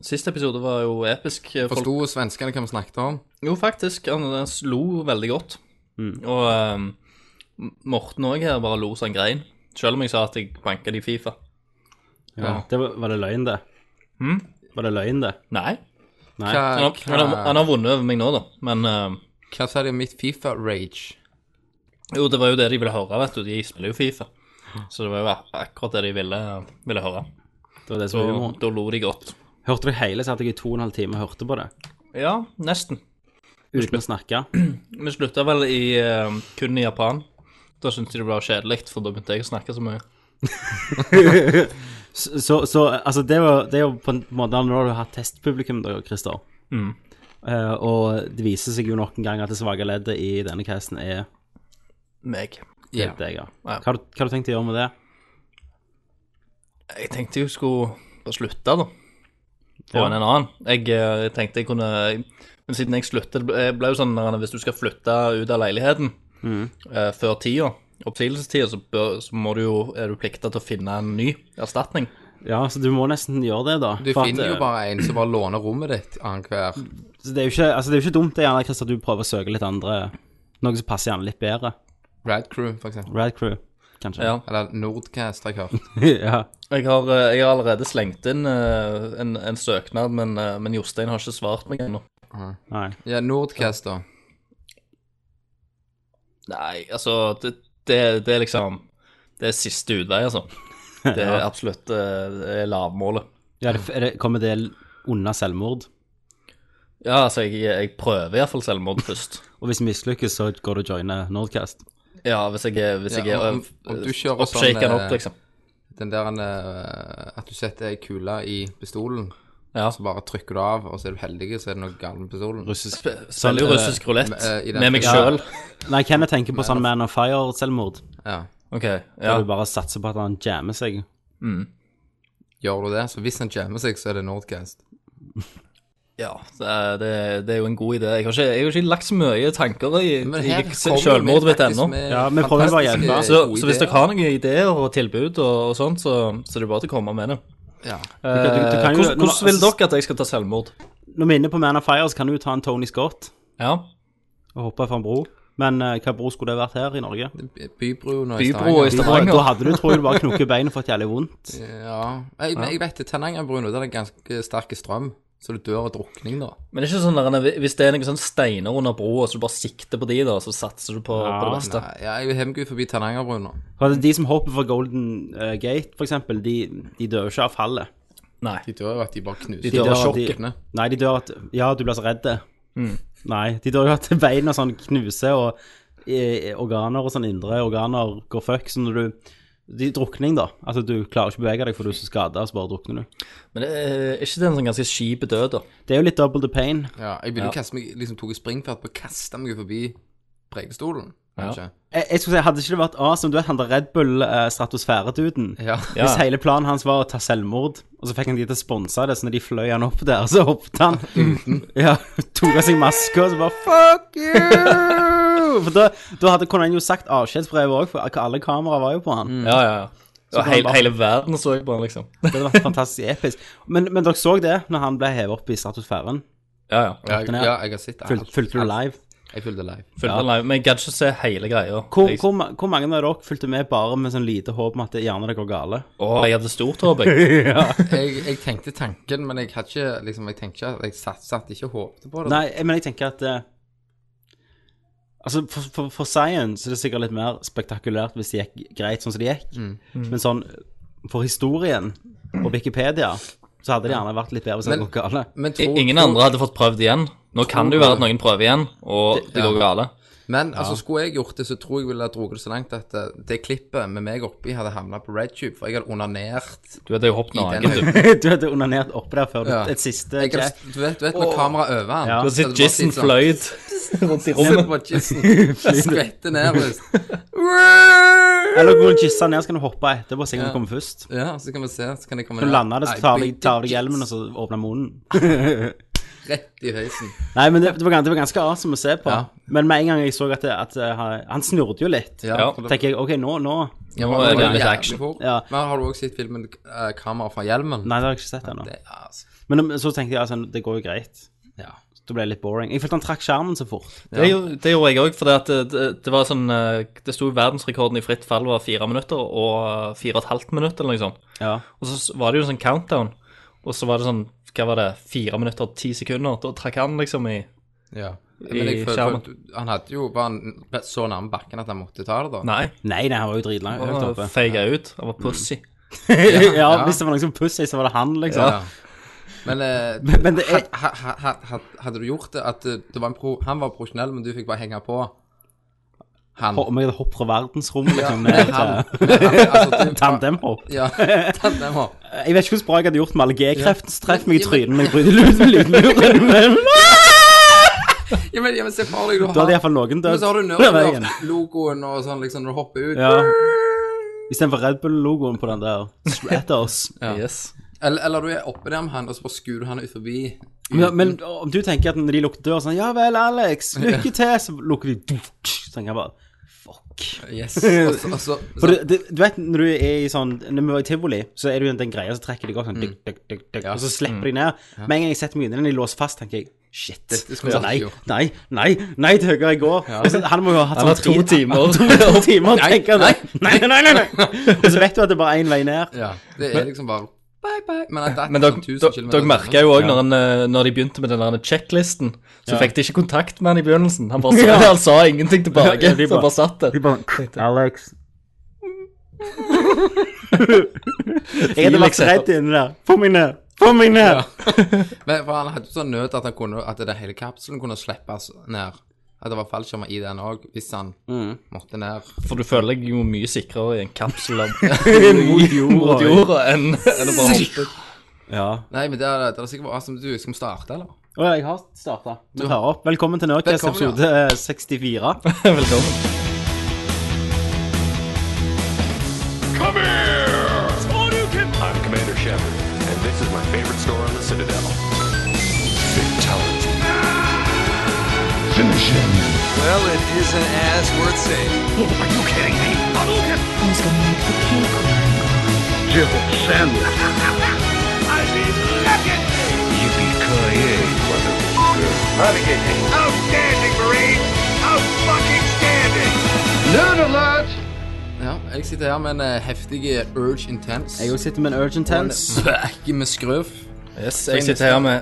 Siste episode var jo episk. Folk- Forsto svenskene hva vi snakket om? Jo, faktisk. Han han slo veldig godt. Og ehm, Morten òg her bare lo så han grein. Selv om jeg sa at jeg banka de i Fifa. Ja. Hm? Det var, var det løgn, det? Var det løgn, det? Nei. Nei. Hva, Han har, han har, han hva, har vunnet over meg nå, da. Men ehm, hva sa de om mitt Fifa-rage? jo, det var jo det de ville høre, vet du. De spiller jo Fifa. Så det var jo ak- akkurat det de ville, ville høre. Det var det som var Da, humoren. da lo de godt. Hørte du hele, så hadde jeg i to og en halv time hørte på det. Ja, nesten. Uten å snakke. Vi slutta vel i, eh, kun i Japan. Da syntes de det var kjedelig, for da begynte jeg å snakke så mye. Så, så altså det, var, det er jo på en måte Nå har du hatt testpublikum, da, Christer. Hm. Eh, og det viser seg jo nok en gang at det svake leddet i denne casten er Meg. Ja. deg. Ja. Hva Ja. har du- hva har du tenkt å gjøre med det? Jeg tenkte jeg skulle bare slutte, da. Få Ja. inn en annen. Jeg, eh, jeg tenkte jeg kunne Men siden jeg sluttet Det ble jo sånn at hvis du skal flytte ut av leiligheten eh, før tida, oppsigelsestida, så, bør- så må du jo, er du plikta til å finne en ny erstatning. Ja, så du må nesten gjøre det, da. Du For at, eh, finner jo bare en som bare låner rommet ditt annenhver. så det, er jo ikke, altså det er jo ikke dumt det, gjerne, Christer, at du prøver å søke litt andre Noe som passer gjerne litt bedre. Rad Crew, for eksempel. Rad Crew, kanskje. Ja. Eller Nordcast, har jeg hørt. ja. Jeg har, eh, jeg har allerede slengt inn eh, en, en søknad, men, eh, men Jostein har ikke svart meg ennå. Nei. Ja, Nordcast, da. Nei, altså det, det, det er liksom Det er siste utvei, altså. Det er absolutt eh, det er lavmålet. Ja, det, er det, kommer det unna selvmord? Ja, altså, jeg, jeg prøver iallfall selvmord først. Og hvis vi mislykkes, så går du og joiner Nordcast? Ja, hvis jeg, er- hvis jeg Ja, er om- om du kjører sånn, oppshaken eh, opp, liksom. Den der eh, at du setter ei kule i pistolen, Ja. så bare trykker du av, og så er du heldig, så er det noe galt med pistolen. Russisk Selger jo eh, russisk rulett sånn, eh, i den- med meg Ja. sjøl. Nei, Kenneth tenker på sånn Man of Fire-selvmord. Ja. OK. Der Ja. du bare satser på at han jammer seg. Gjør du det, så hvis han jammer seg, så er det Nordcast. ja det, er- det, er- det er jo en god idé. Jeg har ikke, jeg har ikke lagt så mye tanker i, Men i her kommer sjølmordet vi mitt faktisk ennå. med Ja, vi prøver bare å fantastiske hjelpe. Så, gode så hvis dere ideer. har noen ideer og tilbud og, og sånt, så, så er det bare til å komme med det. Ja. Eh, kan- du- du kan jo- hvordan- Hvordan vil altså- dere at jeg skal ta selvmord? Når vi er inne på Man of Fire, så kan du ta en Tony Scott Ja. og hoppe fra en bro. Men eh, hva bro skulle det vært her i Norge? Bybro nå i Bybro i Stavanger. Stavanger. Da hadde du tror jeg du bare knukket beinet for et jævlig vondt. Ja. Jeg, men jeg vet det. Tenangerbroen, der er det ganske sterk strøm, så du dør av drukning, da. Men det er ikke sånn der, hvis det er noen sånne steiner under broa, så du bare sikter på de, da, så satser du på, på Ah, det beste. Nei, jeg er jo hjemgud forbi Tenangerbroen nå. For at De som hopper fra Golden eh, Gate, for eksempel, de, de dør jo ikke av fallet. Nei. De dør jo at de bare De knuser. dør av dør av de- sjokket. Nei, de dør at Ja, du blir så redd. Nei, de dør jo at beina sånn knuser, og eh, organer og sånn indre organer går fuck. Så når du de, Drukning, da. Altså, du klarer ikke å bevege deg, for du er så skada, og så bare drukner du. Men det er er ikke det en sånn ganske skip død, da? Det er jo litt double the pain. Ja, jeg ville jo kaste meg, liksom tok et springfart på å kaste meg forbi prekestolen, kanskje. Jeg, jeg skulle si, Hadde ikke det vært awesome, du vet han der Red Bull-stratosfæreduden Ja. Ja. Hvis hele planen hans var å ta selvmord, og så fikk han de til å sponse det, så når de fløy han opp der, så hoppet han. ja, Tok av seg maska og så bare Fuck you! For da, da hadde, kunne han jo sagt avskjedsbrev òg, for alle kameraer var jo på han. Mm. Ja, ja, ja. Og kan hele, man bare- hele verden så jeg på den, liksom. Det hadde vært fantastisk episk. Men, men dere så det, når han ble hevet opp i stratosfæren? Ja, ja. Ja, jeg, ja, jeg har sett Fulg- Fulgte du live? Jeg fulgte live. Fulgte live. Men jeg gadd ikke se hele greia. Hvor, Jeg, hvor, ma- hvor mange av dere fulgte med bare med sånn lite håp om at det gjerne det går gale? å, jeg hadde stort håp, jeg. Jeg, jeg tenkte tanken, men jeg hadde ikke liksom, jeg tenkte ikke at jeg satt, satt ikke og håpte på det. Nei, jeg- men jeg tenker at eh, Altså, for, for, for science er det sikkert litt mer spektakulært hvis det gikk greit sånn som det gikk. Mm. Men sånn for historien og Wikipedia, så hadde det gjerne vært litt bedre hvis det Men- hadde gått gale. Men, I- tror- Ingen tror- andre hadde fått prøvd igjen. Nå kan det jo være at noen prøver igjen, og det går gale. men altså, skulle jeg gjort det, så tror jeg ville ha dratt det så langt at eh, det klippet med meg oppi hadde havna på RedTube, for jeg hadde onanert Du hadde jo hoppet i den naken, du. du hadde onanert oppe der før du- Ja. et siste Jeg jack. kan, du, vet, du vet med kamera over han Ja. Du hadde sett Jason Fløyd rundt i Se rommet. på Jissen. Skvette nærmest. Eller går du gissa ned, så kan du hoppe etterpå og se hvem som kommer først. Ja, så kan vi se. Så kan jeg komme Når du lander det, Nei, så tar du bygde tar du hjelmen, jets og så åpner munnen. Rett i høysen. Nei, men det, det, var, gans- det var ganske awesome å se på. Ja. Men med en gang jeg så at, det, at eh, han- han snurrte jo litt, Ja, for da- tenker jeg OK, nå, nå Ja, Nå men er det jævlig litt action. fort. Ja. Men har du også sett filmen eh, 'Kamera fra hjelmen'? Nei, det har jeg ikke sett ennå. Det, er, altså, Men um, så tenkte jeg altså, det går jo greit. Ja. Det ble litt boring. Jeg følte han trakk skjermen så fort. Det, gjorde- det gjorde jeg òg, for det, det, det var sånn eh, Det sto jo verdensrekorden i fritt fall var fire minutter og eh, fire og et halvt minutt eller noe sånt. Ja. Og så s- var det jo en sånn countdown, og så var det sånn Hva var det? Fire minutter og ti sekunder? Da trakk han liksom i Ja. Men jeg I føler skjermen. for- Han hadde jo Var han så nærme bakken at han måtte ta det, da? Nei, Nei, den her var jo dritlang. Høyt han oppe. feiga ut. Han var pussy. Mm. ja, ja. Hvis det var noen som pussa, så var det han, liksom. Ja. Men, eh, Men- men det er- ha- ha- ha- ha- hadde du gjort det at eh, det var en pro, han var profesjonell, men du fikk bare henge på han? Ho- Om jeg hadde hoppet fra verdensrommet, liksom. Men ned han, til- men han altså, du, sånn Tandemhopp. Ja, tandemhopp. Jeg vet ikke hvordan bra jeg hadde gjort med alle G-kreftene. Så treff meg i Ja, trynet når jeg bryter lyd- lydmuren. men- Ja, men, ja, men se for deg, du Da hadde har iallfall noen Men dødd. så har du Det var ingen. Nerdlord-logoen og sånn, liksom, når du hopper ut. Ja. Istedenfor Red Bull-logoen på den der. Etter oss. Ja. Yes. Eller, eller du er oppe der med han, og så bare skuer du han ut forbi. Men, men om du tenker at når de lukker døra sånn Ja vel, Alex, lykke til, så lukker de dunk, Så tenker jeg bare Fuck. Yes. Og så, og så, For så du, du, du vet når du er i sånn Når vi var i tivoli, så er det jo den- den greia som trekker deg opp sånn duk, duk, duk, duk, Og så slipper de ned. Med en gang jeg setter meg inni den, de låser fast, tenker jeg Shit. Altså, Dette skulle jeg nei, ikke gjort. nei, nei, nei til høyere jeg går. Og så- Han må jo ha hatt Han har sånn to timer. to timer og Nei, tenker nei, nei, nei, nei, nei. Og så vet du at det er bare én vei ned. ja, det er liksom bare bye, bye. Men at det er Men sånn dere, 1000 dere, kilometer dere i timen. merka jo òg når, han, eh, når de begynte med den der checklisten, så Ja. fikk de ikke kontakt med han i begynnelsen. Han, bare, sa- han sa ingenting tilbake, Ja, så de han bare- bare satt der. Alex Jeg hadde vært Felix heter- redd inni der. Få meg ned! Få meg ned! Men for han hadde jo sånn nød at, han kunne, at det hele kapselen kunne slippes ned. At det var fallskjermer i den òg, hvis han måtte ned. For du føler deg jo mye sikrere i en kapsel av Mot jorda. mot jorda enn enn å bare hoppe. Ja. Nei, men det er, det er sikkert bare som du Skal vi starte, eller? Å ja, jeg har starta. Vi tar opp. Velkommen til Nerdcast Velkommen, ja. episode eh, 64. Velkommen. Come here! I'm Commander Shepard, and this is my favorite store on the Citadel. Fatality. Finish him. Well, it isn't as worth saying. Oh, Are you kidding me? Who's gonna make the cake? Jill Sandler. I mean, look at me! Yippee-ki-yay, motherfucker. Outstanding, Marine! Out-fucking-standing! Nerd alert! Ja, jeg sitter her med en eh, heftig Urge Intense. Jeg også sitter med en Urgent en Tense. bække med skrøv. Yes, jeg sitter her med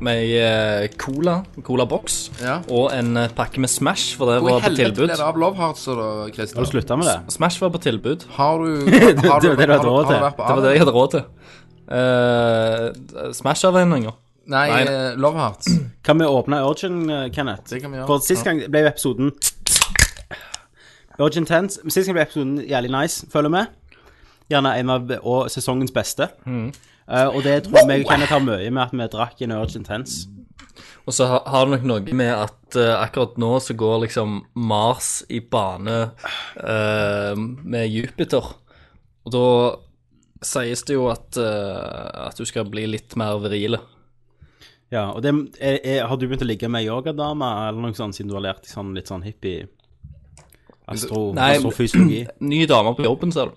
med ei eh, cola, colaboks, Ja. og en eh, pakke med Smash, for det Hvor i var på helvete tilbud. ble det av Love Hearts, så da, Har Christer? du slutta med det? Smash var på tilbud. Har du Har du, Det var det du hadde råd til. vært på Det var Arlo? det jeg hadde råd til. Eh, Smash-avveininger. Nei, Nei, eh, Love Hearts. Kan vi åpne Urgent, eh, Kenneth? Det kan vi gjøre. For sist gang ble jo episoden Urgent Tense. Men Sist gang ble episoden jævlig nice, føler vi. Gjerne en av og sesongens beste. Mm. Eh, og det tror jeg Kenneth har mye med at vi drakk en Urgent Tense. Og så har, har det nok noe med at eh, akkurat nå så går liksom Mars i bane eh, med Jupiter. Og da sies det jo at, eh, at du skal bli litt mer virile. Ja, og det er, er, Har du begynt å ligge med ei yogadame eller noe sånt, siden du har lært deg sånn litt sånn hippie astro, Nei, men- astrofysiologi? Ny dame på jobben, ser du.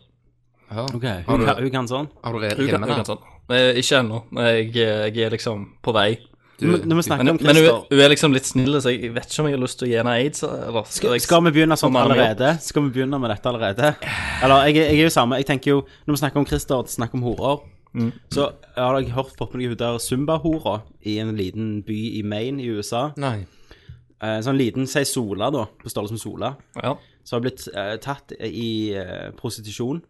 Ja. Hun Har kan, du, hun kan sånn? har du Hun kan- hun rimmene? kan sånn. Eh, Ikke ennå. Jeg, jeg er liksom på vei. Men- Når vi snakker Men, om men hun, Christer hun er liksom litt snill, så jeg vet ikke om jeg har lyst til å gi henne aids. Eller, skal, skal vi begynne sånn Om alle allerede? Skal vi begynne med dette allerede? Eller, jeg, er- jeg er jo samme. Jeg tenker jo, Når vi snakker om Christer og snakker om horer, så har jeg hørt poppe noen der Zumba-horer i en liten by i Maine i USA. Nei. Eh, sånn liten, si Sola, da, på størrelse med Sola. ja. som har blitt eh, tatt i eh, prostitusjon.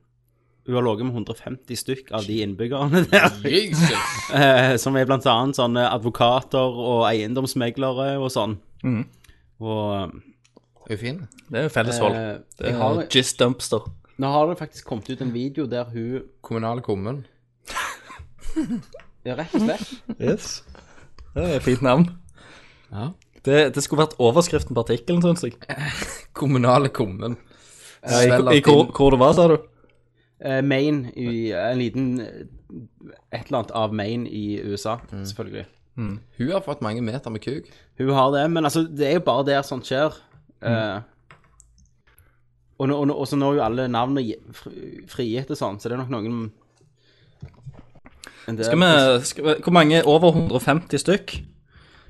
Hun har ligget med 150 stykk av de innbyggerne der, Jesus. eh, som er blant annet sånne advokater og eiendomsmeglere og sånn. Og Er hun fin? Det er jo felleshold. eh, det jeg har, er Jizz Dumpster. nå har det faktisk kommet ut en video der hun Kommunale kummen. ja, rett og slett Yes. Det er et fint navn. Ja. Det, det skulle vært overskriften på artikkelen, syns jeg. Kommunale kummen. I, Svelg i, din- hvor, hvor det var, sa du? eh, Maine i en liten eh, Et eller annet av Maine i USA, Mm. selvfølgelig. Hun har fått mange meter med kuk. Hun har det, men altså, det er jo bare der sånt skjer. Mm. Eh, og, nå, og, nå, og så nå er jo alle navnene gi- fri- frigitt og sånn, så det er nok noen Skal vi, skal vi, hvor mange? Over 150 stykk?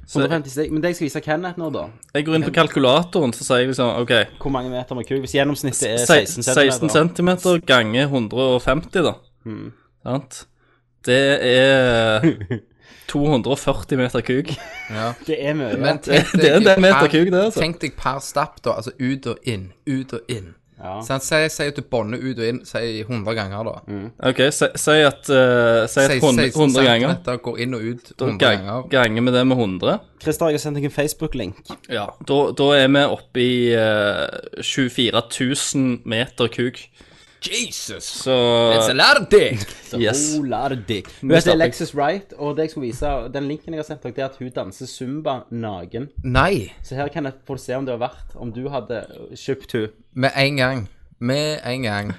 Så 150 steg. Men det jeg skal vise Kenneth nå, da jeg går inn på kalkulatoren, så sier jeg liksom OK, Hvor mange meter med kuk? Hvis gjennomsnittet er 16 16 cm cm ganger 150, da. Sant? Det er 240 meter kuk. Det er mye. ja. Men tenk Det er en deg del meter per- kuk, det, altså. Tenk deg per stapp, da. Altså ut og inn, ut og inn. Ja. Så han sier, sier at du bånder ut og inn sier 100 ganger, da. OK, si si at, eh, si at Sier 100, 16 ganger. centimeter, Går inn og ut Da 100 gang- ganger. ganger vi det med 100. Christer, jeg har sendt deg en Facebook-link. Ja, da, da er vi oppe i eh, 24 000 meter kuk. Jesus! Så It's a lot of dick! Yes. Olardi. Hun heter stopper. Alexis Wright, og det jeg skulle vise, den linken jeg har sendt dere, det er at hun danser zumba naken. Nei, Så her kan jeg få se om det har vært Om du hadde kjøpt hun. med en gang. Med en gang.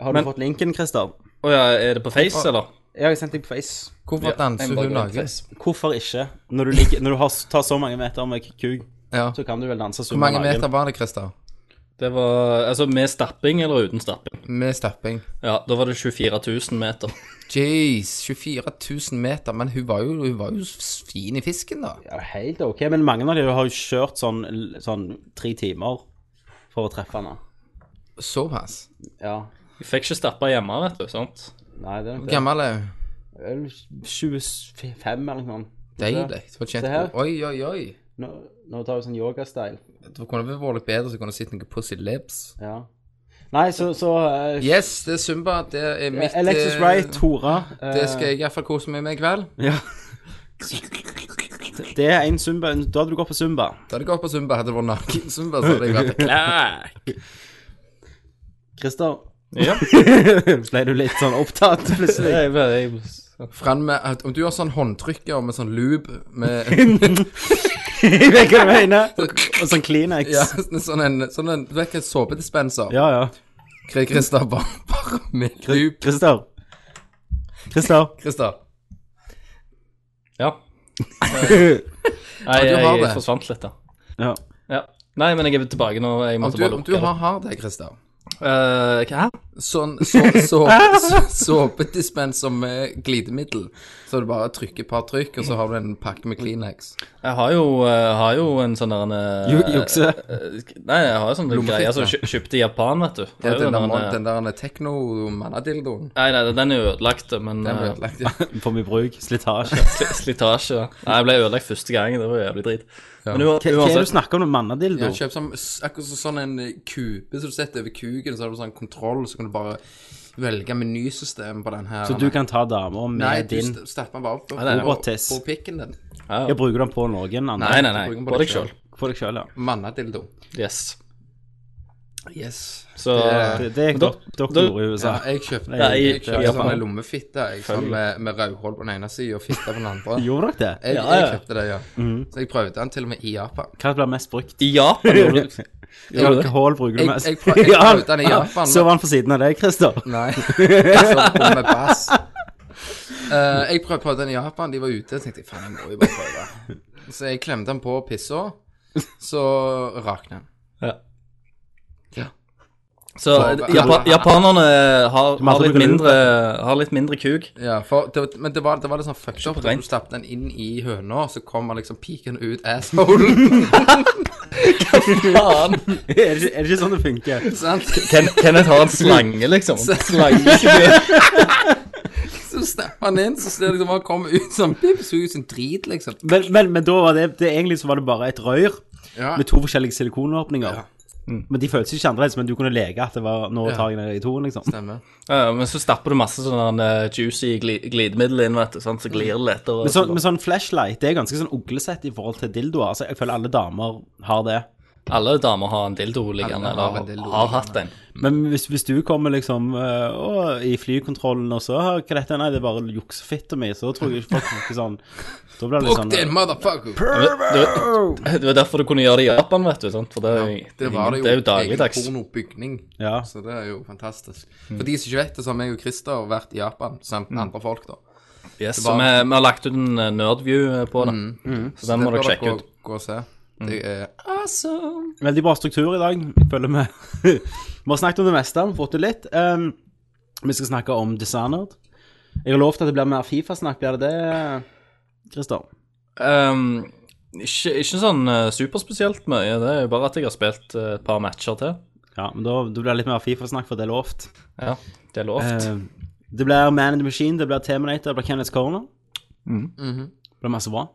Har du fått linken, Christer? Å ja, er det på Face, eller? Jeg har sendt deg på Face. Hvorfor danser Jeg bare går inn hun på naken? Face. Hvorfor ikke? Når du, ligger, når du har, tar så mange meter med kuk, Ja. så kan du vel danse Hvor zumba mange naken. meter var det, Christer? Det var Altså med stapping eller uten stapping? Med stapping. Ja, da var det 24 000 meter. Jeez, 24 000 meter. Men hun var jo, hun var jo s- fin i fisken, da. Ja, helt ok, men mange av de har jo kjørt sånn, sånn tre timer for å treffe henne. Såpass. Ja. Vi fikk ikke stappa hjemme, vet du. sant? Nei, det er nok Hvor det. gammel er hun? Vel, 25 eller noe sånt. Deilig. Fortjent Se her. god. Oi, oi, oi. Nå, nå tar vi sånn yoga-style. Det kunne vel vært litt bedre så kunne du sett noen pussy lips. Ja. Nei, så, så eh, Yes, det er Zumba. Det er mitt eh, Alexis Wright, hora. eh, Det skal jeg iallfall kose meg med i kveld. ja. Det er en zumba. Da hadde du gått på zumba. Da hadde jeg gått på Zumba. Hadde det vært naken Zumba, så hadde jeg vært Klæk! Christer, Ja. ble du litt sånn opptatt plutselig? Jeg, bare- jeg, Fram med Om du har sånn håndtrykker med sånn loop med Jeg vet hva du mener. Og sånn Kleenex. ja, sånn, en, sånn en Du vet hva en såpedispenser? ja. ja. Kri- Christer, bare, bare med loop. Christer. Christer. Christer. ja. Nei, du jeg, har jeg det. forsvant litt, da. Ja. Ja. Nei, men jeg er tilbake nå. Jeg Om måtte du, bare om du lukke det. har, har det, Christer Eh, Hva? Sånn så, så, så, såpedispenser med glidemiddel. Så du bare trykker et par trykk, og så har du en pakke med Kleenex. Jeg har jo, eh, har jo en sånn der en, eh, Ju- jukse. eh, Nei, jeg har jo sånn greie som kjø- kjøpte i Japan, vet du. Det er Ja, jo den, den der, der, eh, den der tekno-mannadildoen. Nei, nei, den er ødelagt, men Den ble eh, ødelagt. ja. For mye bruk. Slitasje. sli- slitasje. Nei, jeg ble ødelagt første gang, det var jævlig drit. Men u- Hva er det du uansett, snakker om med mannadildo? Ja, kjøp sånn, s- akkurat så- sånn en eh, kube som du setter over kuken, så har du sånn kontroll, så kan du bare velge menysystem på den her. Så du kan ta damer med Nei, du din st- stapper den bare opp på, nei, på, robotiss. på pikken din. Jeg bruker den på noen andre. nei, nei, nei, bruker den på på deg deg sjøl. For deg sjøl, ja. Mannadildo. Yes. Yes. Så Det, det er Da- godt dere da- gjorde i USA. Ja, jeg kjøpte, Nei, jeg ja, kjøpte faen. sånne lommefitter jeg, sånn med, med rødhål på den ene siden og fitte på den andre. Gjorde dere det? Jeg, Ja, jeg ja. kjøpte det, ja. Så jeg prøvde den til og med i Japan. Hva blir mest brukt? i Japan gjorde du gjorde du Hvilke hull bruker du Jeg- mest? jeg prøv- jeg Ja, prøvde den i Japan, men- Så var han på siden av deg, Christer. Nei. Sånn på med bass. Eh, jeg prøvde på den i Japan, de var ute. Jeg tenkte jeg, faen, jeg må jo bare prøve. Så jeg klemte den på pissa, så rakna den. Så Japa japanerne eh, har, har, litt mindre, har litt mindre kuk. Ja, for det, var- men det var, det var litt sånn fucked up. på da rent. Du stappet den inn i høna, så kom den liksom piken ut assholen. Faen! Er det ikke- er det ikke sånn det funker? sant? Ken Kenneth har en slange, liksom. Slange. Så stappa den inn, så ser det liksom bare komme ut sånn pip, så ut som drit, liksom. Men, men, men da var det, det Egentlig så var det bare et rør Ja. med to forskjellige silikonåpninger. Men de føltes ikke annerledes, men du kunne leke at det var nå tar jeg ned i toen, liksom. Stemmer. Ja, men så stapper du masse sånn eh, juicy gli glidemiddel inn, vet du, sant? så glir det lettere. Men sånn, men sånn flashlight det er ganske sånn uglesett i forhold til dildoer. Altså, jeg føler alle damer har det. Alle damer har en dildo liggende, Alle har en eller dildo har hatt en. Men hvis, hvis du kommer liksom øh, å, i flykontrollen og så har hva dette, nei, det er bare juksefitta mi, så tror jeg ikke folk tenker sånn Da blir det Book den, sånn motherfucker! Det var derfor du kunne gjøre det i Japan, vet du. sant? For det er, jo- Det var det jo. det er jo dagligdags. Egen pornobygning. Ja. Så det er jo fantastisk. For de som ikke vet det, så har meg og Christer vært i Japan samt andre folk, da. Yes, Mm. så var- Mm. vi, vi har lagt ut en eh, nerdview på det, så den må dere det bør sjekke gå- ut. Mm. Gå og se. Det er Veldig bra struktur i dag, føler vi. vi har snakket om det meste, vi har fått det litt. Ehm, vi skal snakke om Dishonored. Jeg har lovt at det blir mer Fifa-snakk. Blir det det, Christer? Ehm, ikke, ikke sånn eh, superspesielt mye. Det er jo bare at jeg har spilt eh, et par matcher til. Ja, men da, da blir det litt mer Fifa-snakk, for det er lovt. Ja, det er lovt. Eh, det blir Man in the Machine, det blir Terminator, det blir Kenneth Corner. Det blir masse bra.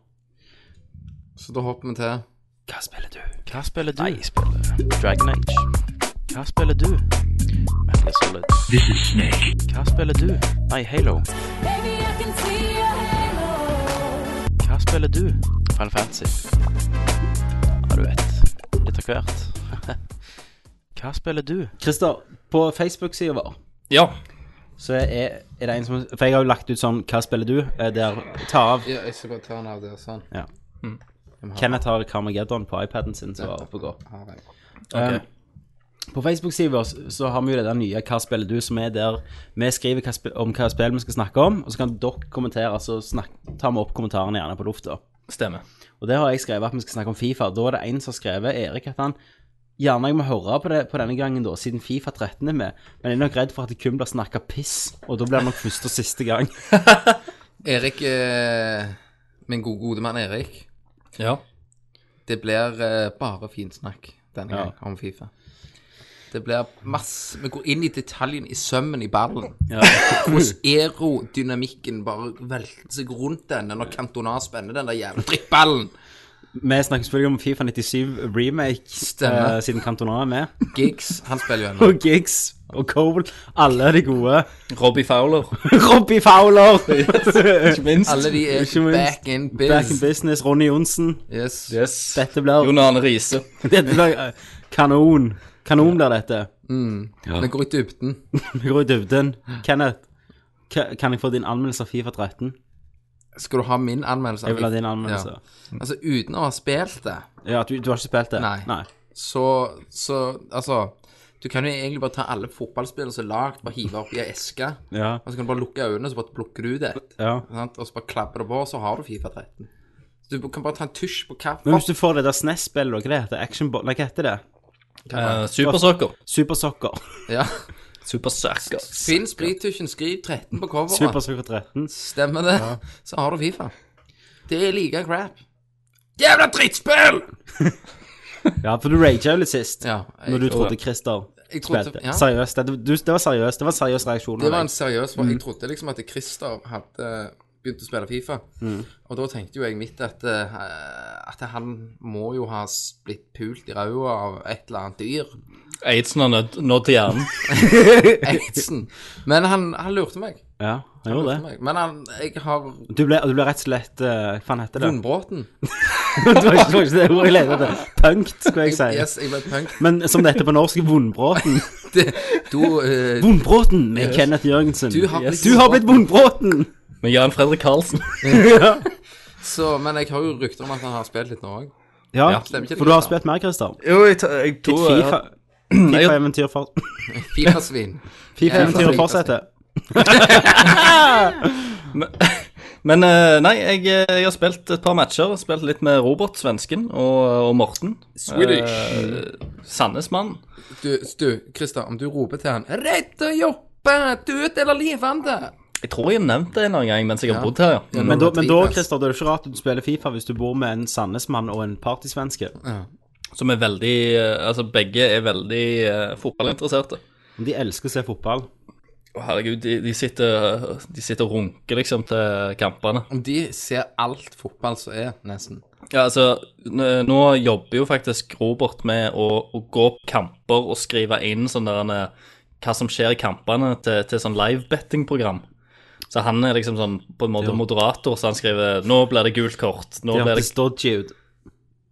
Så da hopper vi til. Hva spiller du? Hva spiller du? Nei, jeg spiller Dragon Age. Hva spiller du? Metal Gear Solid. This is Snake. Hva spiller du? Nei, Halo. Baby, I can see your halo. Hva spiller du? Final Fantasy. Ja, du vet. Litt av hvert. Hva spiller du? Christer, på Facebook-sida vår Ja. så er, er det en som For jeg har jo lagt ut sånn 'Hva spiller du?' eh, der ta av Ja, jeg skal bare ta den av der, sånn. Ja. Kenneth har Carmageddon på iPaden sin som var oppe og går. Har jeg. Eh, på Facebook-siden vår så- så har vi jo det der nye 'Hva spiller du?' som er der vi skriver hva sp om hva spill vi skal snakke om, og så kan dere kommentere, altså så snakk, tar vi opp kommentarene gjerne på lufta. Stemmer. Og der har jeg skrevet at vi skal snakke om Fifa. Da er det en som har skrevet, Erik, at han gjerne jeg må høre på det på denne gangen, da, siden Fifa 13 er med, men jeg er nok redd for at det kun blir snakka piss, og da blir det nok første og siste gang. Erik, eh, min gode, gode mann Erik, Ja. det blir eh, bare finsnakk denne Ja. gangen om Fifa. Det blir masse Vi går inn i detaljen i sømmen i ballen. Hvordan Mm. aerodynamikken bare velter seg rundt den når Cantona spenner den der jævla drittballen. Vi snakker selvfølgelig om Fifa 97 remake, Stemmer. eh, siden Cantona er med. Giggs, han spiller jo ennå. Og Giggs og Cole, alle er de gode. Robbie Fowler. Robbie Fowler! Ikke minst. Alle de er Ikke minst. back in Back in biz. business, Ronny Johnsen. Yes. Yes. Dette blir, Jon Arne Riise. dette blir eh, kanon. Kanon blir dette. Vi går i dybden. Vi går i dybden. Kenneth, ka- kan jeg få din anmeldelse av Fifa 13? Skal du ha min anmeldelse? Jeg vil ha din anmeldelse. Ja. Altså, uten å ha spilt det Ja, du, du har ikke spilt det? Nei. så, så altså Du kan jo egentlig bare ta alle fotballspillene som er lagd, bare hive opp i ei eske. Ja, Og så kan du bare lukke øynene, så bare plukker du ut et. ja. Sant? Og så bare klapper det på, og så har du Fifa 13. Så du kan bare ta en tusj på Men hvis kaffen. du får det der SNES-spillet, og hva det heter Action Ball, hva heter det? Eh, Supersoccer. Supersokker. Ja. Supersoccer. Finn sprittusjen, skriv 13 på coveret. Supersokker 13. Stemmer det. Så har du Fifa. Det er like crap. Jævla drittspill! Ja, for du raga jo litt sist. Ja, jeg- når du trodde Christer Jeg trodde- spilte. ja. Seriøst. Det, du, det var seriøst. Det var en seriøs reaksjon. Det av var en deg. seriøs for Jeg trodde liksom at Christer hadde begynt å spille Fifa. Mm. Og da tenkte jo jeg mitt at, eh, at han må jo ha s- blitt pult i ræva av et eller annet dyr. Aidsen har nådd- nådd til hjernen. Aidsen. Men han, han lurte meg. Ja, han gjorde Lurte det. meg. Men han, jeg har Du ble, du ble rett og slett eh, Hva faen heter det? Vondbråten. det var ikke det var ikke det ordet jeg lette etter. Punkt, skulle jeg si. Yes, jeg ble punk. Men som det heter på norsk, Vondbråten. Det- Du, eh, Vondbråten med Kenneth Jørgensen. Du har blitt du har blitt Vondbråten! Med Jan Fredrik Karlsen. så, men jeg har jo rykter om at han har spilt litt nå òg. Ja, Ja, stemmer ikke det, for du har Kristian? spilt mer, Christer. Jo, jeg, jeg Ditt Fifa- Fifa-eventyr for- Fifa-svin. Fifa-eventyr fortsetter. Men eh, nei, jeg, jeg har spilt et par matcher. Spilt litt med Robert, svensken, og, og Morten. Eh, Swedish. Sandnesmann. Eh, Du, du, Christer, om du roper til han Redd å jobbe! Død eller levende! Jeg tror jeg har nevnt det en eller annen gang mens jeg har bodd her. ja. Men da, men da Trives. Christer, da er det ikke rart at du spiller Fifa hvis du bor med en Sandnes-mann og en partysvenske. Som er veldig eh, Altså, begge er veldig eh, fotballinteresserte. De elsker å se fotball. Å, herregud, de, de, sitter, de sitter og runker, liksom, til kampene. Om de ser alt fotball som er, nesten. Ja, altså, n- nå jobber jo faktisk Robert med å, å gå på kamper og skrive inn sånn der han, eh, hva som skjer i kampene til, til sånn live-betting-program. Så han er liksom sånn på en måte Jo. moderator, så han skriver 'Nå blir det gult kort'. Nå De blir det hørtes dodgy ut.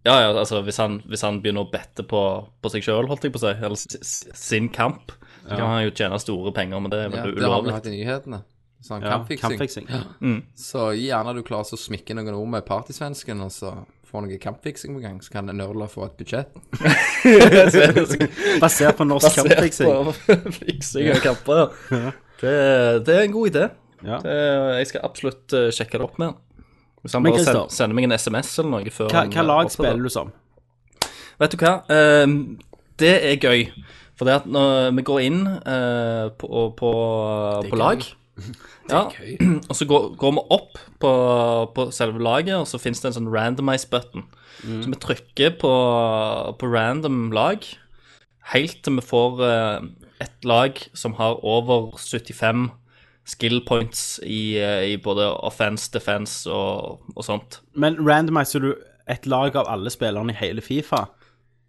Ja, ja, altså hvis han, hvis han begynner å bette på, på seg sjøl, holdt jeg på å si, eller s- s- sin kamp, så kan han jo tjene store penger, men det er Ja, veldig det har vi ulovlig. hatt i nyhetene. Sånn Ja, kampfiksing. kampfiksing. Så gjerne du klarer å smikke noen ord med partysvensken, og så får noe kampfiksing på gang, så kan Nørla få et budsjett. Basert på norsk kampfiksing. Fiksing av kamper, ja. Det, det er en god idé. Ja. Det, jeg skal absolutt eh, sjekke det opp med han. Hvis han Men bare sender, Christer- sender meg en SMS eller noe før Hva, han, hva eh, lag oppdager det. spiller du som? Vet du hva? Ehm, det er gøy. For det at når vi går inn eh, på, på, på lag, Ja, og så går, går vi opp på, på selve laget, og så finnes det en sånn randomize button. Så vi trykker på, på random lag helt til vi får eh, et lag som har over 75 skill points i, eh, i både offense, defense og, og sånt. Men randomiser du et lag av alle spillerne i hele Fifa?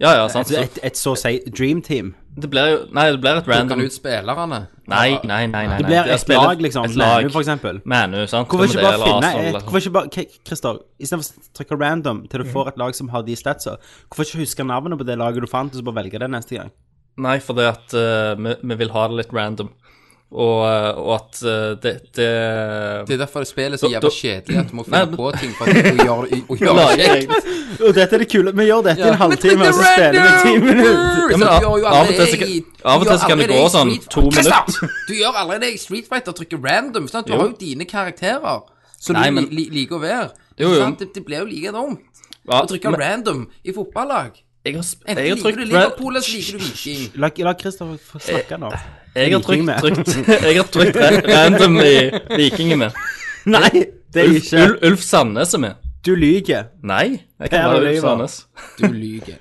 Ja, ja, sant. Altså Så et, et så å si dream team? det blir jo Nei, det blir et Plukker random han ut spillerne? Nei, nei, nei. nei, nei. Det blir et spiller- lag, liksom. Et lag. Manu, for eksempel. Manu, sant. Hvorfor ikke bare Eller finne Arsenal, et eller- Hvorfor ikke bare K- Christer, istedenfor å trykke random til du får et lag som har de statsa, hvorfor ikke huske navnet på det laget du fant, og så bare velge det neste gang? Nei, for det at eh, vi, vi vil ha det litt random. Og, eh, og at eh, det, det Det er derfor det spillet er så Da- jævla da- kjedelig at du må Nei, finne men- på ting for at du gjør det og gjør det kjekt. Og dette er det kule. Vi gjør dette i Ja. en halvtime, og så spiller vi ti minutter. Ja, men Så du gjør jo av- av og til allerede så kan- i- av og du til gjør så kan det allerede gå i sånn Street- to Kristian, minutter. Du gjør allerede i Street Fighter trykker random. Sant? Du Jo. har jo dine karakterer som Nei, du men- li- li- liker å være. Jo, jo. Sant? Det, det blir jo like dumt ja, å trykke men random i fotballag. Jeg har, sp- Enten jeg har liker trykt du ra- Liverpool, eller så liker du Viking. La, la Christer få snakke nå. Jeg har Viking trykt, med. trykt, jeg har trykt ra- random i Vikingene. Nei, det er Ulf, ikke Ulf, Ulf Sandnes er med. Du lyver. Nei, jeg kan Per være Ulf Oliver. Sandnes. Du lyver.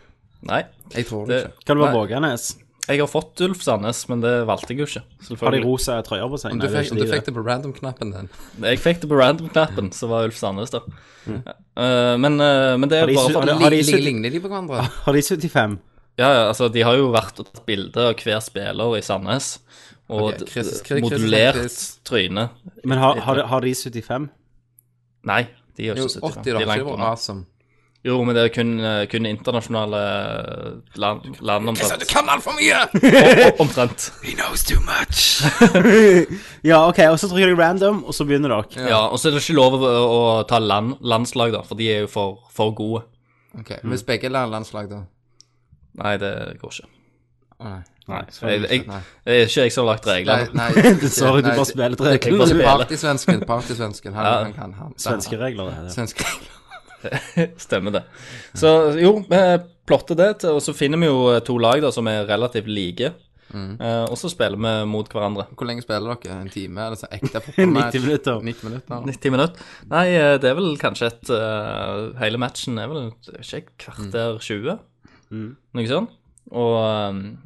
Nei. Jeg tror det Det, ikke. Kan du være Nei. vågenes? jeg har fått Ulf Sandnes, men det valgte jeg jo ikke. Har de Selvfølgelig. rosa trøyer på seg? Om Nei, du, det er fikk, ikke om de du fikk det. det på random-knappen din. Jeg fikk det på random-knappen, så var Ulf Sandnes der. Mm. Eh, men, eh, men det Har er de bare sy- for har Li- de- li- sytt- Ligner de på hverandre? Har de 75? Ja, ja, altså de har jo vært og tatt bilde av hver spiller i Sandnes. Og Ok, d- Chris- d- Chris- modulert Chris- trynet. Men har, har, de- har de 75? Nei, de gjør Jo, ikke 75. 80 De da, er så det langt var unna. awesome. Jo, men det er kun, eh, kun internasjonale eh, land, land Kristian, du omtrent. kan altfor mye! O- o- omtrent. Ja, OK, og så trykker de random, og så begynner dere. Ja, og så er det ikke lov å, å ta land, landslag, da, for de er jo for, for gode. Ok, Hvis begge er landslag, da? Nei, det går ikke. Nei. Nei, Jeg, jeg, Nei. det er ikke jeg som har lagt Nei, reglene. nei, Sorry, du nei, bare det- spiller Jeg bare reglene. spiller. Partysvensken, partysvensken. Han, Ja. han kan han. Svenske regler, det er det. Svenske Stemmer det. Så jo, vi plotter det, til- og så finner vi jo eh, to lag da, som er relativt like. Eh, og så spiller vi mot hverandre. Hvor lenge spiller dere? En time? Er det sånn ekte 90 minutter. 90 minutter. 90 minutter. Nei, eh, det er vel kanskje et eh, Hele matchen er vel et- ikke et kvarter 20, noe sånt. Og, eh,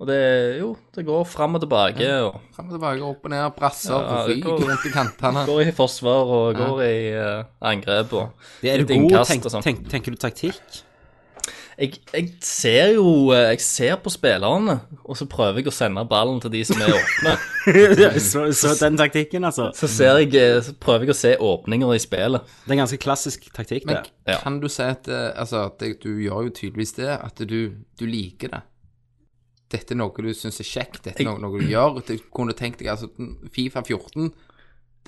og det er jo Det går fram og tilbake, og Fram og tilbake, opp og ned, brasser Ja, på det går- fyk rundt i kantene. går i forsvar og går i eh, angrep og Er du litt god? innkast Tenk, og sånn. tenk, tenker du taktikk? Jeg, jeg ser jo eh, Jeg ser på spillerne, og så prøver jeg å sende ballen til de som er åpne. så, så den taktikken, altså. Så, ser jeg, eh, så prøver jeg å se åpninger i spillet. Det er en ganske klassisk taktikk, det. Men Ja. kan du si at eh, altså, at det, du gjør jo tydeligvis det, at du, du liker det? Dette er noe du syns er kjekt, dette er noe, noe du gjør. Du kunne tenkt deg altså Fifa 14,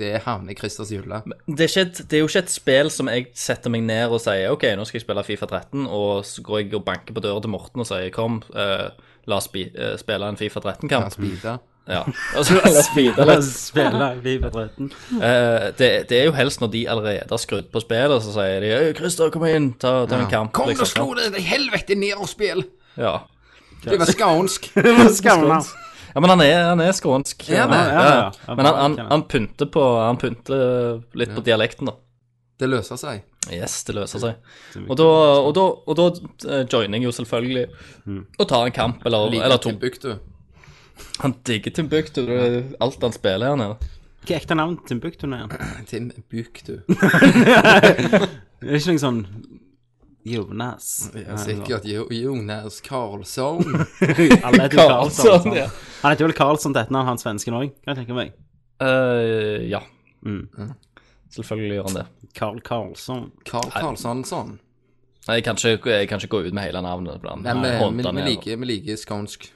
det havner i Christers hylle. Det er, ikke et, det er jo ikke et spill som jeg setter meg ned og sier OK, nå skal jeg spille Fifa 13, og så går jeg og banker på døra til Morten og sier Kom, eh, la oss spi, eh, spille en Fifa Kan 13-kamp. speede. Ja. Og så- la oss speede Eller litt. spille Viva 13. Eh, det, det er jo helst når de allerede har skrudd på spillet, så sier de Øy, Christer, kom inn, ta, ta en kamp. Kom, du liksom. slo det! det er Helvete, nedspill! Ja. Det var skånsk. Skamla. Ja, men han er, han er skånsk. Ja, han er, ja, ja. Men han, han, han pynter på Han pynter litt på dialekten, da. Det løser seg. Yes, det løser seg. Og da, og da, og da eh, joiner jeg jo selvfølgelig Mm. og tar en kamp eller, Like eller to. Timbuktu. Han digger Timbuktu. Det er alt han spiller her nede. Hva er ekte navn til Timbuktu er? igjen? Timbuktu. Det er ikke noe sånn Jonas. Ja, sikkert Jo- Jonas Karlsson. Alle heter jo Karlsson. Karlsson, sant? ja. Han heter vel Karlsson til etternavn, han svensken òg, kan jeg tenke meg. Eh, ja. Mm. Selvfølgelig gjør han det. Karl Karlsson. Karl Karlsson. Nei, Jeg kan ikke, jeg kan ikke gå ut med hele navnet. Blant, Nei, vi- håndene vi eh, vi her. liker, vi liker skånsk.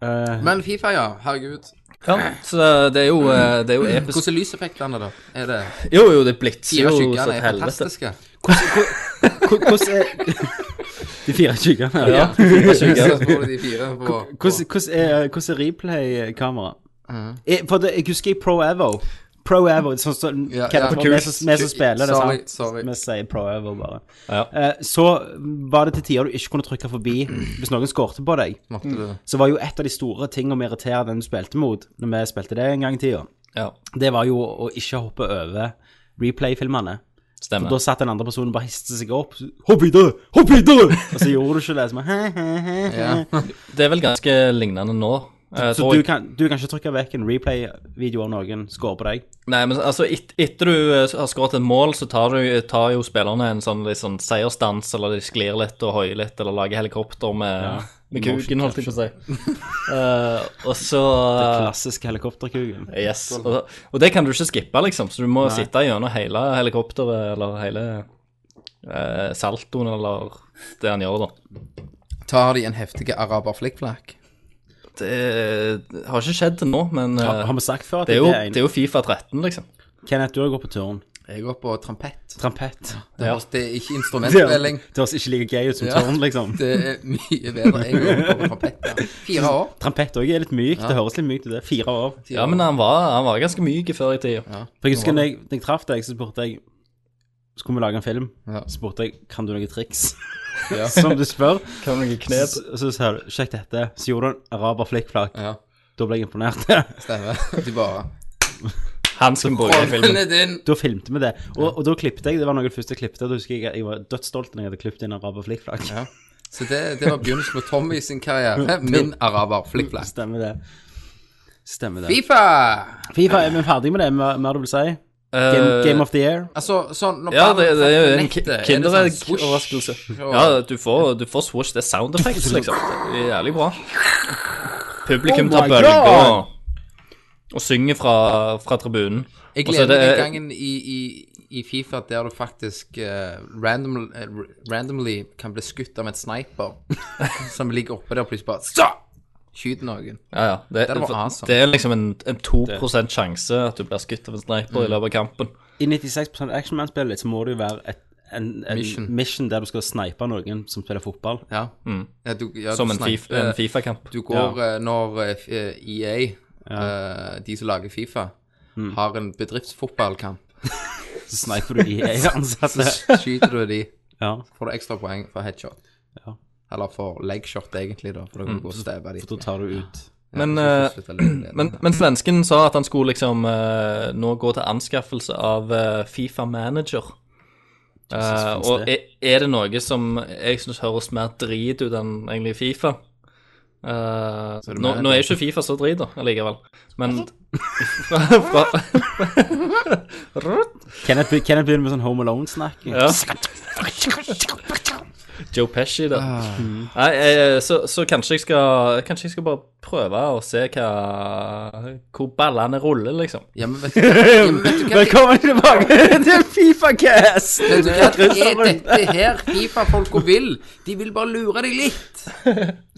Eh, Men Fifa, ja. Herregud. ja, så det er jo, eh, det er jo episk. Hvordan er lyseffektene, da? Er det Jo, jo, det blitser Fire jo så skyggene til er helvete. fantastiske. hvor- Hvordan er De fire tyggerne? Ja, Ja. fire Så skygger. får du de fire på, på. Uh-huh. Hvordan hvordan er, hvordan er replay-kamera? Eh, For det, jeg husker i Pro Evo. Pro-Evo. Sånn som Ja, ja. Kenneth, vi som- vi som spiller det, Sorry, sant? sorry. Vi sier Pro-Evo bare. Ja. Eh, så var det til tider du ikke kunne trykke forbi hvis noen skårte på deg. Måtte du Så var jo et av de store tingene vi irriterer den du spilte mot, når vi spilte det en gang i tida, Ja, det var jo å ikke hoppe over replay-filmene. For stemmer. da satt den andre personen og bare histe seg opp. 'Hopp videre! Hopp videre!' Og så gjorde du ikke det. Så, bare, «Hæ, hæ, hæ, hæ». Ja. Det er vel ganske lignende nå. eh, så tror du, jeg. kan, du kan ikke trykke vekk en replay-video av noen scorer på deg. Nei, men altså, et, etter du eh, har skåret et mål, så tar, du, tar jo spillerne en sånn, litt sånn seiersdans, eller de sklir litt og høyer litt, eller lager helikopter med, med kuken, holdt jeg på å si. Eh, og så Klassisk helikopterkugen. Yes. Og, og det kan du ikke skippe, liksom, så du må sitte gjennom hele helikopteret, eller hele eh, saltoen, eller det han gjør, da. Tar de en heftig araber-flikkflakk? Det eh, har ikke skjedd til nå, men eh, Har, har vi sagt før at det, er jo, en det er jo Fifa 13, liksom. Kenneth, du har gått på turn. Jeg går på trampett. Trampett. Det, Ja. høres- det er ikke Det høres- instrumentspilling. det høres ikke like gøy ut som Ja. turn, liksom. Det er mye bedre. Jeg går på trampett. Ja. Fire år. Trampett òg er litt mykt. Det høres litt mykt ut, det. Fire år. Ja, men han var, han var ganske myk før i tida. For jeg husker når jeg, når jeg traff deg, så spurte jeg Skulle vi lage en film? Ja. Så spurte jeg kan du noen triks, Ja. eh, som du spør. Kan noen knep? Så, så sa du sjekk dette. Så gjorde du en araber flikkflakk. Ja, Da ble jeg imponert. stemmer. De bare Han skal bruke i filmen. Hånden er din! da filmte vi det. Og, og da klippet jeg. Det var noe av det første jeg klippet. og Da husker jeg jeg var dødsstolt når jeg hadde klippet inn araber flikkflakk. Ja. Så det, det var begynnelsen på Tommy sin karriere. Min araber, flikkflakk. Stemmer det. Stemmer det. Fifa! Fifa, er vi ferdig med det? Hva hva er det du vil si? Game, Eh, game of the year? Altså, sånn når Ja, ballen det, det er jo treffer en nettet, ki- er det sånn swoosh? kinderegg-overraskelse. og- Ja, altså, du får, du får swoosh. Det er sound effects, liksom. Det er jævlig bra. Oh Publikum tar bølger og, og synger fra, fra tribunen. Jeg Og så er gleder meg det- den gangen i, i, i Fifa der du faktisk eh, random, eh, randomly kan bli skutt av en sniper som ligger oppe der og plutselig bare Så! Skyter noen. Ja, ja. Det, Den var awesome. det er liksom en, en 2 sjanse at du blir skutt av en sniper Mm. i løpet av kampen. I 96 actionman-spillet ditt så må det jo være et, en, en mission. Mission. der du skal snipe noen som spiller fotball. Ja. ja, du, ja Mm. Som du en, sniper- eh, fif, en Fifa-kamp. Du går eh, når eh, f- eh, EA, eh, de som lager Fifa, Mm. har en bedriftsfotballkamp. Så sniper du EA-ansatte. Skyter du de, Ja, får du ekstra poeng for headshot. Ja. Mm. Eller for legshot, egentlig, da, for da kan du gå og stabbe de. for da tar du ut. Men, Ja, eh, så slutter jeg å men, men svensken sa at han skulle liksom eh, nå gå til anskaffelse av eh, Fifa Manager. Eh, finnes og det? er, er det noe som jeg syns høres mer drit ut enn egentlig Fifa? Eh, er det nå, mer- nå er ikke Fifa så drit, da, allikevel. Men fra, fra, Kenneth, be- Kenneth begynner med sånn Home Alone-snakking. ja. Joe Pesci, da. Nei, eh, så, så kanskje jeg skal Kanskje jeg skal bare prøve å se hva hvor ballene ruller, liksom. Ja, men vet du, ja, men vet du hva Velkommen tilbake til Fifa-cast! Vet du hva er dette her Fifa-folka vil? De vil bare lure deg litt.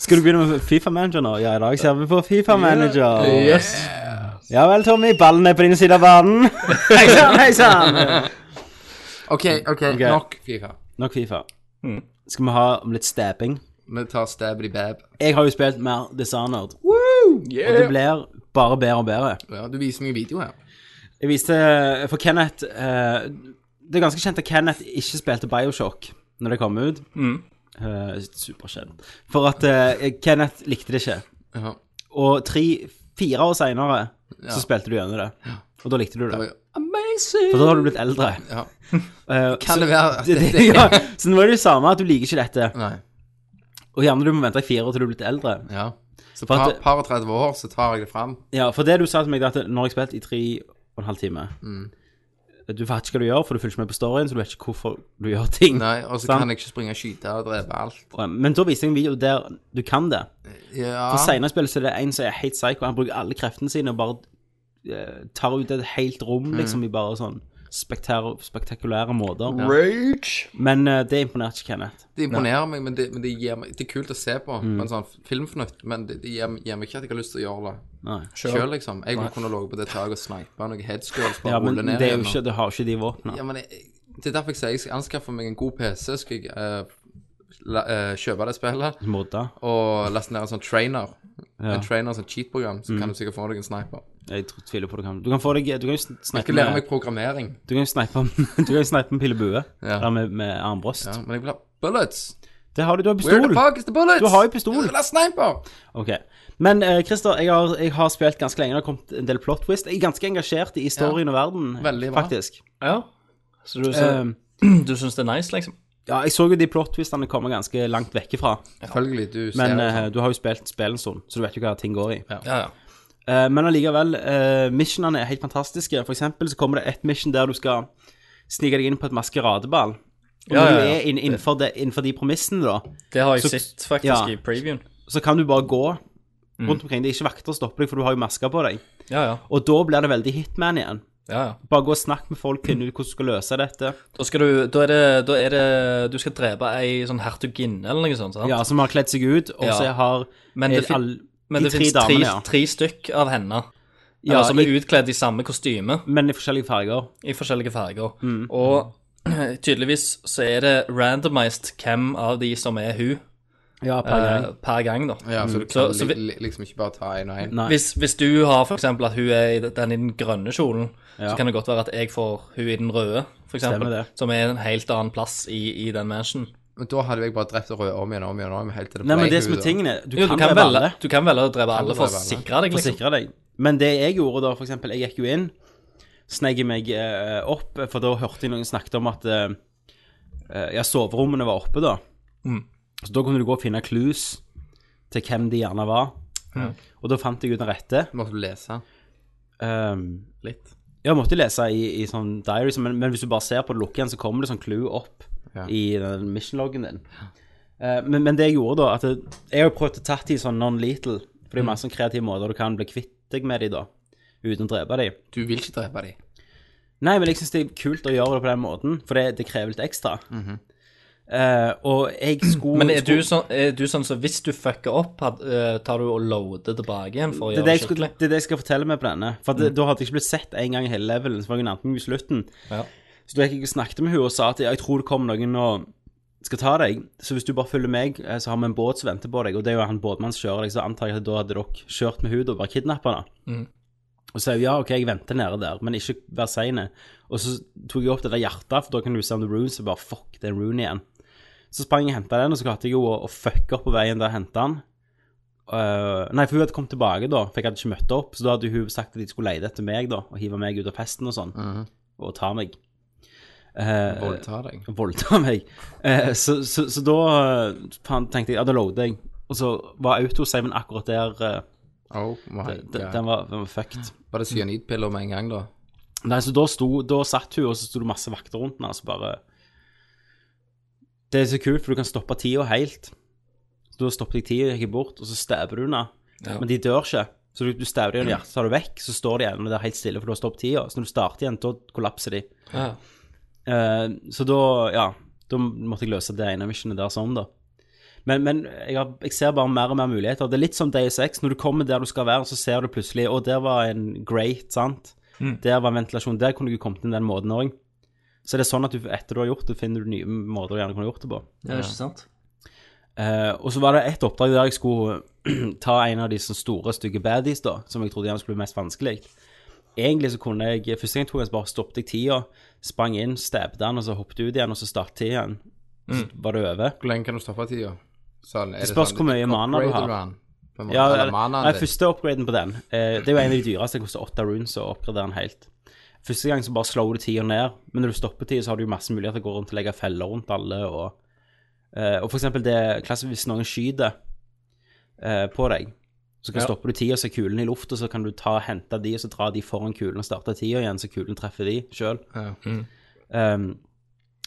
Skal du begynne med Fifa-manager nå? Ja, i dag ser vi på Fifa-manager. Ja vel, Tommy. Ballen er på din side av verden. Hei sann, hei sann! OK, ok, nok Fifa. Nok Fifa. Skal vi ha om litt stabbing? Vi tar stab i bab. Jeg har jo spilt mer Dishonored. Og det blir bare bedre og bedre. Ja, du viser meg en video her. Jeg viste for Kenneth eh, Det er ganske kjent at Kenneth ikke spilte Bioshock når det kom ut. Eh, Superkjent. For at eh, Kenneth likte det ikke. Ja. Og tre-fire år seinere så spilte du gjennom det. Og da likte du det. Amazing! For da har du blitt eldre. Ja. Eh, Kan det være at så, dette ja, så nå er det jo samme at du liker ikke dette. Nei. Og gjerne du må vente i fire år til du er blitt eldre. Ja. Så For par, at- par og 30 år, så tar jeg det fram. Ja, for det du sa til meg, det er at når jeg spilte i tre og en halv time Mm. Du vet ikke hva du gjør, for du følger ikke med på storyen, så du vet ikke hvorfor du gjør ting. Nei, Og så Sant. kan jeg ikke springe og skyte og drepe alt. Men da viste jeg en video der du kan det. Ja. For senere i spillet så er det en som er helt psycho. Han bruker alle kreftene sine og bare eh, tar ut et helt Mm. rom, liksom, i bare sånn spektar- spektakulære måter. Men eh, det imponerte ikke Kenneth. Det imponerer meg, men det, men det gir meg Det er kult å se på Mm. på en sånn filmfnutt, men det, det gir, gir meg ikke at jeg har lyst til å gjøre det Nei. sjøl, liksom. Jeg vil kunne ligget på det taket og snipe noen headscrolls bare Ja, men rulle ned det er jo igjen og- ikke, du har ikke de våpnene. Ja, men jeg, det er derfor jeg sier jeg skal anskaffe meg en god PC. Skal jeg eh, la, eh, kjøpe det spillet Modda. og laste ned en sånn trainer. Ja. Mm. En trainer som cheat-program, så kan du sikkert få deg en sniper. Jeg tr- tviler på det. Kan. Du kan få deg Du kan jo sn- Jeg snipe skal lære med, meg programmering. du kan jo snipe med, du kan jo snipe med pil og bue. Ja. Eller med, med armbrøst. Ja, men jeg vil ha bullets. Det har du. Du har Where pistol. the fuck is the bullets? Du har jo pistol. Jeg vil ha sniper. Ok. Men eh, Christer, jeg har, jeg har spilt ganske lenge. Det har kommet en del plot twist. Jeg er ganske engasjert i storyen og verden, Veldig bra. faktisk. Ja. Så du, så, Um, du syns det er nice, liksom? ja, jeg så jo de plot twistene komme ganske langt vekk ifra. Selvfølgelig, du ser Men jo eh, du har jo spilt spillet en stund, så du vet jo hva ting går i. Ja, ja. Eh, men allikevel, eh, missionene er helt fantastiske. For eksempel så kommer det et mission der du skal snike deg inn på et maskeradeball. Og Ja, når ja, du ja. er inn, innenfor, det, innenfor de premissene, da, Det har jeg Så- sett faktisk ja. i previewen. så kan du bare gå Mm. rundt omkring. Det er ikke vakter som stopper deg, for du har jo masker på deg. Ja, ja. Og da blir det veldig Hitman igjen. ja, ja. Bare gå og snakk med folk, finne ut hvordan du skal løse dette. Da, skal du, da, er det, da er det Du skal drepe ei sånn hertuginne eller noe sånt, sant? Ja, som har kledd seg ut, og Ja. så har Men det er fin- alle- Men de det tre finnes tre, damene, ja. tre stykk av henne. Ja, eller, som i- er utkledd i samme kostyme Men i forskjellige farger. i forskjellige farger. Mm. Og tydeligvis så er det randomized hvem av de som er hun Ja, per gang. eh, per gang, da. sånn- Ja, mm. så du kan Så- så vi- li, li, liksom ikke bare ta en og en. Nei. Hvis, hvis du har for eksempel at hun er i den, i den grønne kjolen, så kan det godt være at jeg får hun i den røde, for Stemmer eksempel. det. Som er en helt annen plass i, i den mansion. Men da hadde jeg bare drept det røde om igjen og om igjen. og om igjen, helt til det Nei, men ble det som er hud, da. tingene Du Jo, kan, kan drepe alle du kan velge å drepe alle for å drepe alle. sikre deg, for å liksom. sikre deg. Men det jeg gjorde da, for eksempel, jeg gikk jo inn, sneg meg eh, opp, for da hørte jeg noen snakket om at eh, eh, ja, soverommene var oppe da. Mm. Så da kunne du gå og finne clues til hvem de gjerne var. Og da fant jeg ut den rette. Måtte du lese Um, litt? Ja, jeg måtte lese i, i sånn diary, så- men, men hvis du bare ser på det lukket igjen, så kommer det sånn clue opp Ja. i den mission-loggen din. Eh, men, men det jeg gjorde da, at det, jeg har jo prøvd å tatt de sånn non-lethal, for Mm. det er masse sånn kreative måter du kan bli kvitt deg med de da, uten å drepe de. Du vil ikke drepe dem. Nei, men jeg synes det er kult å gjøre det på den måten, for det, det krever litt ekstra. Eh, og jeg skulle... Mhm. Men er du, skulle- sånn, er du sånn så hvis du fucker opp, had- eh, tar du og loader tilbake igjen for å gjøre det er det, det jeg skulle, skikkelig? Mm. det er det jeg skal fortelle meg på denne. For det, da hadde jeg ikke blitt sett en gang i hele levelen. Så var jeg nærmest meg i slutten. Ja. Så da gikk jeg og snakket med hun og sa at jeg tror det kommer noen og skal ta deg. Så hvis du bare følger meg, eh, så har vi en båt som venter på deg. Og det er jo han båtmannen som kjører deg, så antar jeg at da hadde dere kjørt med henne og bare kidnappet henne. Mm. Og så sa jeg ja, ok, jeg venter nede der, men ikke vær sein. Og så tok jeg opp det der hjertet, for da kan du se om det er rune, så bare fuck, det er en rune igjen. Så sprang jeg og henta den, og så klarte jeg jo å, å fucke opp på veien der og hente den. Eh, nei, for hun hadde kommet tilbake da, for jeg hadde ikke møtt opp. Så da hadde hun sagt at de skulle lete etter meg, da, og hive meg ut av festen og sånn, og ta meg. Eh, Voldta deg. voldta meg. Eh, så, så, så da eh, faen, tenkte jeg ja, da loader jeg. Og så var autosaven akkurat der. eh, Oh my den, god. den, var, den var fucked. Var det cyanidpiller med en gang, da? Nei, så da, sto, da satt hun, og så sto det masse vakter rundt henne, altså bare Det er så kult, for du kan stoppe tida helt. Så da stoppet jeg tida, gikk jeg bort, og så stabber du henne. Men de dør ikke. Så du, du stabber dem i hjertet, tar du vekk, så står de igjen der helt stille, for du har stoppet tida. Så når du starter igjen, da kollapser de. Ja. Eh, så da, ja Da måtte jeg løse det ene missionet der sånn, da. Men, men jeg, har, jeg ser bare mer og mer muligheter. Det er litt som Deus Ex. Når du kommer der du skal være, så ser du plutselig Å, der var en great, sant? Der var ventilasjon. Der kunne du ikke kommet inn den måten òg. Så det er sånn at du, etter du har gjort det, finner du nye måter du gjerne kunne gjort det på. Det er ikke sant? Eh, og så var det et oppdrag der jeg skulle ta en av de sånne store, stygge baddies, da, som jeg trodde gjerne skulle bli mest vanskelig. Egentlig så kunne jeg Første gang jeg tok en, så bare stoppet jeg tida, sprang inn, stabbet han, og så hoppet ut igjen, og så startet jeg igjen. Så var det over. Hvor lenge kan du stoppe tida? Sånn, er Det spørs hvor mye mana du har. Ja, Ja, eller- nei, første upgraden på den eh, Det er jo en av de dyreste. Det koster åtte runes å oppgradere den helt. Første gang så bare slår du tida ned, men når du stopper tida, så har du jo masse muligheter til å gå rundt og legge feller rundt alle. Og, eh, og for eksempel det klassisk hvis noen skyter eh, på deg, så kan Ja. stopper du tida, så er kulen i lufta, så kan du ta og hente de, og så dra de foran kulen og starte tida igjen, så kulen treffer de sjøl. Ja. Um,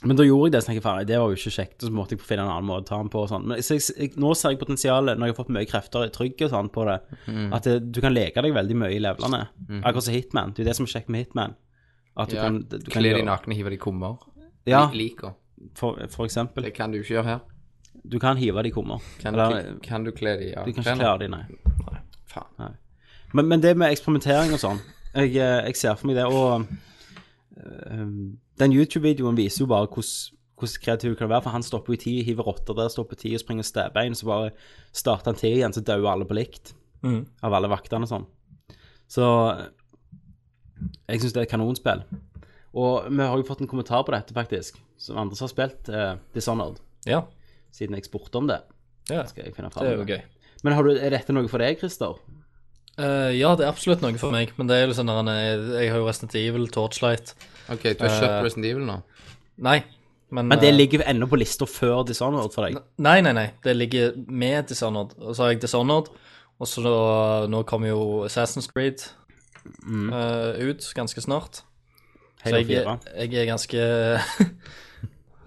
men da gjorde jeg det, så tenkte jeg faen, det var jo ikke kjekt, og så måtte jeg finne en annen måte å ta den på og sånn. Men så jeg, jeg, nå ser jeg potensialet, når jeg har fått mye krefter i trygg og sånn på det, Mm. at det, du kan leke deg veldig mye i levelene. Akkurat som Hitman. Det er jo det som er kjekt med Hitman. At du Ja, kan, du kan Kle de gjøre- nakne, hive de i kummer. Ja, Li- Liker. for, for eksempel. Det kan du ikke gjøre her. Du kan hive de kummer. Kan, Eller, du, kan du kle de av du kan ikke klærne? klare de, nei. Faen. Men, men det med eksperimentering og sånn, jeg, eh, jeg ser for meg det, og eh, den YouTube-videoen viser jo bare hvordan, hvordan kreativ du kan være, for han stopper jo i ti, hiver rotter der, stopper i ti og springer Mm. stabbein, så bare starter han til igjen, så dør alle på likt, av alle vaktene og sånn. Så jeg syns det er et kanonspill. Og vi har jo fått en kommentar på dette, faktisk, som andre som har spilt eh, Dishonored, Ja. siden jeg spurte om det. ja. Skal Det jeg finne fram er jo med. gøy. Men har du, er dette noe for deg, Christer? Eh, ja, det er absolutt noe for meg, men det er jo sånn der, eh, jeg har jo Resident Evil, Torchlight OK, du har Eh. kjøpt Resident Evil nå? Nei, men, Men det eh, ligger ennå på lista før Dishonored for deg. Nei, nei, nei. Det ligger med Dishonored. Og så har jeg Dishonored, og så da- nå kommer jo Assassin's Creed eh, ut ganske snart. Så Halo jeg, er- 4. jeg er ganske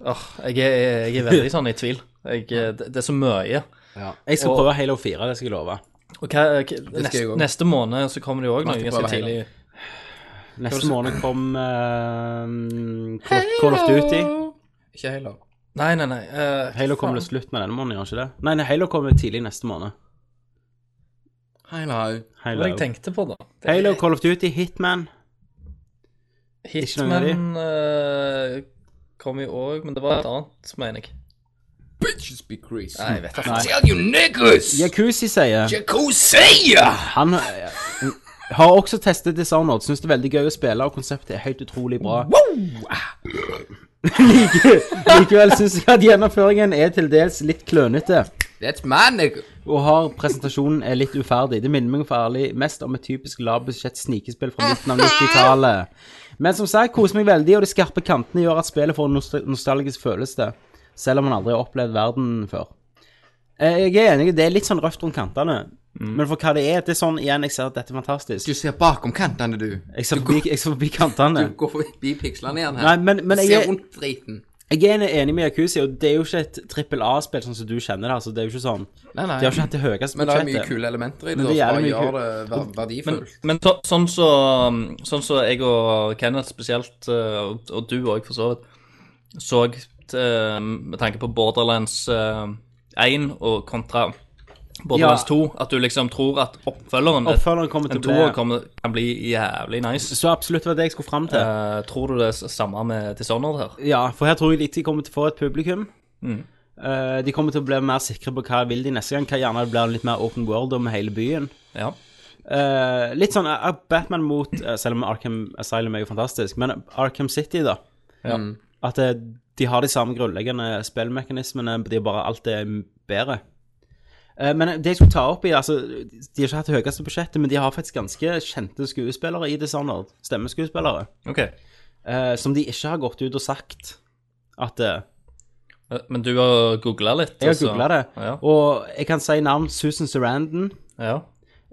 Åh, jeg, er, jeg er veldig sånn i tvil. Jeg, er- det, det er så mye. Jeg skal og- prøve Halo 4, det skal jeg love. Og hva, hva, neste, jeg også. neste måned så kommer det jo òg noe Snakket ganske bare Halo. tidlig. Neste måned kom eh, Call Call of Duty. Ikke heller. Nei, nei, nei. eh, Halo kommer til slutt med denne måneden, gjør han ikke det? Nei, nei, Halo kommer tidlig neste måned. Hello. Hva var det Halo, jeg tenkte på, da? Det- Halo Call of Duty, Hitman. ikke noe av de. Hitman eh, kom jo òg, men det var et annet, mener jeg. Bitches be greasy. Nei, jeg vet ikke. Tell you niggas! Yakuzi sier Yakuza! Han eh, har også testet Dishonored. Syns det er veldig gøy å spille, og konseptet er helt utrolig bra. Like- Likevel syns jeg at gjennomføringen er til dels litt klønete, That's my nigga. og har presentasjonen er litt uferdig. Det minner meg for ærlig mest om et typisk lavbudsjett snikespill fra midten av 90-tallet. Men som sagt, koser meg veldig, og de skarpe kantene gjør at spillet får en nostal- nostalgisk følelse, selv om man aldri har opplevd verden før. Eh, Jeg er enig, det er litt sånn røft rundt kantene. Men for hva det er, det er sånn igjen, jeg ser at dette er fantastisk. Mm. Du ser bakom kantene, du. Jeg ser forbi, jeg ser forbi kantene. Du går forbi pikslene igjen her. Nei, men, men ser jeg, er- rundt driten. jeg er enig med Yakuzi, og det er jo ikke et trippel A-spill sånn som du kjenner det. altså Det er jo ikke sånn Nei, nei. De har ikke hatt det høyeste Men det er mye budsjettet. kule elementer i det, Men da, det er som bare jævlig mye gjør det ver- Men, verdifullt. men så, sånn så, sånn så jeg og Kenneth spesielt, eh, og, og du òg for så vidt, så eh, med tanke på Borderlands eh, 1 og kontra Borderlands Ja. 2, at du liksom tror at oppfølgeren, Oppfølgeren kommer til å en toer, bli- kommer- kan bli jævlig nice. Så absolutt var det jeg skulle fram til. Eh, tror du det er s- samme med Dishonored her? Ja, for her tror jeg de kommer til å få et publikum. Eh, de kommer til å bli mer sikre på hva vil de neste gang. Hva gjerne det blir litt mer open world om hele byen. Ja. Eh, litt sånn eh, Batman mot eh, Selv om Arkham Asylum er jo fantastisk, men Arkham City, da. At eh, de har de samme grunnleggende spillmekanismene, de er bare alt er bedre. Eh, Men det jeg skulle ta opp i, altså, De har ikke hatt det høyeste budsjettet, men de har faktisk ganske kjente skuespillere i Dishonored. Stemmeskuespillere. OK. eh, Som de ikke har gått ut og sagt at eh, Eh, Men du har googla litt? Jeg har altså. googla det. Ja. Og jeg kan si navn Susan Sarandon, Ja.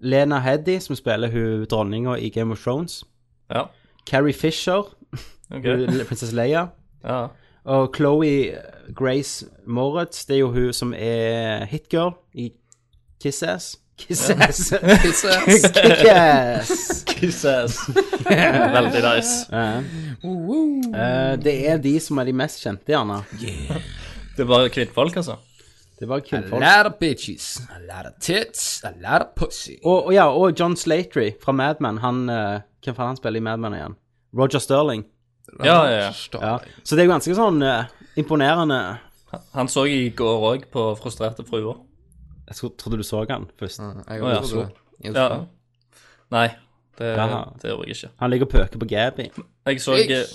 Lena Heddy, som spiller hun dronninga i Game of Thrones, ja. Carrie Fisher, OK. hun- prinsesse Leia, Ja. og Chloé Grace Moritz, det er jo hun som er hitgirl i Kiss-Ass. Kiss-Ass! Pisses. Kick-Ass! Kisses. Veldig nice. Ja. Eh, det er de som er de mest kjente, gjerne. Det er bare kvinnfolk, altså? Det var A kvinnfolk. lot of bitches. A lot of tits. A lot of pussy. Og, og ja, og John Slatery fra Mad Men. Han, eh, hvem faen han spiller i Mad Men igjen? Roger Sterling. Ja, ja, ja. Ja. Så det er jo ganske sånn eh, imponerende Han så jeg i går òg på Frustrerte fruer. Jeg skulle- trodde du så han først. Å, Jeg ja, gjorde så. det. Jeg Ja. gjorde det. Nei, det, Jaha. det gjorde jeg ikke. Han ligger og pøker på Gabby. Jeg så, Jeg-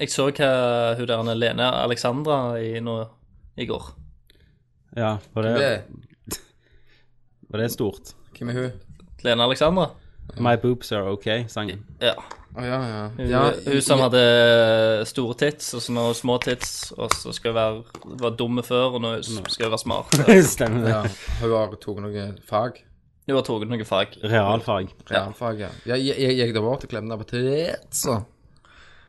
jeg så hva hun der Anne Lene Alexandra i nå i går. Ja, var Det. det, var det stort? Hvem er hun? Lene Alexandra? My boobs are okay, sangen. Ja. Å, ja, ja. Hun, ja. hun som hadde store tits, og så nå små tits, og så skal hun være var dumme før, og nå skal hun være smart. Stemmer Ja, hun har tatt noe fag. Hun har tatt noe fag. Realfag. Realfag, ja. Jeg, jeg, jeg gikk da bort og klemte på titsa.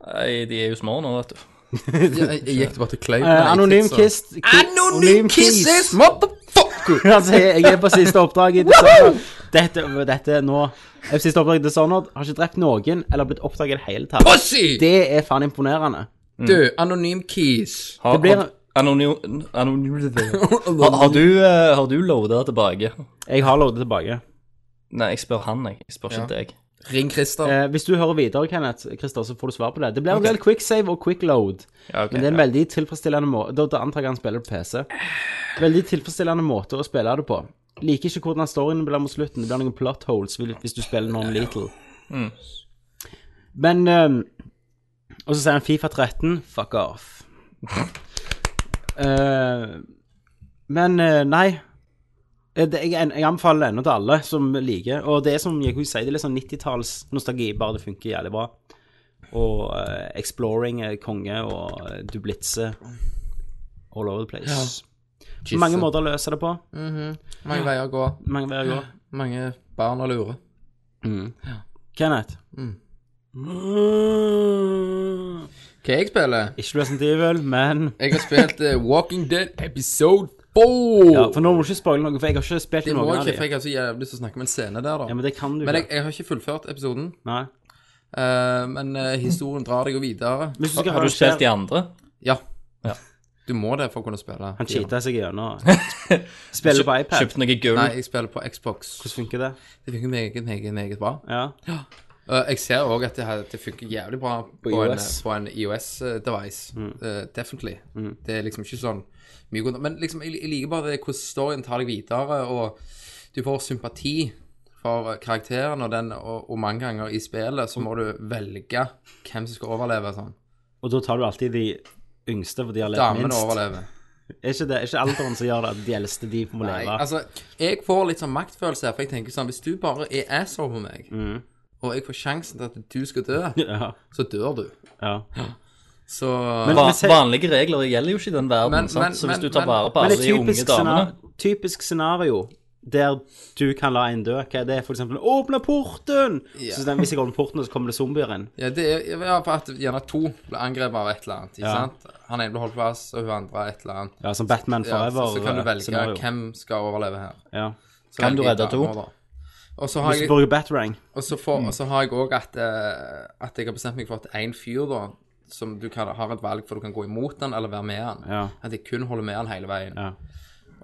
Nei, de er jo små nå, vet du. Jeg, jeg gikk da bort og klei på Eh, anonym kiss. ki- Anonym kisses, motherfucker! altså, jeg, jeg er på siste oppdrag i Dishonored. Dette, dette nå Jeg er på siste oppdrag i Dishonored. Har ikke drept noen eller blitt oppdaget i det hele tatt. Pussy! Det er faen imponerende. Du, anonym kiss. Har, Det blir- har, anonym, anonym, har, har du, eh, har du loada tilbake? Jeg har loadet tilbake. Nei, jeg spør han, jeg. Jeg spør ikke deg. Ring Christer. Eh, hvis du hører videre, Kenneth, Christer, så får du svar på det. Det blir en del quicksave og quickload. Ja, ok, Men det er en ja. veldig tilfredsstillende måte Da da antar jeg han spiller på PC. Veldig tilfredsstillende måte å spille det på. Liker ikke hvordan storyen blir mot slutten. Det blir noen plot holes vil- hvis du spiller noen Little. Mm. Men ehm, Og så sier han Fifa 13, fuck off. Eh, men eh, nei. Eh, Det, jeg, jeg anbefaler det ennå til alle som liker. Og det er som Yaku sier, det er litt sånn 90-tallsnostalgi, bare det funker jævlig bra. Og eh, exploring er konge, og eh, dublitse all over the place. Mange måter å løse det på. Mange veier å gå. Mange veier å gå. Mm. Mange barn å lure. Kenneth, Hva jeg spiller? ikke Resident Evil, men Jeg har spilt eh, Walking Dead episode 4. ja, For nå må du ikke spoile noe, for jeg har ikke spilt det må noen jeg av ikke, for dem. jeg har så jævlig lyst til å snakke om en scene der, da. Ja, men det kan du Men jeg, ikke. jeg har ikke fullført episoden. Nei. eh, men eh, historien drar deg jo videre. Hvis du skal Har du rangere- spilt de andre? Ja. Ja. Du må det for å kunne spille. Han cheata seg gjennom. Spiller på iPad. Kjøpt noe gull? Nei, jeg spiller på Xbox. Hvordan funker det? Det funker meget, meget, meget bra. Ja. Eh, jeg ser òg at det, her, det funker jævlig bra på, en, eh, iOS. Mm. på en IOS-device. Eh, definitely. Det er liksom ikke sånn mye godt. Men liksom, jeg, jeg liker bare det hvordan storyen tar deg videre, og du får sympati for karakteren, og, den, og, og mange ganger i spillet så må du velge hvem som skal overleve. sånn. Og da tar du alltid de yngste, for de har levd Damene minst. overlever. Er ikke, det, er ikke alderen som gjør det, at de eldste de må Nei, leve? altså, jeg får litt sånn maktfølelse her, for jeg tenker sånn Hvis du bare er asshole på meg, og jeg får sjansen til at du skal dø, Mm. Ja. så dør du. ja. Så Men, Va men, se, vanlige regler gjelder jo ikke i den verden, Men- sant? men- så hvis men- du tar men- vare på men alle et de unge typisk, damene scenario, typisk scenario der du kan la en dø, hva er det? For eksempel 'Åpne porten!' Så den, hvis jeg åpner porten, så kommer det zombier inn. Ja, det er ja, for at gjerne to ble angrepet av et eller annet. ikke Ja. sant? Han ene ble holdt fast, og hun andre et eller annet. Ja, som Batman Ja, så, så kan du velge Forever-scenario. hvem skal overleve her. Ja, Så Kan du velger jeg redde to? damer, da. Og så har Hvis jeg, du Mm. bruker Batarang. og så får- og så har jeg òg at, eh, at jeg har bestemt meg for at én fyr da, som du kan, har et valg for du kan gå imot han eller være med han. Ja. At jeg kun holder med han hele veien. Ja.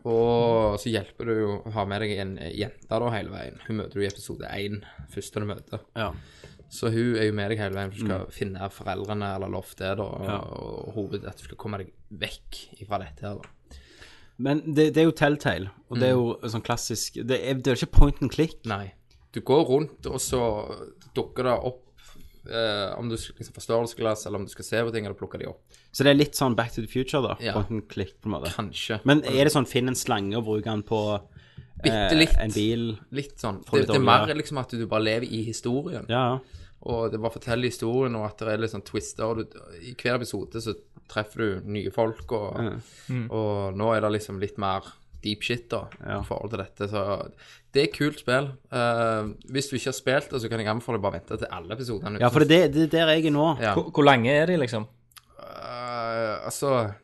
Og så hjelper du jo å ha med deg en eh, jente da hele veien. Hun møter du i episode én, første du møter. Ja. Så hun er jo med deg hele veien. for Du Mm. skal finne foreldrene eller lovstedet, og, og hovedet at du skal komme deg vekk fra dette. her da. Men det, det er jo Telltale, og det er Mm. jo sånn klassisk Det er, det er jo ikke point and click. Nei. Du går rundt, og så dukker det opp eh, om du skal liksom, forstørrelsesglass, eller om du skal se på ting, eller plukke de opp. Så det er litt sånn Back to the Future, da. Ja. Point and click, på en måte. Kanskje. Men er det sånn finn en slange og bruk den på eh, Bitte litt. en bil? Litt sånn. Får Det, litt det er olje. mer liksom at du bare lever i historien, Ja, ja. og det bare forteller historien, og at det er litt sånn twister. Og du, I hver episode så treffer du nye folk, og, Mm. og nå er det liksom litt mer deep shit da, Ja. i forhold til dette. Så det er et kult spill. Eh, hvis du ikke har spilt det, så kan jeg anbefale å bare vente til alle episodene. ja for det er det, det er der jeg er nå. Ja. Hvor, hvor lange er de, liksom? Eh, altså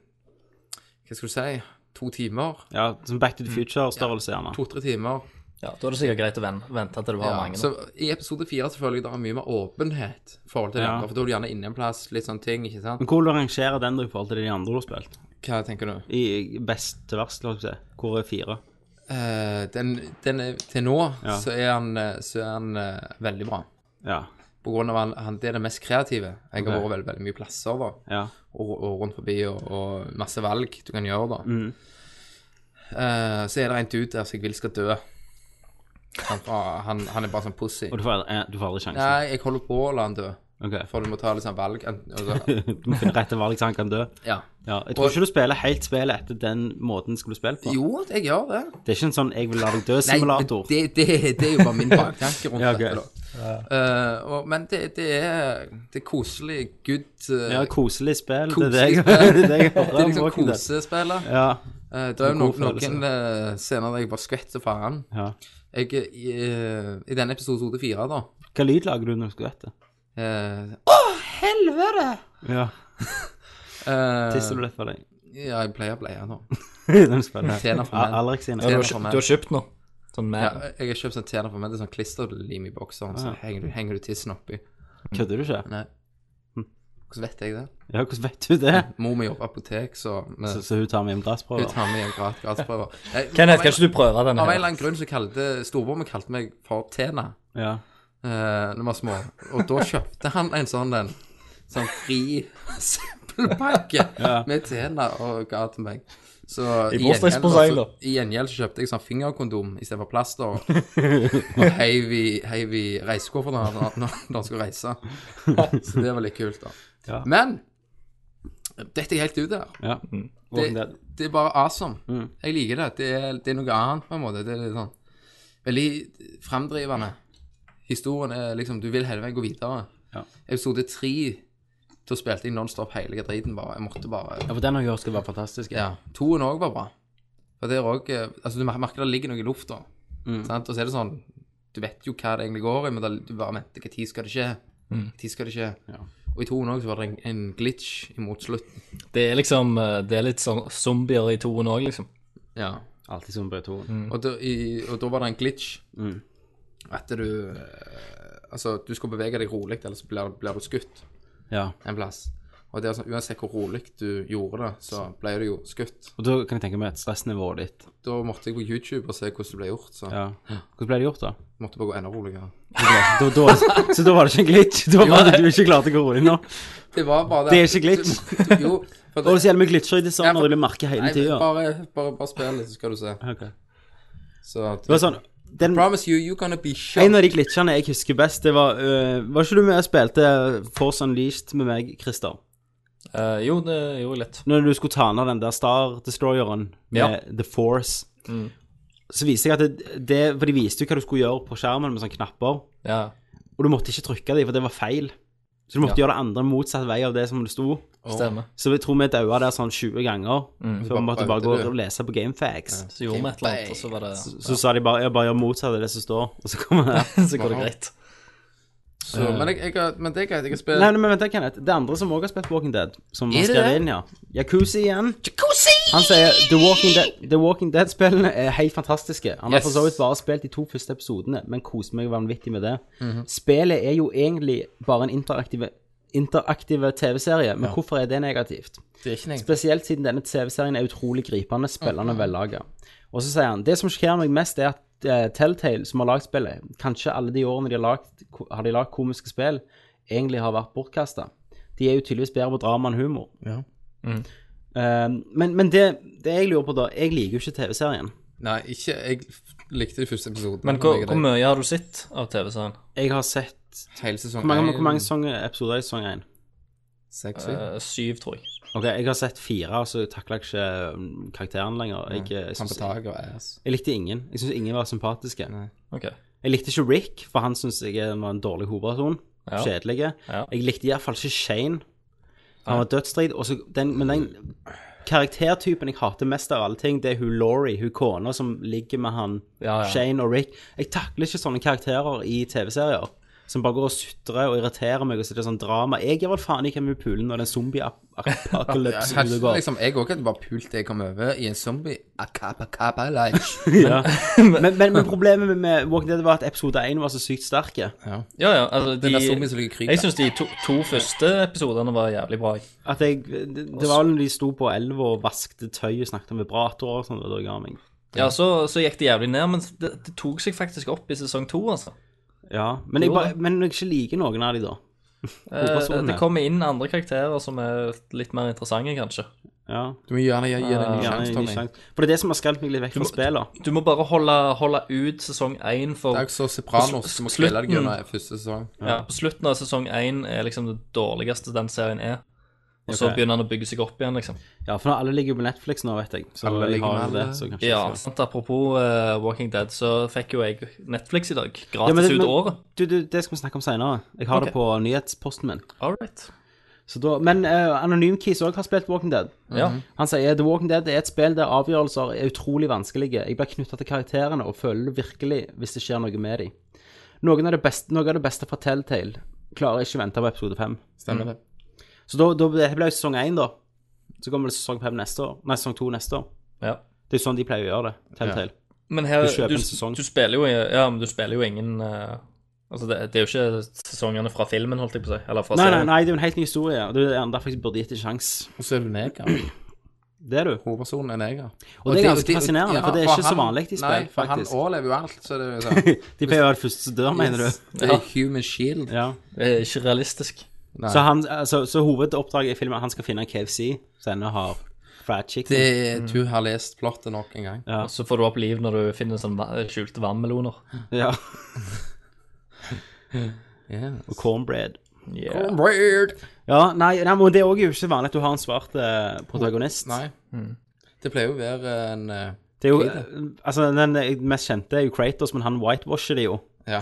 Hva skal du si? To timer? Ja, som Back Mm. to the Future-størrelse, gjerne. To-tre timer. Ja, Da er det sikkert greit å ven- vente til du har Ja, mange. så I episode fire så føler jeg det er mye mer åpenhet. i forhold til det Ja. andre, For da er du gjerne inne en plass, litt sånne ting. ikke sant? Men hvordan rangerer den da i forhold til de andre du har spilt? Hva tenker du? I best til verst, la oss si. Hvor er fire? Eh, den, den er, til nå Ja. så er han, eh, så er han eh, veldig bra. Ja. På grunn av han, han, det er det mest kreative. Jeg har vært Ok. veldig, veldig mye plasser da, Ja. og, og rundt forbi, og, og masse valg du kan gjøre da. Mm. Eh, så er det en dude der som jeg vil skal dø. Han, han, han er bare sånn pussy. Og du får, eh, du får aldri sjansen? Nei, jeg holder på å la han dø, Ok. for du må ta litt sånn valg. en- Altså, Du må finne rette valg så han kan dø. ja. Ja, jeg tror ikke du spiller helt spillet etter den måten skulle spille på. Jo, jeg gjør det. Det er ikke en sånn 'jeg vil la Nei, deg men dø'-simulator. det, det, det er jo bare min baktanke rundt Ja, ok. dette da. Eh, og, men det, det er det er koselig, good, eh, Ja, koselig spill. det er det Koselig jeg, spill. det er det jeg det hører er om liksom Walking Dead. kosespillet. Ja. Eh, det er jo God noen, følelse. noen eh, scener der jeg bare skvetter faen. ja. Jeg, eh, i, eh, I denne episode 4, da Hva lyd lager du når du skal vette? eh, Ja. eh, Tisser du litt for deg? Ja, jeg pleier å bleie nå. Når du spiller? Tjener for Ja, menn. Alex sine. Du Ja. har, kjøpt, du har kjøpt noe? Sånn Ja, mer jeg har kjøpt sånn tjener for menn. Det er sånn klisterlim i bokseren, så henger du, henger du tissen oppi. Kødder du ikke? Nei. Hvordan vet jeg det? Ja, hvordan vet du det? Mor mi jobber på apotek, så vi Så, så hun tar med hjem hun glassprøver? tar med en grad, gradsprøver. Kenneth, Eh, av en- kan ikke du prøve denne? Av en her? eller annen grunn så kalte storebror min kalte meg for Tena. Ja. eh, når vi var små. Og da kjøpte han en sånn den. Sånn fri dobbeltpakke med Tena og ga til meg. Så i gjengjeld, bursdagspresang, så- da. i gjengjeld så kjøpte jeg sånn fingerkondom istedenfor plaster. Og heiv i, heiv i reisekofferten når, han- når, når han skulle reise. Så det var litt kult, da. Ja. Men dette er helt ut der. Ja. Walking Det, Dead. Mm. det er bare awesome. Jeg liker det. Det er, det er noe annet, på en måte. Det er litt sånn veldig framdrivende. Historien er liksom Du vil hele veien gå videre. Ja. Episode tre Da spilte jeg nonstop hele driten bare. Jeg måtte bare Ja, for den har jeg hørt skal være fantastisk. Ja. Toen òg var bra. For det er også, eh, Altså, du mer- merker det ligger noe i lufta. Mm. Sant? Og så er det sånn Du vet jo hva det egentlig går i, men det- du bare venter. Når skal det skje? Mm. Når skal det skje? Og i toen òg var det en, en glitch imot slutten. Det er liksom eh, Det er litt sånn zombier i toen òg, liksom. Ja. Alltid som bare to. Mm. Og da, i, og da var det en glitch. Mm. At du eh, Altså, du skal bevege deg rolig, eller så blir, blir du skutt Ja. en plass. Og det er sånn, uansett hvor rolig du gjorde det, så ble du jo skutt. Og da kan jeg tenke meg et stressnivået ditt. Da måtte jeg på YouTube og se hvordan det ble gjort, så Ja. Hvordan ble det gjort, da? måtte bare gå enda roligere. Da, da, så da var det ikke en glitch? Da var det du ikke klarte å gå rolig nå? Det var bare Det er ikke glitch. Du- du- Jo. For Og det er så jævlig mye glitcher i Ja, for- designer, og du merker hele Nei, tida. bare, bare, bare spill litt, så skal du se. Så at, Det var sånn den, Promise you, you're gonna be shot. En av de glitchene jeg husker best, det var øh, Var ikke du med og spilte Force Unleashed med meg, Christer? Eh, jo, det er jo lett. Når du skulle ta ned den der Star Destroyeren med Ja. The Force, så viste jeg at det, det For de viste jo hva du skulle gjøre på skjermen med sånne knapper, Ja. og du måtte ikke trykke dem, for det var feil. Så du måtte gjøre det andre motsatt vei av det som det sto. Stemmer. Så jeg tror vi daua der sånn 20 ganger. Så vi måtte Mm. Bare bare gå prøvde du. og lese på Gamefax. Så gjorde vi et eller annet, og så var det Så Så sa de bare ja, bare gjør motsatt av det som står, og så kommer det går det greit. Så, men, jeg, jeg, har- men det er greit, jeg har spilt Nei, nei, men vent da, Kenneth. Det er andre som også har spilt Walking Dead, som Er har det det? skrevet inn, ja. Jacuzzi igjen. Han sier The Walking Dead The Walking Dead-spillene er helt fantastiske. Han har Yes. for så vidt bare spilt de to første episodene, men koser meg vanvittig med det. Mhm. Spillet er jo egentlig bare en interaktive interaktive TV-serie, men hvorfor er det negativt? Det er ikke en egen Spesielt siden denne TV-serien er utrolig gripende, spillende og vellaga. Og så sier han det som sjokkerer meg mest, er at eh, Telltale, som har lagd spillet, kanskje alle de årene de har lagd, har de lagd komiske spill, egentlig har vært bortkasta. De er jo tydeligvis bedre på drama enn humor. Eh, men men det, det jeg lurer på, da Jeg liker jo ikke TV-serien. Nei, ikke Jeg likte de første episodene. Men hvor, jeg- hvor mye har du sett av TV-serien? Jeg har sett Hele sesong Hvor mange, én, hvor mange sesonger- episoder er i sesong én? seks, syv. Eh, syv, tror jeg. Ok, jeg har sett fire, og så takler jeg ikke mm, karakteren lenger. Jeg, jeg, Han på synes, taket og ass. jeg likte ingen. Jeg syns ingen var sympatiske. OK. Jeg likte ikke Rick, for han syntes jeg var en dårlig hovedperson. Ja. Kjedelig. Ja. Jeg likte iallfall ikke Shane. Han var dødsstrid. og så den, men den karaktertypen jeg hater mest av alle ting, det er hun Laurie, hun kona som ligger med han Ja, ja. Shane og Rick. Jeg takler ikke sånne karakterer i TV-serier. Som bare går og sutrer og irriterer meg. og så er det sånn drama. Jeg gir vel faen i hvem hun puler når det er en zombie-apokalypse Her, ute og går. liksom, jeg òg hadde bare pult det jeg kom over i en zombie. Akapa, kapa, like. Ja. Men, men, men problemet med- med Walking Dead var at episode 1 var så sykt sterke. Ja, ja. Altså, de, Den der zombien som ligger i krig, jeg da. syns de to, to første episodene var jævlig bra. jeg. At jeg, det, det var vel når de sto på elva og vaskte tøy og snakket om vibratorer og sånn. det var da jeg ga meg. Ja, så, så gikk det jævlig ned, men det, det tok seg faktisk opp i sesong to, altså. Ja, men, jeg bare, men jeg ikke liker noen av de da. Eh, Hovedpersonene. det kommer inn andre karakterer som er litt mer interessante, kanskje. Ja, Du må Ah. gjerne gi gi det en ny ja, sjanse, en ny Tommy. sjanse. For det er det som har skremt meg litt vekk fra spillet. Du må bare holde, holde ut sesong én for Det er jo så Sopranos som må Slutten. spille deg gjennom første sesong. Ja, på slutten av sesong 1 er liksom det dårligste den serien er. Og så Ok. begynner den å bygge seg opp igjen, liksom. Ja, for nå, alle ligger jo på Netflix nå, vet jeg. Så Alle jeg ligger har med jo det, alle. så kanskje Ja, jeg skal- sant? Apropos eh, Walking Dead, så fikk jo jeg Netflix i dag. Gratis Ja, men det- ut men- året. Du, du, det skal vi snakke om senere. Jeg har det Ok. på nyhetsposten min. All right. Så da, men eh, Anonym Keys også har spilt Walking Dead. Ja. Han sier The Walking Dead er et spill der avgjørelser er utrolig vanskelige. Jeg blir knytta til karakterene og føler det virkelig hvis det skjer noe med dem. Noe av det beste, noe av det beste fra Telltale klarer ikke å vente på episode fem. Stemmer det? Så da, da det blir jo sesong én, da. Så kommer det sesong fem neste år. Nei, sesong to neste år. ja. Det er jo sånn de pleier å gjøre det. Telltale. Men her, Du du, kjøper du, en sesong. spiller jo Ja, men du spiller jo ingen eh, Altså, det, det er jo ikke sesongene fra filmen, holdt jeg på å si. Eller fra Nei, nei, serien. nei, det er jo en helt ny historie. og Det er gjerne derfor jeg burde gitt det en sjanse. Og så er du neger. Det er du. Hovedpersonen er neger. Og det er ganske fascinerende, for det er ikke så han- vanlig i spill, Nei, for faktisk. han overlever jo alt, så det er jo sånn De pleier å være de første som dør, mener du? Det er human shield. Ja. Det er ikke realistisk. Så, han, altså, så hovedoppdraget i filmen er at han skal finne en KFC som ennå har fried chicken. Det, du har lest plottet nok en gang. Og så får du opp liv når du finner sånn va- skjulte vannmeloner. Ja. Yeah. Og cornbread. Yeah. Weird. Ja, nei, nei men det er også jo ikke vanlig at du har en svart eh, protagonist. Nei. Det pleier jo å være en eh, Det er jo, eh, altså, den eh, mest kjente er jo Kratos, men han whitewasher det jo. Ja.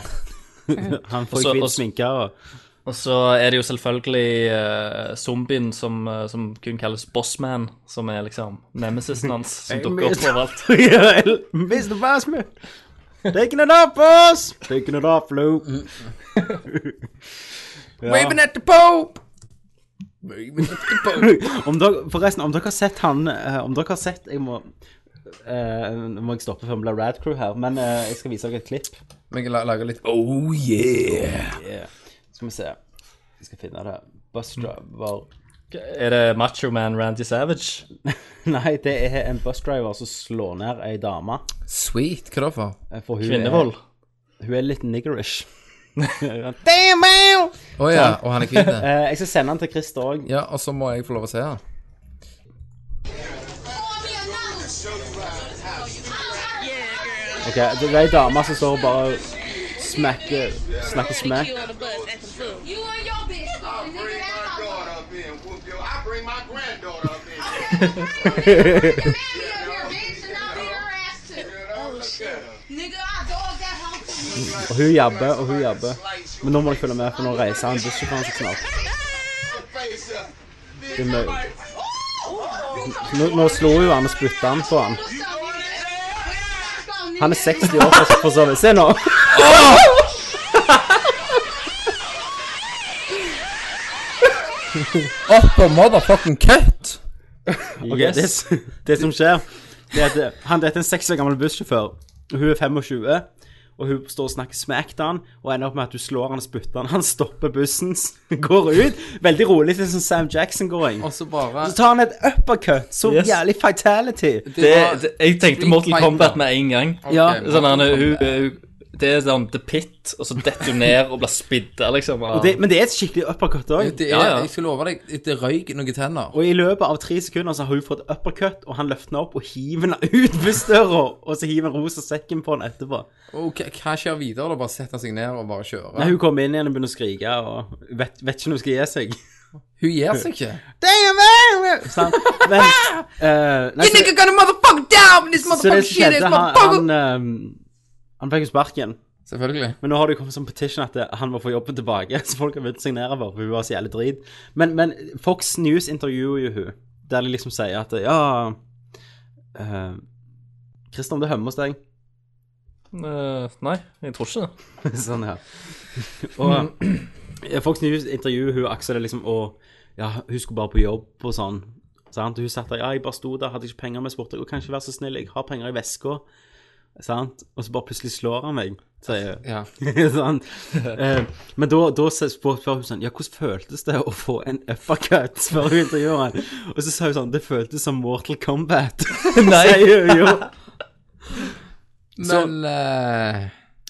Han får Også- jo hvit også- sminke og Og så er det jo selvfølgelig eh, zombien som, eh, som kun kalles Bossman, som er liksom nemesisen hans, som dukker opp overalt. Mr. Basmer! Taking it up, boss! Taking it up, Lou. Waving at the Pope! Waving at the Pope. Om dere, forresten, om dere har sett han eh, Om dere har sett Jeg må eh, Nå må jeg stoppe før vi blir Rad Crew her, men eh, jeg skal vise dere et klipp. Men jeg la- lager litt Oh yeah! Skal vi se. Jeg skal finne det. Bus driver Er det Macho Man Randy Savage? Nei, det er en bus driver som slår ned ei dame. Sweet. Hva da for? eh, For hun Kvinnevold? Er, hun er litt niggerish. Å ja, og han er hvit. ja. Eh, jeg skal sende den til Christer òg. Ja, og så må jeg få lov å se han. Ok, det det er ei dame som står og bare smakker Snakker smack. You and your bitch. nigga, that's my fault. Marry her, bitch, and I'll beat her ass too. Nigga, I dog that hoe to me. Og hun jabber, og hun jabber. Men nå må dere følge med, for nå reiser han bussjåføren seg snart. Det er mye. Nå, nå slo hun han og spytta han på han. Han er 60 år for, for så vidt. Se nå! Opp på motherfucking cut! Ok, det, s- det som skjer, det er at eh, han dette er en 60 år gammel bussjåfør. og Hun er 25, og hun står og snakker smack til han, og ender opp med at du slår han og spytter han. Han stopper bussen, s- går ut. Veldig rolig, litt sånn Sam Jackson-going. Og så bare Så tar han et uppercut, så Yes. jævlig fatality. Det, var- det, jeg tenkte Street Mortal Fighter. Kombat med en gang. Ja, Ok, Sånn, han, er- hun, hun, det er sånn The Pit, og så detter hun ned og blir spidda, liksom. av- Og det, men det er et skikkelig uppercut òg. Det er, Ja, ja. Jeg skal love deg, det røyk noen tenner. Og i løpet av tre sekunder så har hun fått uppercut, og han løfter henne opp og hiver henne ut bussdøra, og så hiver han rosa sekken på henne etterpå. Og hva- hva skjer videre? da? Bare setter han seg ned og bare kjører? Nei, hun kommer inn igjen og begynner å skrike, og vet, vet ikke når hun skal gi seg. Hun gir seg ikke. Sant? Men eh, nei, så, gonna motherfucking down with this så det som skjedde, han han, eh, han fikk jo sparken. Selvfølgelig. Men nå har det jo kommet sånn petition at eh, han må få jobben tilbake, så folk har begynt å signere over, for hun var så jævlig drit. Men, men Fox News intervjuer jo hun, der de liksom sier at ja eh, Christian, det hømmer hos deg. Eh, nei, jeg tror ikke det. sånn, ja. Og ja, Fox News intervjuer hun Aksel liksom, og ja, hun skulle bare på jobb og sånn. Sant? Og hun satt der, ja, jeg bare sto der, hadde ikke penger med spurte jeg, «Å, kan ikke være så snill, jeg har penger i veska. Sant? Og så bare plutselig slår han meg, sier hun. Ja. sant? Eh, men da, da s- spør spør hun sånn Ja, hvordan føltes det å få en uppercut? spør hun intervjueren. Og så sa hun sånn Det føltes som Mortal Kombat. sier hun jo. Men eh,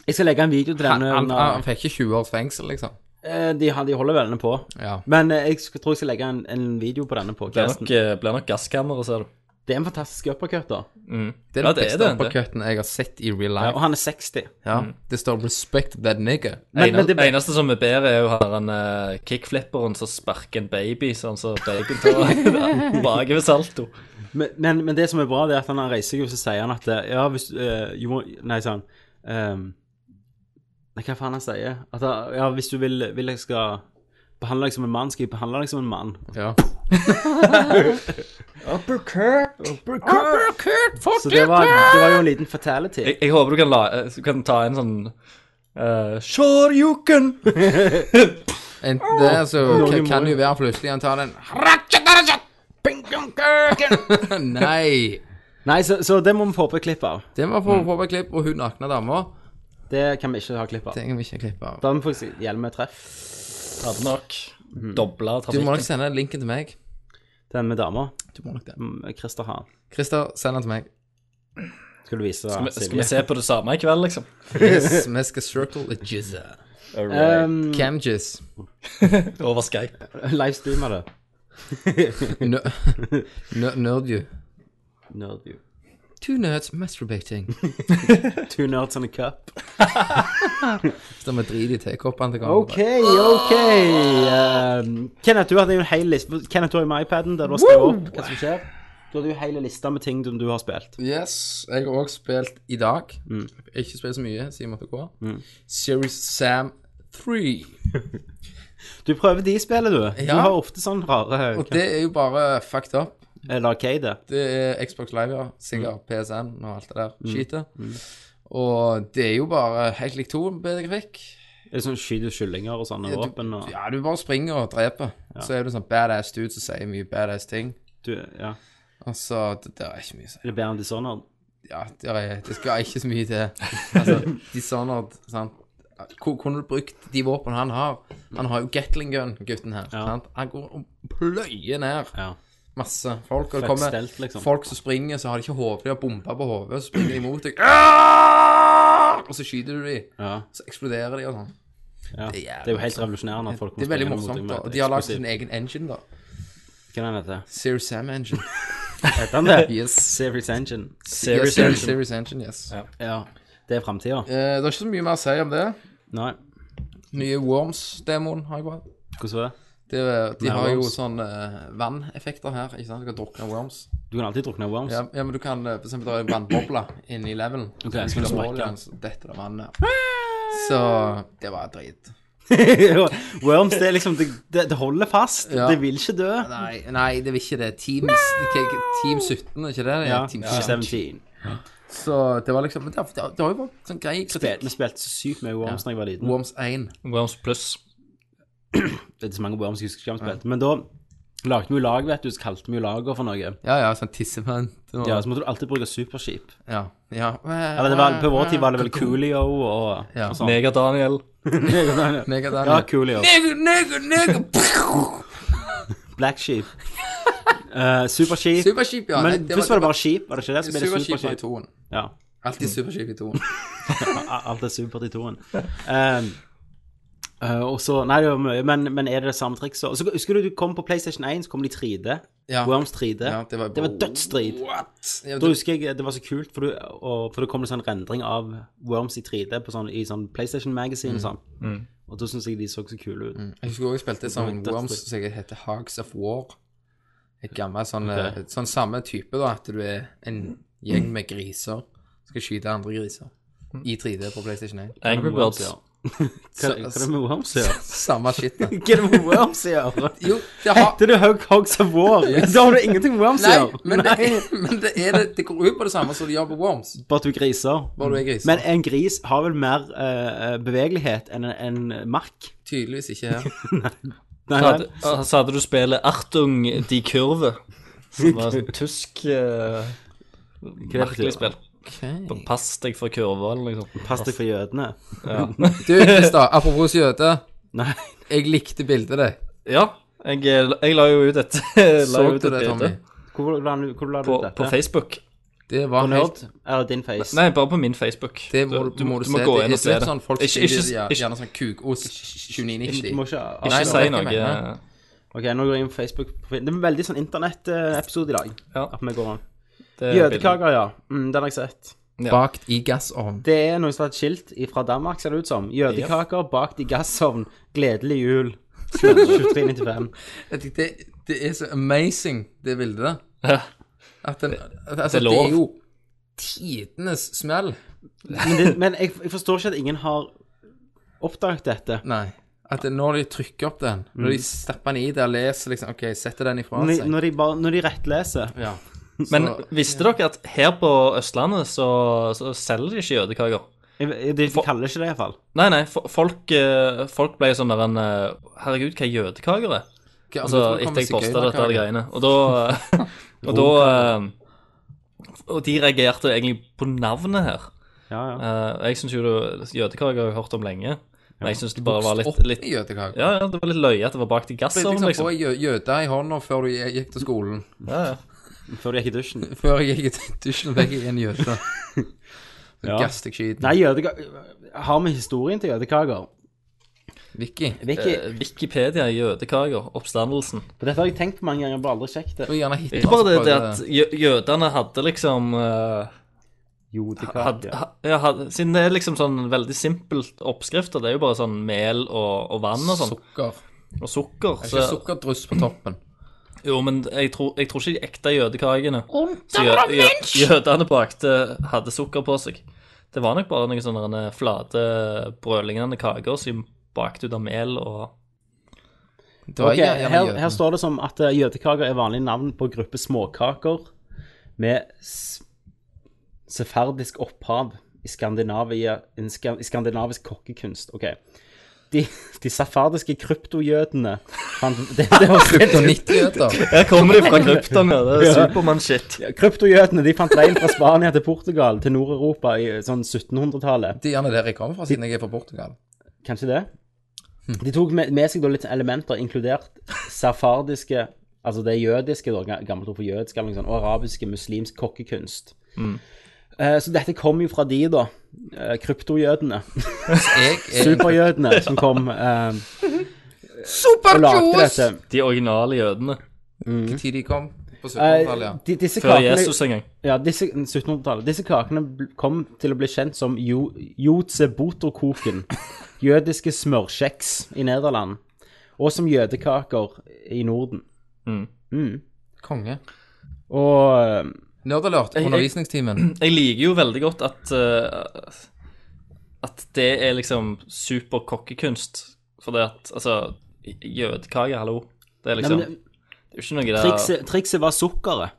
Jeg skal legge en video til han, denne. eh, han, under- han fikk ikke 20 års fengsel, liksom. Eh, De, de holder veldig på. Ja. Men eh, jeg skal, tror jeg skal legge en, en video på denne Blir podcasten. nok, eh, blir nok gasskammeret, ser du. Det er en fantastisk uppercut, da. Det Ja, er den det er beste det, det. uppercutten jeg har sett i real Og life. han er 60. Ja. Det står 'respect that nigger'. Men, men det det, eneste som er bedre, er jo han uh, kickflipperen som sparker en baby, sånn som babyen tar bak ved salto. men, men, men det som er bra, det er at han han reiser seg og så sier han at eh, Ja, hvis eh, you want, Nei, sånn ehm, Nei, hva faen han sier? At han- ja, hvis du vil, vil jeg skal behandle deg som en mann, skal jeg behandle deg som en mann. Ja. Så det var, det var jo en liten fatality. Jeg, jeg håper du kan, la, eh, du kan ta en sånn eh, Sure you can! Enten det, så Noen kan, kan må- jo være plutselig han tar den Nei. Mm. Nei, så, så det må vi få på et klipp av. Det var på på et klipp, og hun nakne dama. Det kan vi ikke ha klipp av. Det kan vi ikke klippe av. Da må vi faktisk hjelme med treff. Hadde nok Mhm. dobla Du må nok trafikken. sende linken til meg. Den med dama. Du må nok det. Mm, Christer har den. Christer, send den til meg. Skal du vise Skal vi se på det samme i kveld, liksom? Yes, vi skal circle the jizzer. Um, Camjis. Over Skype. Livestreamer det. Nø- Nø- Nerd you. Nerdview. Two nerds masturbating. Two nerds and a cup. Stemmer drit i tekoppene til OK, OK. Um, Kenneth, du hadde jo en hel liste Kenneth, du har jo med iPaden der du har skrevet opp hva som skjer. Du hadde jo hele lista med ting som du har spilt. Yes, jeg har også spilt i dag. Ikke spilt så mye siden jeg måtte gå. Series Sam 3. Du prøver de spillene, du. Du Ja. har ofte sånn rare Og det er jo bare fucked up. Eller Arcade. Det er Xbox Live, ja. Sikkert PSN og alt det der skitet. Og det er jo bare helt likt to bedre grafikk. Er det sånn skyter kyllinger og sånne våpen og Ja, du bare springer og dreper. Så er du sånn badass dude som sier mye badass ting. du, ja. Er Altså, det der er ikke mye å si. det bedre enn Dishonored? Ja, det, er, det skal ikke så mye til. Altså, Dishonored, sant? Hvor kunne du brukt de våpnene han har? Han har jo Gatling Gun, gutten her. Ja. Sant? Han går og pløyer ned Ja. masse folk. Og det Fuck kommer stelt, liksom. folk som springer, så har de ikke hode, de har bomber på hodet, og så springer de mot deg. Ah! Og så skyter du dem, Ja. så eksploderer de og sånn. ja. Det jævlig er jo helt revolusjonerende at folk Det er veldig morsomt, da. Og de har sånn- lagd sin egen engine, da. Hva er den heter? Serious Sam Engine. Heter den det? Yes. Series Engine. Serious yes, Engine. Serious Engine, yes. Ja. Det er framtida. Eh, det er ikke så mye mer å si om det. Nei. Nye Worms-demoen har jeg bare. Hvordan var det? Det, de Med har jo worms. sånn eh, vanneffekter her. ikke sant? Du kan drukne worms. Du kan alltid drukne worms. Ja, ja men du kan eh, for eksempel dra en vannboble inn i levelen. Ok, så så du du slår sprekker. den, så detter det vannet. Så det var drit. worms, det er liksom Det, det, det holder fast. Ja. Det vil ikke dø. Nei, nei, det var ikke det. Teams, hva- hva- team 17, er ikke det? Ja. Team 17. 17. Så det var liksom men Det, har- det, har- det har jo vært sånn grei Spil- Vi kritikk. spilte så sykt mye worms da jeg var liten. Worms 1. Worms Plus. Det er så mange worms jeg husker ikke om jeg spilte. Men da lagde vi jo lag, vet du, så kalte vi jo lager for noe. Ja, ja, sånn tissefant. og- Ja, så måtte du alltid bruke superskip. ja. ja. Eller det var, på vår tid var det vel Coolio og, Ja. og sånn. Mega-Daniel. Ja, Negadaniel. Coolio. Nega, nega, nega. Black Sheep. Eh, superskip. Superskip, ja. Men Nei, det først var det bare skip, var det ikke det? Så ble det Superskip var i superskip. toen. Ja. Alltid superskip i toen. A- Alt er supert i toen. Um, eh, og så Nei, det var mye, men, men er det det samme trikset? Og så Husker du du kom på PlayStation 1, så kom de 3D. Ja. Worms 3D. Ja, det var- det var dødsstrid. What? Ja, Da det, husker jeg det var så kult, for, du, og, for det kom en sånn rendring av Worms i 3D på sånn, i sånn PlayStation Magazine Mm. og sånn. Mm. Og da syns jeg de så så kule ut. jeg husker også jeg spilte sånn var Worms dødsdritt. som jeg heter Hogs of War. Et gammelt sånn, eh, sånn samme type, da, at du er en gjeng med griser. Skal skyte andre griser. I 3D på PlayStation 1. Angry Birds. Ja. Hva, hva er det med Worms å gjøre? Samme shit, da. Hva er det med Worms å gjøre? Jo, det har Heter det Hug Hogs of War? Da har du ingenting med Worms å Nei, gjøre. men det, er, men det, er det, det går ut på det samme som de gjør på Worms. Bare at du griser. Bare du er gris. Men en gris har vel mer eh, bevegelighet enn en, en mark? Tydeligvis ikke her. Nei, Så nei. hadde, så hadde du spillet Artung de Kurve, som var et tysk eh, det betyr? merkelig spill. Pass deg for kurver, eller liksom. Pass deg for jødene. Du, Kristian, apropos jøde. Nei. Jeg likte bildet ditt. Ja, jeg, eh, jeg la jo ut et jeg la Så jo ut du et det, bilde Tommy? Hvor la du hvor la du På, ut dette? på Facebook. Det var helt Nerd? Eller din face? Nei, bare på min Facebook. Det må du, må du, se. gå det, inn og se det. det. Sånn, folk Ikke, sier ikke, gjerne- ikke, gjerne sånn kukost 2990. Du må ikke ikke Nei, si det var ikke noe. meg, Ok, nå går jeg inn på Facebook. Det er en veldig sånn internett-episode i dag. Ja. At vi går an. det bildet. Jødekaker, ja. Mm, den har jeg sett. Ja. Bakt i gassovn. Det er noen som har et skilt fra Danmark, ser det ut som. Jødekaker bakt i gassovn. Gledelig jul. 2395. Det, det, det er så amazing, det bildet der. Ja. At den, altså, er det, lov. er jo tidenes smell. Men, det, men jeg, jeg forstår ikke at ingen har oppdaget dette. Nei. At det, når de trykker opp den, når de stapper den i der, leser liksom OK, setter den ifra Når, seg. når, de, bare, når de rettleser. Ja. Men Så- visste dere at her på Østlandet så, så selger de ikke jødekaker? Jeg- jeg- De, de kaller ikke det, iallfall. Nei, nei, fo- folk, eh, folk ble sånn der en eh, Herregud, hva er jødekaker er? Hva- Altså, tror det kommer etter jeg posta sigøynerkake. dette her greiene. Og da Og da eh, Og de reagerte egentlig på navnet her. Ja, ja. Eh, Jeg syns jo det- jødekaker har jeg hørt om lenge. Men jeg syns det bare var litt, Opp litt i jødekake. Ja, ja, det var litt løye at det var bakt i Det er gassovn, liksom, liksom. Få jø- jøde i hånda før du gikk til skolen. Ja, ja. Før de gikk i dusjen. Før jeg gikk til dusjen, fikk jeg en jøde. Så Ja. gass deg skiten. Nei, jødekaker Har vi historien til jødekaker? Vicky. Vicky, Eh, Wikipedia, jødekaker, oppstandelsen. for dette har jeg tenkt på mange ganger, bare aldri Du sjekket det. er gjerne hit, Ikke bare det, det at jø- jødene hadde liksom eh, had, Jodekake. ha- ja, had, Siden det er liksom sånn veldig simpelt oppskrifter, det er jo bare sånn mel og, og vann og sånn, Sukker. og sukker. Ikke Så, sukkerdruss på toppen. jo, men jeg tror, jeg tror ikke de ekte jødekakene som jø, jø, jødene bakte, hadde sukker på seg. Det var nok bare noen sånne flate, brødlignende kaker som bakte ut av mel og Det var Ok, gjerne her, jøden. her står det som at eh, jødekaker er vanlig navn på gruppe småkaker med s- sefardisk opphav i, Skandinavia, i ska- i skandinavisk kokkekunst. Ok. De, de sefardiske kryptojødene fant det, det var Kryptonittjøder. Her kommer de fra kryptene, det er Supermann-shit. Kryptojødene de fant veien fra Spania til Portugal til Nord-Europa i sånn 1700-tallet. Det er gjerne der jeg kommer fra, siden jeg er fra Portugal. Kanskje det? Hm. De tok med, med seg da litt elementer, inkludert safardiske Altså det jødiske, da, ga- gammelt ord for jødisk, eller noe sånt, og arabiske muslimsk kokkekunst. Hm. Eh, så dette kom jo fra de, da. eh, kryptojødene. Jeg er Superjødene som kom eh, og lagde dette. De originale jødene. Tid de kom på Eh, 1700-tallet, ja. de, disse Før kakene, Jesus en gang. ja, disse, 1700-tallet, disse kakene bl- kom til å bli kjent som jo- Jodseboterkoken, jødiske smørkjeks i Nederland, og som jødekaker i Norden. Konge. Og eh, Nerdalert, jeg- undervisningstimen. Jeg liker jo veldig godt at eh, At det er liksom super kokkekunst. For det at Altså, jødekake, hallo. Det er nei, liksom men, Det er jo ikke noe der trikset, trikset var sukkeret.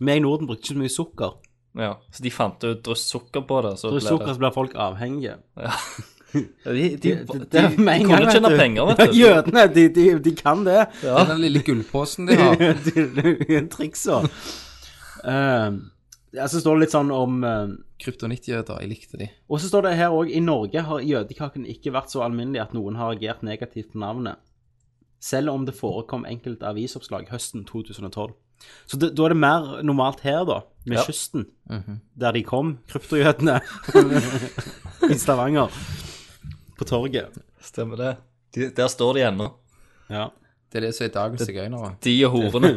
Vi i Norden brukte ikke så mye sukker. ja, Så de fant ut dryss sukker på det, så For ble sukker så blir folk avhengige. det De, de, Det- de, det- de, det er med en gang, kunne vet tjene du. penger, vet du. Jødene, de, de, de kan det. Ja. Den lille gullposen de har. Trikser. Uh, så står det litt sånn om eh, Kryptonittjøder, jeg likte de. Og så står det her òg i Norge har jødekaken ikke vært så alminnelig at noen har reagert negativt på navnet, selv om det forekom enkelte avisoppslag høsten 2012. Så det, da er det mer normalt her, da, med Ja. kysten, der de kom, kryptojødene, i Stavanger, på torget. Stemmer det. De, der står de ennå. Ja, Det er det som er dagens sigøynere. De og horene.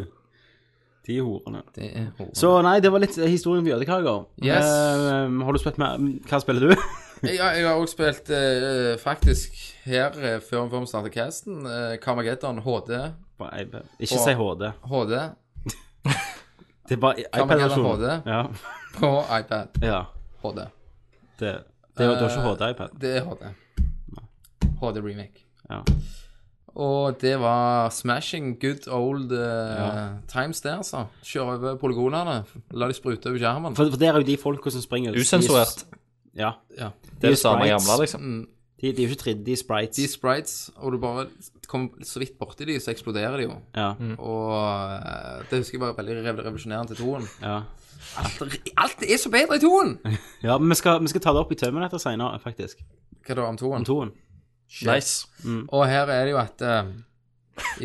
de horene. Det er horror. Så nei, det var litt historien om jødekaker. Yes. Eh, har du spilt mer Hva spiller du? Ja, jeg har også spilt eh, faktisk her eh, før før vi startet casten. eh, Carmageddon HD. På iPad. ikke si HD. HD Det er bare Kan man gjerne iPad-versjonen. HD? Ja. på iPad. ja. HD. Det, det, er jo- det er ikke HD-iPad. Det er HD. HD remake. Ja. Og det var smashing good old eh, times der, altså. Kjøre over polygonene. La de sprute over skjermen. For, for der er jo de folka som springer de er- Usensurert. Ja. Ja. Det er det samme sprites. gamle, liksom. De, de er jo ikke 3D, de er sprites. De sprites, og du bare kommer så vidt borti de, så eksploderer de jo. ja. Mm. Og eh, det husker jeg var veldig rev- revolusjonerende til toen. Ja. Alt, alt er så bedre i toen! ja, men vi skal, vi skal ta det opp i tømmen etter seinere, faktisk. Hva da om toen? Om toen. Nice. Og her er det jo at eh,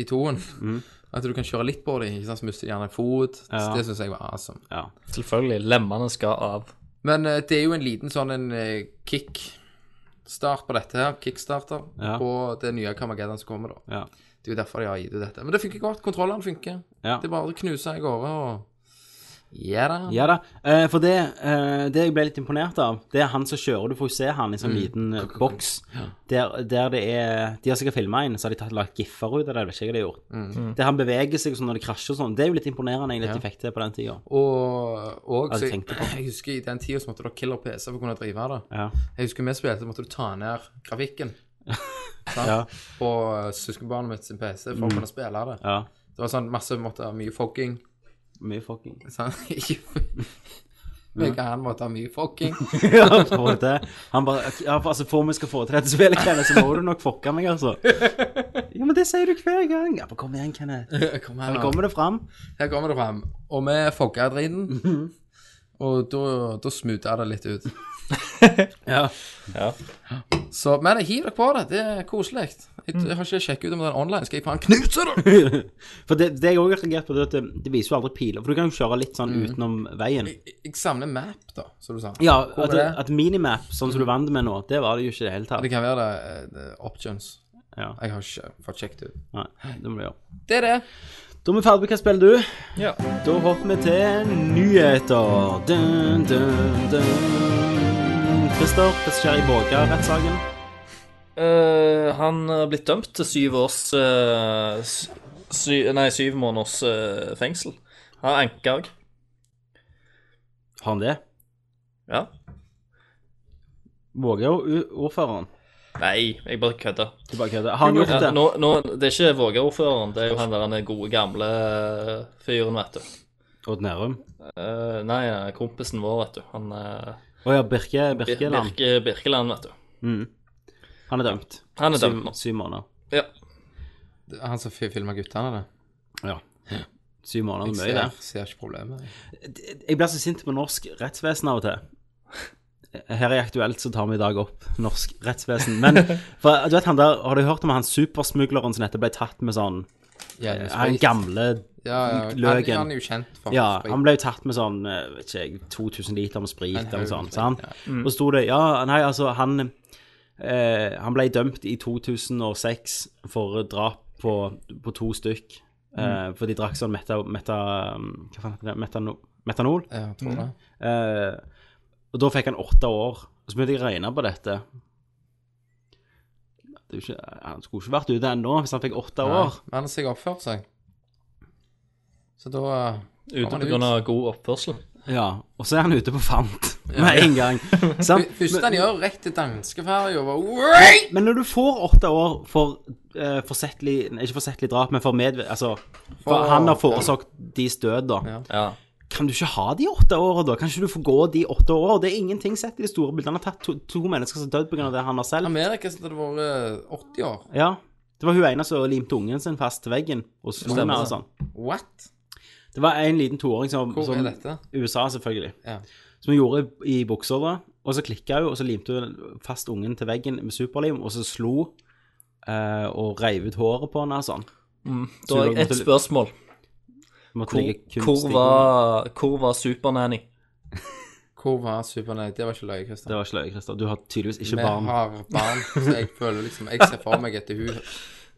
i toen at du kan kjøre litt på dem, ikke sant, så mister de gjerne en fot. Mm. Ja. Det syns jeg var awesome. Ja. Selvfølgelig. Lemmene skal av. Men eh, det er jo en liten sånn en eh, kickstart på dette her, kickstarter, Ja. på det nye Carmageddon som kommer, da. Ja. Det er jo derfor de har gitt ut dette. Men det funker godt. Kontrollene funker. Ja. Det er bare å knuse i gårde og Ja da. ja da. Eh, for det, eh, det jeg ble litt imponert av, det er han som kjører. Du får jo se han i Mm. sånn liten eh, boks. Der, der det er De har sikkert filma en, så har de tatt, lagt giffer ut av det. Vet ikke jeg hva de har gjort. Mm. Der han beveger seg sånn når det krasjer og sånn. Det er jo litt imponerende egentlig at de fikk til på den tida. Og, og så, Ja, det jeg, tenkte jeg husker i den tida så måtte du ha killer PC for å kunne drive det. Ja. Jeg husker vi spilte, så måtte du ta ned grafikken. sant? Ja. Mm. På eh, søskenbarnet mitt sin PC for å kunne spille det. ja. Det var sånn masse måtte ha mye fogging. Mye fucking sant? Ikke Meg og han måtte ha mye fogging. Ja, tror jeg det. Han bare «Ok, ja, for, altså, For om vi skal få til dette spillet, Kenneth, så må du nok fucke meg, altså. Ja, men det sier du hver gang. Ja, men kom igjen, Kenneth. Kom her, Nå nå. kommer det fram. her kommer det fram. Og vi fogga driten. Mhm. Og da- da smuta det litt ut. Ja. Så, men hiv dere på det. Det er koselig. Jeg, Mm. jeg har ikke sjekket ut om det er online. Skal jeg faen knuse det? For det, det jeg òg har reagert på, det er at det, det viser jo aldri piler. For du kan jo kjøre litt sånn utenom veien. Jeg, jeg samler map, da, som du sa. Ja, Hvor at, er det? at minimap, sånn som du vant med nå, det var det jo ikke i det hele Ja, tatt. Det kan være det, eh, det options. Ja. Jeg har ikke fått sjekket ut. Nei, det må du gjøre. Det er det. Da er vi ferdig med Hva spiller du? Ja. Da hopper vi til nyheter. Dun, dun, dun. Christer, hva skjer i Våga-rettssaken? Eh, han har blitt dømt til syv års eh, s- sy, Nei, syv måneders eh, fengsel. Han har anka òg. Har han det? Ja. Våga og u- ordføreren? Nei, jeg bare kødder. Du bare kødder. Har han gjort Ja, det? nå, nå, det er ikke Våga-ordføreren, det er jo han der den gode, gamle eh, fyren, vet du. Odd Nærum? Eh, nei, kompisen vår, vet du. Han eh, Å ja, Birke, Bir- Birkeland. Birke, Birkeland, vet du. Mm. Han er dømt. Han er Syv- dømt nå. Syv måneder. Ja. Det er Han som filma guttene, det. Ja. Syv måneder er mye, Ser, det. ser ikke problemet. Jeg blir så sint på norsk rettsvesen av og til. Her i Aktuelt så tar vi i dag opp norsk rettsvesen. Men for, du vet han der, har du hørt om han supersmugleren som nettopp ble tatt med sånn Ja, det er Han sprit. gamle ja, ja. Han, løken. han er jo kjent for Ja, sprit. han ble jo tatt med sånn eh, vet ikke jeg, 2000 liter med En sprit haug eller med sånn. sprit, sant? Og så sto det Ja, nei, altså, han eh, Han ble dømt i 2006 for drap på, på to stykk. Eh, for de drakk sånn meta... meta hva faen heter det? Metano, metanol. Ja, jeg tror det. Eh, og da fikk han åtte år. Og så begynte jeg å regne på dette. Det er jo ikke, han skulle ikke vært ute ennå hvis han fikk åtte Nei, år. Men han har sikkert oppført seg. Så da eh, Ute kommer han på grunn av god oppførsel. Ja, Og så er han ute på fant med en gang. Sant? Første han gjør, rett til danskeferja og bare Wait! Men når du får åtte år for eh, forsettlig nei, Ikke forsettlig drap, men for medvirkning Altså, for For- han har forårsaket deres død, da. Ja. Ja. Kan du ikke ha de åtte årene, da? Kan ikke du få gå de åtte årene? Det er ingenting sett i det store bildet. Han har tatt to, to mennesker som har dødd pga. det han har selv. Amerika så hadde det vært 80 år. Ja. Det var hun ene som limte ungen sin fast til veggen og slo Stemmer med og det. sånn. What? Det var en liten toåring som, Hvor som er dette? USA, selvfølgelig. Ja. Som hun gjorde i i buksa, da. Og så klikka hun, og så limte hun fast ungen til veggen med superlim, og så slo eh, og reiv ut håret på henne og sånn. Da har jeg ett spørsmål. Måtte Hvor, ligge hvor, kunstig. var, hvor var Supernanny? Hvor var Supernøy? Det var ikke løye, Christer. Det var ikke løye, Christer. Du har tydeligvis ikke Vi barn. har barn, så jeg føler liksom Jeg ser for meg at hun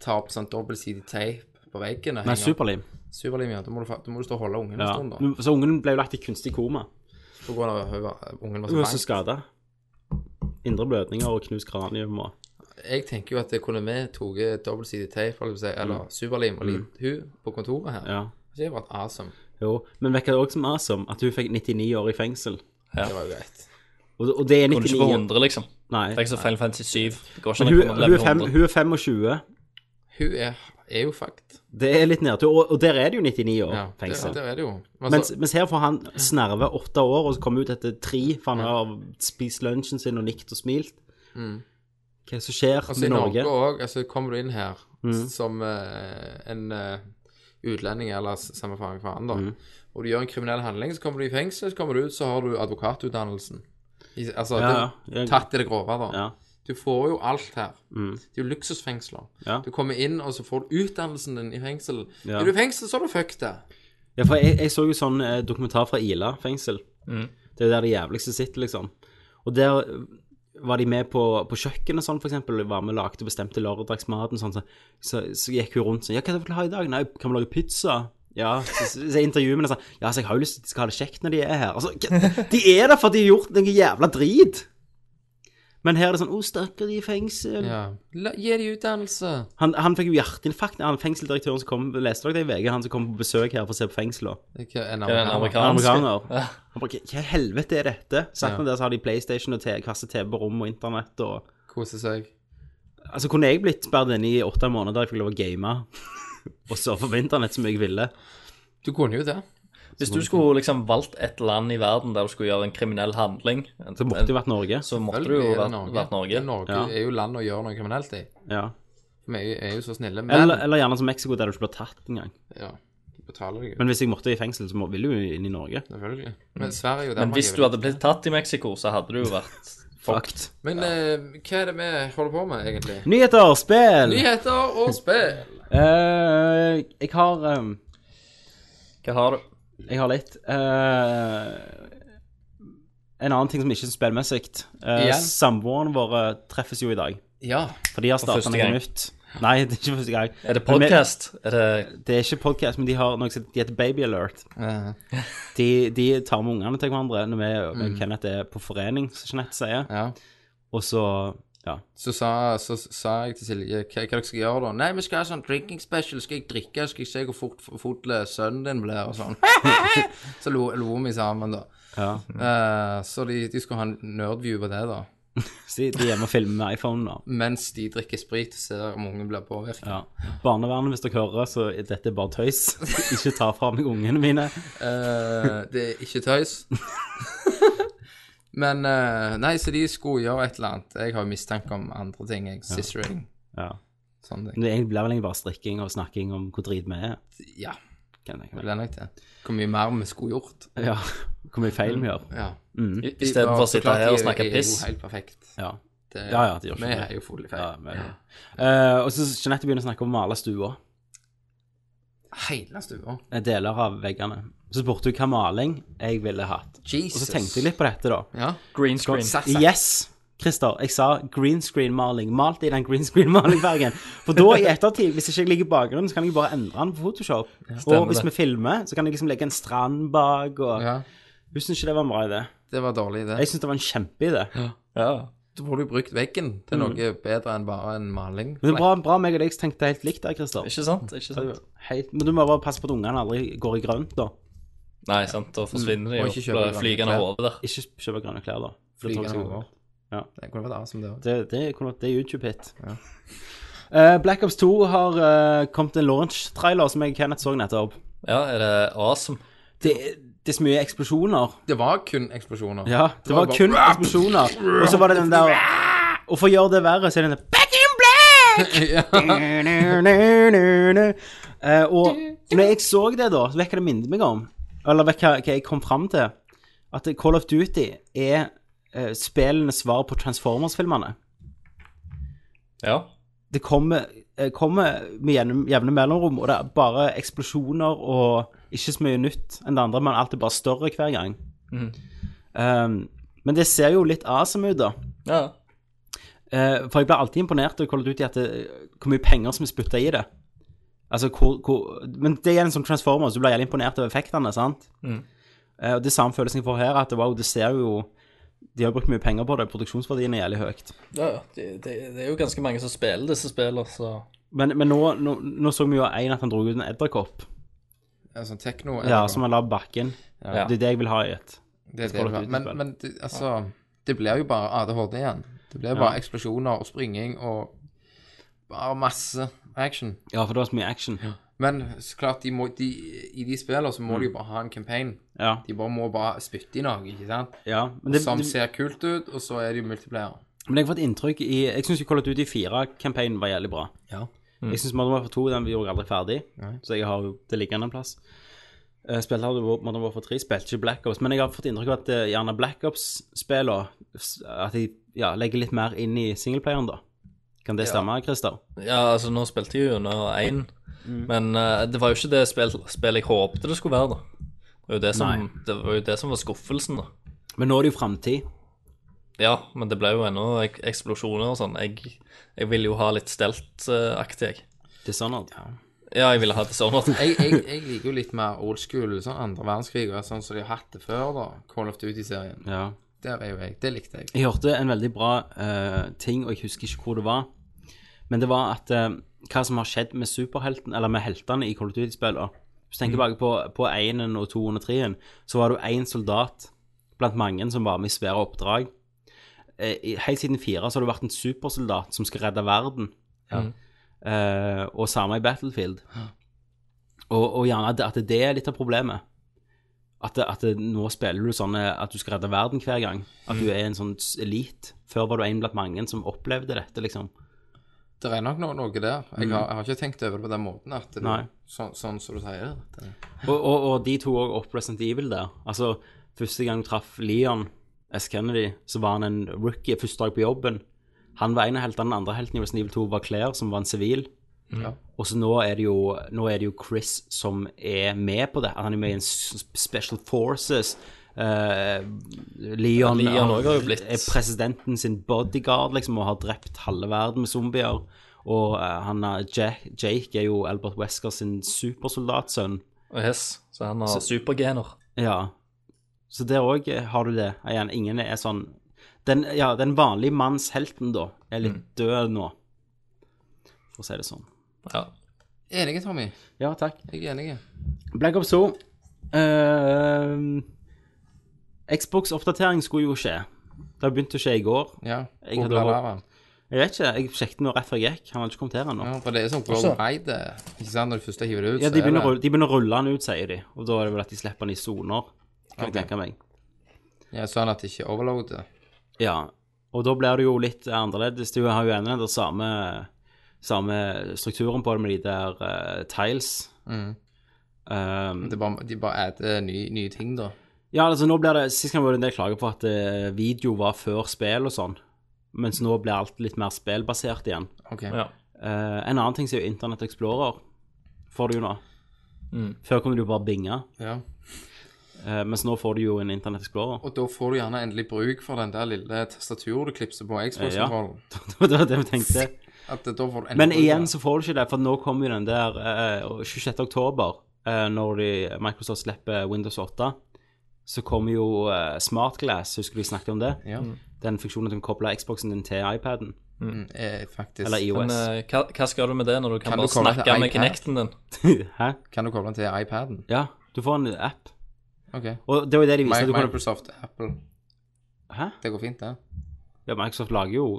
tar opp sånn dobbeltsidig teip på veggen og Nei, henger opp superlim. superlim i den. Da må du fa- da må du stå og holde ungen en Ja. stund, da. Så ungen ble jo lagt i kunstig koma. På grunn av at hun var- ungen var Altså, så Hun var så blank. skada. Indre blødninger og knust kranium og Jeg tenker jo at det kunne vi tatt dobbeltsidig teip holdt jeg på å si, eller superlim og limt hun på kontoret her. Mm. Ja. Det hadde vært awesome. Jo. Men vet du hva det også som er som? At hun fikk 99 år i fengsel. Det var jo greit. Og, og det er Kunne ikke få 99 100, liksom. Det Nei. er ikke sånn så Final Fantasy 7. Det går ikke Men an å hun, komme hun, er level fem, 100. hun er 25. Hun er, er jo fakt. Det er litt nedtur. Og, og der er det jo 99 år Ja, det, fengsel. det er det jo. altså- Men mens, så- mens her får han snerve åtte år og så kommer ut etter tre, for han har spist lunsjen sin og nikt og smilt. Mm. Hva er det som skjer Altså, I med Norge Norge? Mm. òg altså, kommer du inn her som eh, en eh, utlending, eller s- samme faen hva faen, da, Mm. og du gjør en kriminell handling, så kommer du i fengsel, så kommer du ut, så har du advokatutdannelsen. I, altså, Ja, det, ja. Jeg- tatt i det grove, da. Ja. Du får jo alt her. Det er jo luksusfengsler. Mm. Ja. Du kommer inn, og så får du utdannelsen din i fengsel. Ja. Er du i fengsel, så er du fucked. det. Ja, for jeg, jeg så jo sånn eh, dokumentar fra Ila fengsel. Det er jo der det jævligste sitter, liksom. Og der var de med på, på kjøkkenet sånn, for eksempel. Var med og lagde bestemte lørdagsmaten sånn. Så, så, så gikk hun rundt sånn Ja, hva er det vi ha i dag? Nei, kan vi lage pizza? Ja, så, så, så jeg intervjuer henne sånn Ja, så jeg har jo lyst til at de skal ha det kjekt når de er her. Altså, hva- de er der fordi de har gjort noe jævla drit. Men her er det sånn Å, stakkar, de er i fengsel. Ja. La, gi de utdannelse. Han, han fikk jo hjerteinfarkt. Han fengseldirektøren som kom, leste dere det i VG, han som kom på besøk her for å se på fengselet. Det er ikke en Den amerikaner. amerikanske. Amerikaner. Han bare, Hva i helvete er dette? Sagt med det, så har de PlayStation og te- kasse TV på rom og internett og Kose seg. Altså, kunne jeg blitt sperret inne i åtte måneder der jeg fikk lov å game og surfe på internett som jeg ville? Du kunne jo det. Hvis du skulle liksom valgt et land i verden der du skulle gjøre en kriminell handling, en- Så måtte det vært Norge. så måtte Vel, du jo er det vært Norge. Vært Norge. Norge Ja. er jo land å gjøre noe kriminelt i. Ja. Vi er jo, er jo så snille. Men Eller, eller gjerne som Mexico, der du ikke blir tatt engang. ja, de betaler deg jo, Men hvis jeg måtte i fengsel, så må, ville jeg jo inn i Norge. selvfølgelig. Men Sverige og Men Danmark hvis er du vel- hadde blitt tatt i Mexico, så hadde du jo vært Fucked. Men eh, hva er det vi holder på med, egentlig? Nyheter, spill! Nyheter og spill. Eh, jeg har ehm, Hva har du? Jeg har litt. Eh, en annen ting som ikke er så spillmessig. Eh, Igjen? Samboerne våre treffes jo i dag. Ja. For de har starta første noe gang. nytt. Nei, det er ikke første gang. Er det podkast? Er det Det er ikke podcast, men de har noe som heter Baby Alert. eh, De, de tar med ungene til hverandre når vi mm. Kenneth er på forening, som Jeanette sier. Ja. Og så ja. Så sa, så sa jeg til Silje hva, hva dere skal gjøre da. Nei, vi skal ha sånn drinking special. Skal jeg drikke? Skal jeg se hvor fort, fort sønnen din blir? Og sånn. så lo, lo vi sammen, da. ja. Eh, så de, de skulle ha en nerdview på det, da. Så de de er hjemme og filmer med iPhone nå. Mens de drikker sprit og ser om ungen blir påvirket. Ja. Barnevernet, hvis dere hører, så er dette bare tøys. Ikke ta fra meg ungene mine. Eh, det er ikke tøys. Men eh, Nei, så de skulle gjøre et eller annet. Jeg har jo mistanke om andre ting. Jeg, sistering. Ja. Sånne Men ting. det egentlig blir vel egentlig bare strikking og snakking om hvor drit vi er. Ja. Kan jeg Det tenke meg. ble nok det. Hvor mye mer vi skulle gjort. Ja. Hvor mye feil vi gjør. Ja. Mm. i- Istedenfor å sitte her og snakke piss. Det er jo helt perfekt. Ja. Det, Ja, ja, det gjør ikke vi det. er jo fulle i feil. Ja, men, Eh, og så Jeanette begynner å snakke om å male stua. Hele stua. Eh, Deler av veggene. Så spurte hun hva maling jeg ville hatt. Og Jesus. så tenkte jeg litt på dette, da. Ja. green screen? Sass, sass. Yes! Christer, jeg sa green screen-maling. Malt i den green screen-malingfargen. For da, i ettertid, hvis ikke jeg ligger i bakgrunnen, så kan jeg bare endre den på Photoshop. og hvis det. vi filmer, så kan jeg liksom legge en strand bak, og Ja. Hun syntes ikke det var en bra idé. Det var dårlig, det. Jeg syntes det var en kjempeidé. Ja. Da får du brukt veggen Mm. til noe bedre enn bare en maling. Men det er bra, bra meg og deg som tenkte helt likt der, Christer. Ikke sant? Ikke sant? Helt- Men du må bare passe på at ungene aldri går i grønt, da. Nei, sant, da forsvinner de jo. Og ikke kjøpe Blir flygende grønne hode klær. der. Ikke kjøpe grønne klær, da. For det tar Flygende seg over. over. Det kunne vært awesome, det òg. Det, det, kunne vært- det er YouTube-hit. Eh, Black Ops 2 har eh, kommet en launch-trailer som jeg og Kenneth så nettopp. Ja, er det awesome? Det, det er så mye eksplosjoner. Det var kun eksplosjoner. Ja, det var kun eksplosjoner. Og så var det den der Og for å gjøre det verre, så er det den der Back in black! Eh, og når jeg så det, da, så vet jeg hva det minnet meg om. Eller vet jeg hva, hva jeg kom fram til. At Call of Duty er uh, spillenes svar på Transformers-filmene. Ja. Det kommer, eh, kommer med jevne, jevne mellomrom, og det er bare eksplosjoner og ikke så mye nytt enn det andre, men alt er bare større hver gang. Eh, men det ser jo litt awesome ut, da. ja. Eh, for jeg blir alltid imponert over Call of Duty at det, hvor mye penger som er spytta i det. Altså, hvor, hvor, men det er en sånn transformer, så du blir jævlig imponert over effektene, sant? Eh, og det er samme følelsen jeg får her, at wow, det ser jo De har brukt mye penger på det, produksjonsverdien er jævlig høyt. ja ja. det, det, det er jo ganske mange som spiller disse spillene, så Men, men nå, nå, nå så vi jo en at han dro ut en edderkopp, En sånn tekno. ja, eller- som han la på bakken. Ja. Det er det jeg vil ha i et. det, er det Call of det var. Duty men, spill. men det, altså Det blir jo bare ADHD igjen. Det blir bare eksplosjoner og springing og bare masse action. Ja, for det var så mye action. Men så klart, de må, de, i de spillene så må de jo Mm. bare ha en campaign. Ja, De bare må bare spytte i noe, ikke sant? ja. Men, det, Som det, ser kult ut, og så er de multiplier. men jeg har fått inntrykk i Jeg syns Call of Duty 4-campaignen var jævlig bra. Ja. Jeg syns Modern Warfare 2 den gjorde jeg aldri ferdig, så jeg har jo det liggende en plass. Eh, Spilte aldri Wo- Modern Warfare 3, spilte ikke Black Ops, men jeg har fått inntrykk av at eh, gjerne Black Ops-spillene s- At de ja, legger litt mer inn i singleplayeren, da. Kan det stemme, Christer? Ja, altså, nå spilte jeg jo under én, men eh, det var jo ikke det spill, spillet jeg håpte det skulle være, da. Det var jo det som, Nei. det var, jo det som var skuffelsen, da. Men nå er det jo framtid. Ja, men det ble jo ennå ek eksplosjoner og sånn. Jeg, jeg ville jo ha litt stelt-aktig, jeg. Dishonored. Ja. Ja, jeg ville ha det sånn. at- Jeg, jeg, jeg liker jo litt mer old school, sånn andre verdenskrig, og sånn som de har hatt det før, da. Call of Duty-serien. ja. Der er jo jeg. Det likte jeg. Jeg hørte en veldig bra eh, ting, og jeg husker ikke hvor det var. Men det var at eh, hva som har skjedd med superhelten, eller med heltene i Call of Duty-spillene. Hvis du tenker bare på, på 1 og 2 og 3, så var du én soldat blant mange som var med i svære oppdrag. Eh, i- helt siden 4 så har du vært en supersoldat som skal redde verden. Eh, og samme i Battlefield. Og, og gjerne at, at det er litt av problemet. At, at nå spiller du sånn at du skal redde verden hver gang. At du er en sånn elite. Før var du en blant mange som opplevde dette, liksom. Det er nok noe, noe der. Jeg har, jeg har ikke tenkt over det på den måten, at det, Mm. Nei. sånn, sånn som du sier det. Og, og, og de to òg opp Resident Evil der. Altså, første gang du traff Leon S. Kennedy, så var han en rookie første dag på jobben. Han var en av heltene. Den andre helten i Resident Evil 2 var Claire, som var en sivil. Mm. Ja. Og så nå er, det jo, nå er det jo Chris som er med på det. Han er med i en s- Special Forces. Eh, Leon, Leon også har jo blitt- er presidenten sin bodyguard liksom, og har drept halve verden med zombier. Og eh, han er Jack, Jake er jo Albert Wesker sin supersoldatsønn. Og Hess, så han har supergener. Ja. Så der òg har du det. Igjen, ingen er sånn Den, ja, den vanlige manns helten, da, er litt Mm. død nå, for å si det sånn. Ja. Enige, Tommy. Ja, takk. Jeg er enig. Black Ops 2. Ehm, Xbox-oppdatering skulle jo skje. Det begynte å skje i går. Ja. Jeg hadde Og bla, bla, bla. Jeg vet ikke, jeg sjekket nå rett før jeg gikk. Han hadde ikke kommet her ennå. Ja, for det er sånn worldwide. Ikke sant, når du først hiver det ut, Ja, de så begynner, å er rulle- de begynner å rulle han ut, sier de. Og da er det vel at de slipper han i soner, kan jeg Ok. tenke meg. det ja, sånn at det ikke overloader. Ja, og da blir det jo litt annerledes. Du har jo ennå den samme, samme strukturen på det med de der eh, tiles. Ehm, Det er bare, de bare adder ny- nye ting, da. Ja, altså nå blir det, Sist gang var det en del klager på at eh, video var før spill og sånn, mens nå blir alt litt mer spillbasert igjen. Ok. ja. Eh, en annen ting som er jo Internett Explorer, får du jo nå. Før kunne du jo bare binge, Ja. eh, mens nå får du jo en Internett Explorer. Og da får du gjerne endelig bruk for den der lille tastaturet du klipser på Xbox-kontrollen. det var det vi tenkte. At eh, da får du endelig Men bruk for igjen det. så får du ikke det, for nå kommer jo den der eh, 26. oktober, eh, når de, Microsoft slipper Windows 8, så kommer jo eh, Smart Glass, husker du vi snakket om det? Ja. Den funksjonen at du kan koble Xboxen din til iPaden, Mm, eh, faktisk. eller Men iOS. eh, hva, hva skal du med det når du kan, Kan du bare koble til snakke med iPad? Kinecten din? Hæ? Kan du koble den til iPaden? Ja, du får en app. Ok. Og det var jo det de Mi- viste. at Du kunne... Microsoft, Apple. Hæ? Det går fint, det. Ja, Microsoft lager jo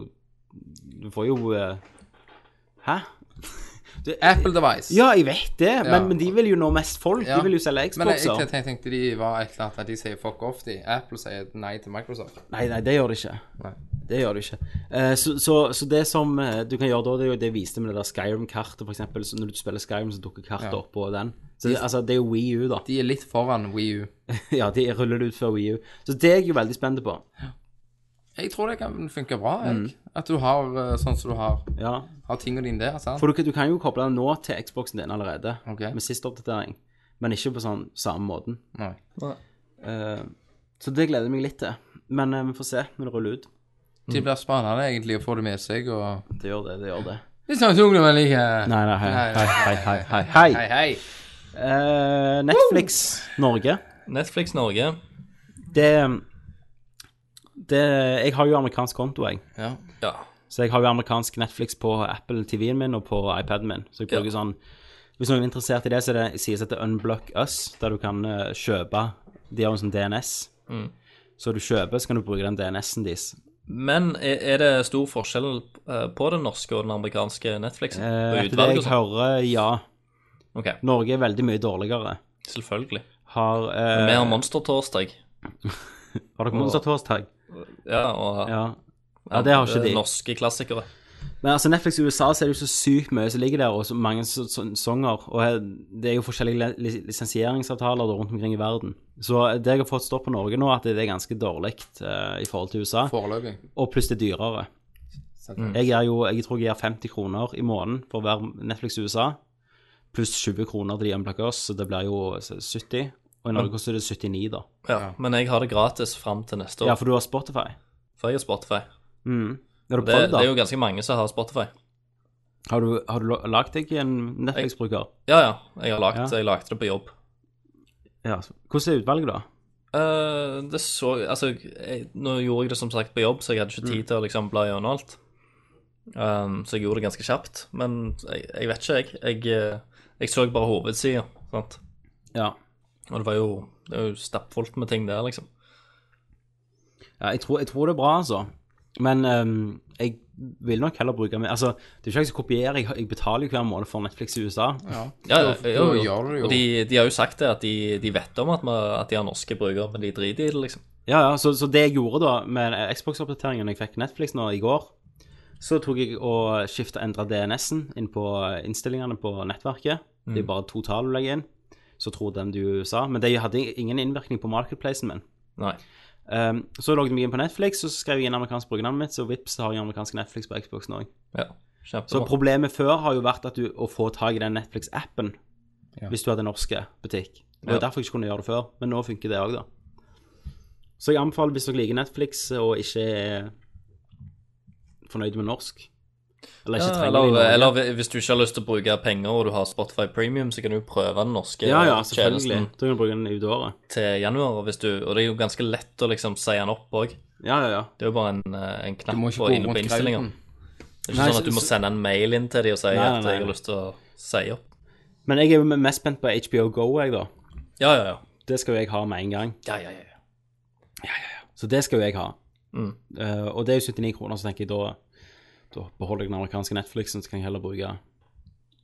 Du får jo eh, Hæ? Apple Device. Ja, jeg vet det, men, Ja. men de vil jo nå mest folk. Ja. De vil jo selge Men jeg, jeg Xboxer. tenkte- tenkte de var et eller annet at de sier fuck off, de. Apple sier nei til Microsoft. Nei, nei, det gjør de ikke. Nei. Det gjør det ikke. Eh, så, så, så det som eh, du kan gjøre da, det er jo det jeg viste med det der Skyrim-kartet, for eksempel. Så når du spiller Skyrim, så dukker kartet Ja. opp på den. Så det, altså, det er jo Wii U, da. De er litt foran Wii U. ja, de ruller det ut før Wii U. Så det er jeg jo veldig spent på. Jeg tror det kan funke bra, jeg. Mm. At du har eh, sånn som du har, Ja. har tingene dine der, sant? For du, kan- du kan jo koble den nå til Xboxen din allerede, Ok. med siste oppdatering. Men ikke på sånn samme måten. Nei. Eh, så det gleder jeg meg litt til. Men eh, vi får se når det ruller ut. Mm. Det blir spennende egentlig å få det med seg og Det gjør det, det gjør det. Litt sånn som ungdommen liker. Nei, nei, hei, Nei, hei, hei, hei, hei. Hei, hei. Eh, Netflix Norge. Netflix Norge. Det, det Jeg har jo amerikansk konto, jeg. Ja. Ja. Så jeg har jo amerikansk Netflix på Apple TV-en min og på iPaden min. Så jeg bruker sånn Hvis noen er interessert i det, så er det, sies det Unblock Us, der du kan eh, kjøpe De har jo en sånn DNS. Så du kjøper, så kan du bruke den DNS-en deres. Men er, er det stor forskjell eh, på den norske og den amerikanske Netflixen? Eh, og etter det utvalget jeg og sånn? hører, ja. Ok, Norge er veldig mye dårligere. selvfølgelig. Har eh, Vi har Monstertorsdag. Har dere Monstertorsdag? Ja, og eh, Ja. ja, det har ikke de. Norske klassikere. Men altså Netflix i USA så er det jo så sykt mye som ligger der, og så mange s- sesonger. Og eh, det er jo forskjellige le- lis- lisensieringsavtaler da rundt omkring i verden. Så det jeg har fått stå på Norge nå, at det er ganske dårlig eh, i forhold til USA. Foreløpig. Og pluss det er dyrere. Mm. Jeg, er jo, jeg tror jeg gir 50 kroner i måneden for hver Netflix i USA, pluss 20 kroner til de unplucker oss, så det blir jo 70. Og i Norge Mm. koster det 79, da. Ja, men jeg har det gratis fram til neste år, Ja, for du har Spotify. for jeg har Spotify. Mm. Har du Det, prøvd, det da? er jo ganske mange som har Spotify. Har du, har du la- lagt deg en Netflix-bruker? Ja, ja. Jeg har lagt, Ja. jeg lagde det på jobb. Ja. så- Hvordan er utvalget, da? Eh, det så Altså, jeg, nå gjorde jeg det som sagt på jobb, så jeg hadde ikke Mm. tid til å liksom bla gjennom alt. Um, så jeg gjorde det ganske kjapt. Men jeg, jeg vet ikke, jeg. Jeg, eh, jeg så bare hovedsida, sant. Ja. Og det var jo, det var jo stappfullt med ting der, liksom. Ja, jeg tror, jeg tror det er bra, altså. Men ehm, jeg vil nok heller bruke min Altså, det er ikke jeg som kopierer, jeg, jeg betaler jo hver måned for Netflix i USA. Ja. Ja, ja, Da- jo, da jo. gjør du jo- Og de, de har jo sagt det, at de, de vet om at, vi, at de har norske brukere, men de driter i det, liksom. Ja, ja, så, så det jeg gjorde da med Xbox-oppdateringen jeg fikk Netflix nå i går, så tok jeg og skifta endra DNS-en inn på innstillingene på nettverket. Det er bare to tall du legger inn, så tror den du sa. Men det hadde ingen innvirkning på marketplacen min. Nei. Ehm, så logget jeg meg inn på Netflix, og så skrev jeg inn amerikansk brukernavn mitt, så vips, så har jeg amerikansk Netflix på Xboxen òg. Ja, Så kjempebra. problemet før har jo vært at du, å få tak i den Netflix-appen Ja. hvis du hadde norske butikk. Det Ja. var derfor jeg ikke kunne gjøre det før, men nå funker det òg, da. Så jeg anbefaler hvis dere liker Netflix og ikke er fornøyd med norsk, Eller ikke trenger det i Eller, Norge. eller hvis du ikke har lyst til å bruke penger og du har Spotify Premium, så kan du prøve den norske Ja, ja, selvfølgelig. tjenesten Da kan du bruke den ut året. til januar. Hvis du, og det er jo ganske lett å liksom si den opp òg. Ja, ja, ja. Det er jo bare en, eh, en knapp Du må ikke på, gå inne på rundt innstillinger. grauten. Det er ikke Nei, sånn at du så- må sende en mail inn til dem og si Nei, at nei, jeg nei. har lyst til å si opp. Men jeg er jo mest spent på HBO Go, jeg, da. Ja, ja, ja. Det skal jo jeg ha med en gang. ja, ja, ja. Så det skal jo jeg ha. Mm. Eh, og det er jo 79 kroner, så tenker jeg da, da beholder jeg den amerikanske Netflixen, så kan jeg heller bruke,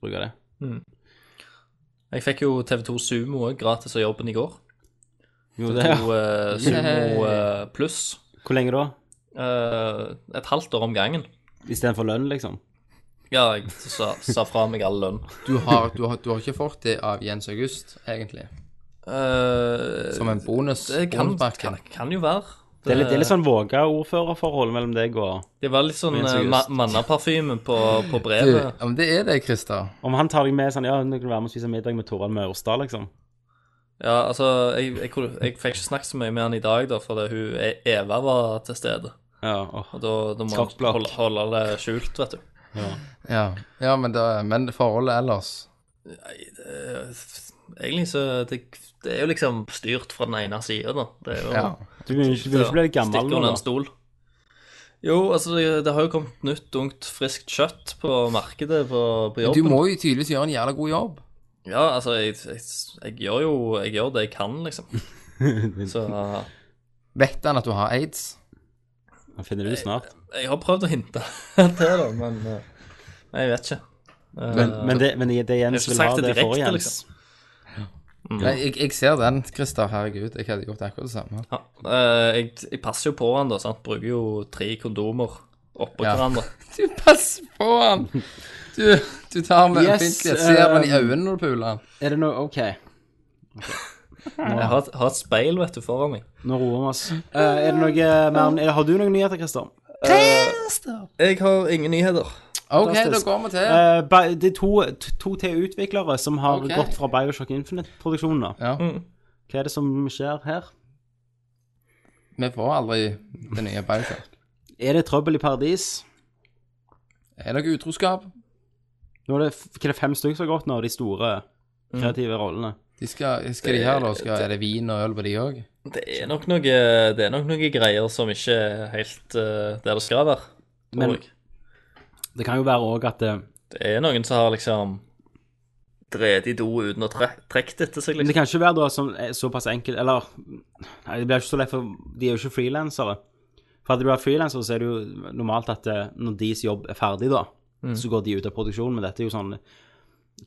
bruke det. Jeg fikk jo TV2 Sumo òg gratis av jobben i går. Jo, det, ja. To, eh, Sumo eh, pluss. Hvor lenge da? eh, et halvt år om gangen. Istedenfor lønn, liksom? Ja, jeg sa, sa fra meg all lønn. Du har, du, har, du har ikke fått det av Jens August, egentlig. Eh, Som en bonus. det kan, bonuspakke. kan, kan jo være. Det er litt, det er litt sånn våga ordførerforhold mellom deg og Det var litt sånn Men eh, seriøst. ma mannaparfyme på, på Du, brevet. ja, men det er det, Christer. Om han tar deg med sånn Ja, nå kan du være med og spise middag med Torvald Maurstad, liksom. Ja, altså, jeg, jeg, kunne- jeg fikk ikke snakket så mye med han i dag, da, fordi hun E- Eva var til stede. Ja, åh. Og da, da må Skakkblokk. han holde, holde det skjult, vet du. Ja, ja men, det, men forholdet ellers Egentlig så det, det er jo liksom styrt fra den ene sida, da. Det er jo Ja. Du begynner ikke du begynner ikke å bli litt gammel Stikker nå, under en da. stol. Jo, altså, det, det har jo kommet nytt, ungt, friskt kjøtt på markedet på, på Du jobben. må jo tydeligvis gjøre en jævla god jobb. Ja, altså, jeg, jeg, jeg gjør jo jeg gjør det jeg kan, liksom. Så Vet han at du har aids? Han finner det ut snart. Jeg har prøvd å hinte til det, men eh, Nei, jeg vet ikke. Eh, Men, men, det, men det Jens ikke vil sagt ha, det det får direkte, Jens. liksom. Mm. Nei, jeg, jeg ser den, Christer. Herregud, jeg hadde gjort akkurat det samme. ja, eh, jeg, jeg passer jo på han, da. sant? Bruker jo tre kondomer oppå Ja. hverandre. Du, pass på han! Du, du tar med Yes, øyeblinkelig, ser han i eh, øynene når du puler han. Er det noe OK. Jeg har, et- har et speil vet du, foran meg. Nå roer vi oss. Eh, er det noe eh, mer er, Har du noen nyheter, Christer? Jeg har ingen nyheter. OK, da fantastisk. går vi til. Eh, Bi- det er to, t- to til utviklere som har Ok. gått fra Bioshock Infinite-produksjonen. nå. Ja. Hva er det som skjer her? Vi får aldri det nye Bioshock. Er det trøbbel i paradis? Er det noe utroskap? Nå er det, f- hva er det fem stykker som har gått nå, de store kreative rollene. De skal, skal de her, da? Skal, er det vin og øl på de òg? Det er nok noe, det er nok noe greier som ikke er helt eh, der det skal være. tror Men- jeg. Det kan jo være òg at eh, det er noen som har liksom drevet i do uten å tre trekke det etter seg, Men liksom. det kan ikke være da som er såpass enkelt Eller Nei, det blir ikke så lett, for de er jo ikke frilansere. For hadde de vært frilansere, så er det jo normalt at eh, når deres jobb er ferdig, da, så går de ut av produksjonen. Men dette er jo sånn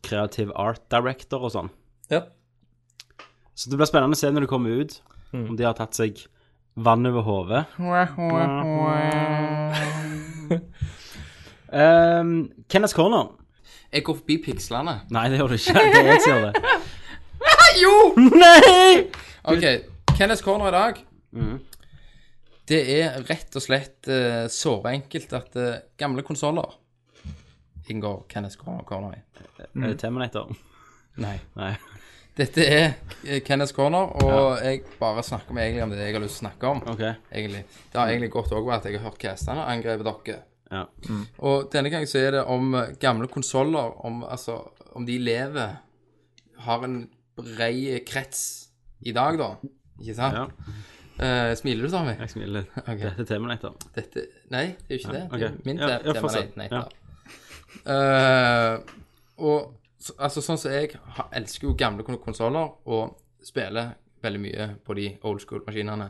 kreativ art director og sånn. Ja. Så det blir spennende å se når det kommer ut, Mm. om de har tatt seg vann over hodet. Um, Kenneth Corner. Jeg går forbi pikslene. Nei, det gjør du ikke. Det er jeg som gjør det. Jo! Nei! OK. Kenneth Corner i dag. Det er rett og slett eh, såre enkelt at eh, gamle konsoller inngår Kenneth Corner, Corner i. Mm. Er det Terminator? Nei. Nei. Dette er eh, Kenneth Corner, og jeg bare snakker med egentlig om det jeg har lyst til å snakke om. OK. Egentlig. Det har egentlig gått òg ved at jeg har hørt castene angripe dere. Ja. Og denne gangen så er det om eh, gamle konsoller, om, altså, om de lever, har en brei krets i dag, da. Ikke sant? Ja. Eh, smiler du, Tommy? Jeg smiler litt. Dette er Terminator. Dette Nei, det er jo ikke det. ok. Det er min Ja, ja, tema. Nei, fortsett. nei, Ja. da. Eh, og så- altså, sånn som jeg ha- elsker jo gamle konsoller og spiller veldig mye på de old school-maskinene.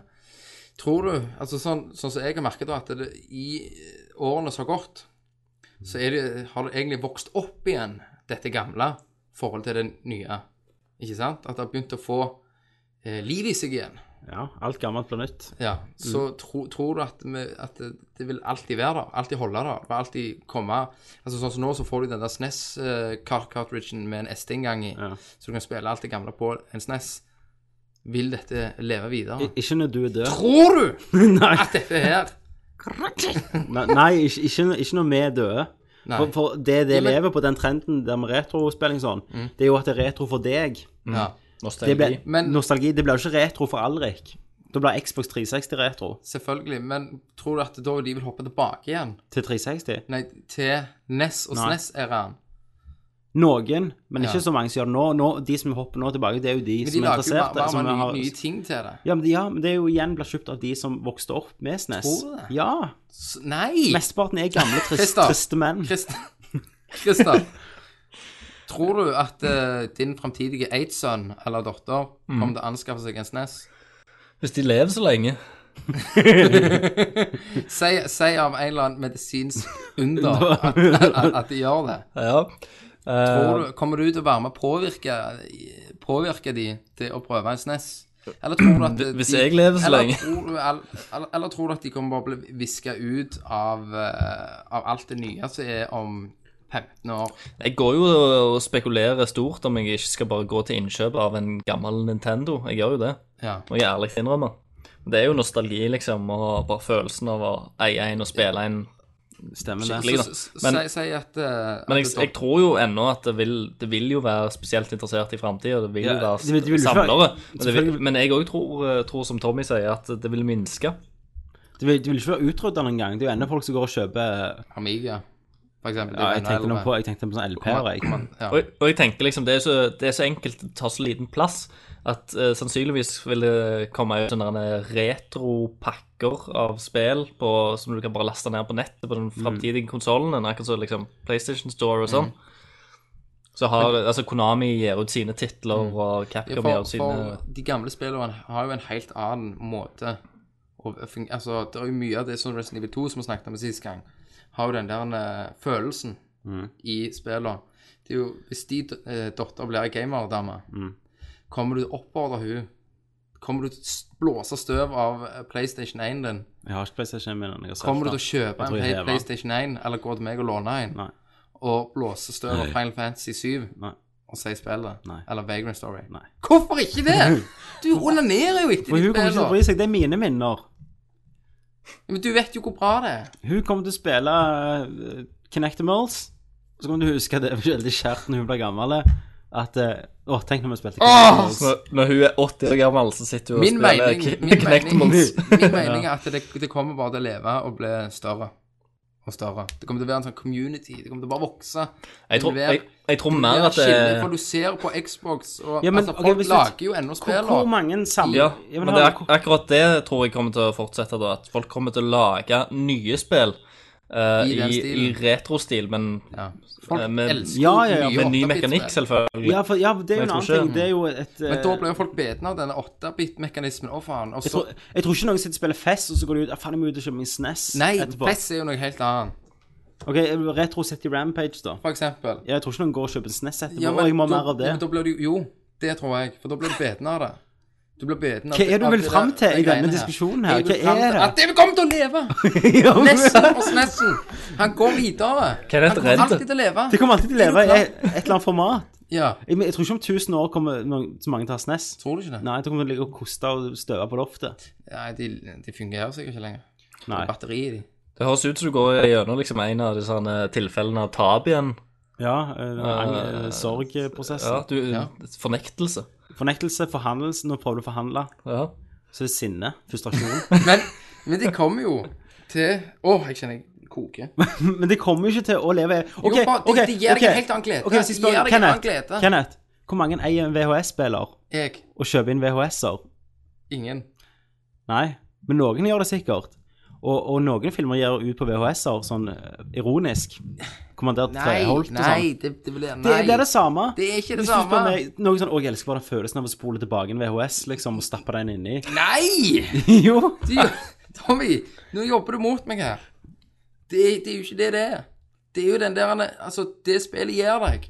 Tror du altså Sånn, sånn som jeg har merket da, at det, i årene som har gått, så er det, har det egentlig vokst opp igjen, dette gamle, i forhold til det nye. Ikke sant? At det har begynt å få eh, liv i seg igjen. Ja, alt gammelt blir nytt. Ja, så tro, tror du at, vi, at det, det vil alltid være der, alltid holde der, det vil alltid komme Altså sånn som nå, så får du den der SNES-cartridgen med en SD-inngang i, Ja. så du kan spille alt det gamle på en SNES. Vil dette leve videre? Ikke når du er død. Tror du Nei, at dette her nei, nei ikke, ikke, ikke når vi er døde. Nei. For, for det det Ja, men- lever på, den trenden der med retrospilling sånn, det er jo at det er retro for deg. Ja. Nostalgi. Det ble, Men- nostalgi. Det blir jo ikke retro for Alrik. Da blir Xbox 360 retro Selvfølgelig. Men tror du at da de vil hoppe tilbake igjen? til 360. Nei, til NES og Nei. SNES-æraen. Noen, men ikke Ja. så mange som gjør det nå. nå. De som hopper nå tilbake, det er jo de Men de som lager er jo bare, interesserte. bare som nye, har- nye ting til det. Ja, men, de- ja, men det er jo igjen blir kjøpt av de som vokste opp med SNES. Tror du det? Ja. S- Nei! Mesteparten er gamle, trist, Christer. triste menn. Christer, Christer tror du at eh, din framtidige aids-sønn eller -dotter Mm. kommer til å anskaffe seg en SNES? Hvis de lever så lenge. Si, si av en eller annen medisinsk under at, at, at de gjør det. Ja. Eh. Tror du, kommer du til å være med å påvirke, påvirke de til å prøve en SNES? Eller tror du at de, Hvis jeg lever så eller lenge. Tror du, eller, eller tror du at de kommer bare å bli viska ut av, eh, av alt det nye som er om 15 år? Jeg går jo og spekulerer stort om jeg ikke skal bare gå til innkjøp av en gammel Nintendo. Jeg gjør jo det, Ja. må jeg ærlig innrømme. Det er jo nostalgi, liksom, og bare følelsen av å eie en og spille en. Stemmer Skikkelig. det. Ligger Så, det. så, så, Men- si, si at, eh, Men at jeg, jeg tror jo ennå at det vil, det vil jo være spesielt interessert i framtida. Det vil jo Ja, være det vil- det vil jo samlere. være- Men, det vil, selvfølgelig. men jeg òg tror, tror, som Tommy sier, at det vil minske. De vil, de vil ikke være utrydda noen gang. Det er jo ennå folk som går og kjøper Amiga, for eksempel. Ja, jeg tenkte nå noe på, jeg tenkte på sånne LP-er, jeg. ja. Og, og jeg tenker liksom, det er, så, det er så enkelt, det tar så liten plass, at eh, sannsynligvis vil det komme ut sånne der retropakker av spill på, som du kan bare laste ned på nettet på den framtidige konsollen, akkurat som liksom PlayStation Store og sånn. Så har, altså Konami gir ut sine titler, og Ja, Capcom for, gir ut sine for eh, de gamle spillene har jo en helt annen måte å fun- Altså, det er jo mye av det som Resident Evil 2, som vi snakket om sist gang, har jo den der eh, følelsen Mm. i spillene. Det er jo, hvis de uh, datter blir ei gamerdame, Mm. kommer du til å oppfordre hun Kommer du til å s- blåse støv av eh, PlayStation 1 din? Jeg har ikke PlayStation min. jeg har selv Kommer du til da. å kjøpe Jeg en tror jeg Play- hever. PlayStation 1, eller gå til meg og låne en, Nei. og blåse støv av Final Fantasy 7? Nei. og si spillet. Nei. Eller Vagrant Story. Nei. Hvorfor ikke det?! Du onanerer jo etter For de hun kommer ikke til å spillene. bry seg. Det er mine minner. Men du vet jo hvor bra det er. Hun kommer til å spille uh, Connectimals. Så kommer du til å huske det veldig kjært når hun blir gammel, at uh, Å, tenk når vi spilte Connectimals. når, når hun er 80 år gammel, så sitter hun og Min spiller mening, K- min, mening, Knectimals. min mening er at det, det kommer bare til å leve og bli større og større. Det kommer til å være en sånn community. Det kommer til å bare vokse. Jeg tror, jeg, jeg tror Det mer er at det skille, for du ser på Xbox og Ja, men, altså, ok, Folk hvis du- lager jo ennå Hvor, hvor spillere. mange samler Ja, Ja, men det er ak akkurat det tror jeg kommer til å fortsette da, at folk kommer til å lage nye spill eh, I i, den i, stilen. retrostil, men Ja. Folk eh, med, elsker Ja, ja, ja, jo med ny 8-bit-spill. mekanikk, selvfølgelig. ja, for, ja, det er Men jeg jo en tror annen ting. ikke- Det er jo et uh, Men da ble jo folk beten av denne 8-bit-mekanismen. Å, faen. Og jeg, så tror, jeg tror ikke noen sitter og spiller Fest, og så går de ut ah, Faen, jeg må ut og kjøpe meg en SNES Nei, etterpå. press er jo noe helt annet. Ok, Retro City Rampage, da. For eksempel. Ja, jeg tror ikke noen går og kjøper en SNES etterpå. Ja, Å, jeg må ha mer av Ja, det. men da blir du, jo, det tror jeg. For da blir du beten av det. Du blir beten av Hva er du av vil det frem der- de til i denne greiene diskusjonen Jeg her? vil Hva frem er til det? At det kommer til å leve! Ja, men- Nesten og snessen. Han går videre. Hva er det Han redd? kommer alltid til å leve. Det kommer alltid til å Er du leve i klar? et et eller annet format. Ja, Jeg, men jeg tror ikke om 1000 år kommer noen, så mange til å ha SNES. tror du ikke det? Nei, jeg tror kommer til å ligge og koste og støve på loftet. Nei, de, de fungerer sikkert ikke lenger. Nei. Batteriet i de. Det høres ut som du går gjennom liksom, en av disse eh, tilfellene av tap igjen. Ja, eh, ang- eh, sorgprosessen. Ja, du, Fornektelse. Fornektelse, forhandelse. Nå prøver du å forhandle. Ja. Så det er sinne, frustrasjon. Men, men de kommer jo til Å, jeg kjenner jeg koker. Men det kommer jo ikke til å leve Jo, OK, bare- det- OK. det gir deg ok. en helt annen glede. Ok, hvis jeg Det spør- gir deg en annen glede. Kenneth, Kenneth, hvor mange eier en VHS-spiller Jeg. og kjøper inn VHS-er? Ingen. Nei, men noen gjør det sikkert. Og, og noen filmer gjør ut på VHS-er, sånn eh, ironisk. Kommandert Nei, Treholt og nei, sånn. det, det blir Det, Nei. det er det samme. Det er ikke det Hvis du spør samme. meg, noe sånn, å, jeg elsker bare den følelsen av å spole tilbake en VHS, liksom, og stappe den inni. Nei! jo! Du, Tommy, nå jobber du mot meg her. Det, er- det er jo ikke det det er. Det er jo den der Altså, det spillet gir deg.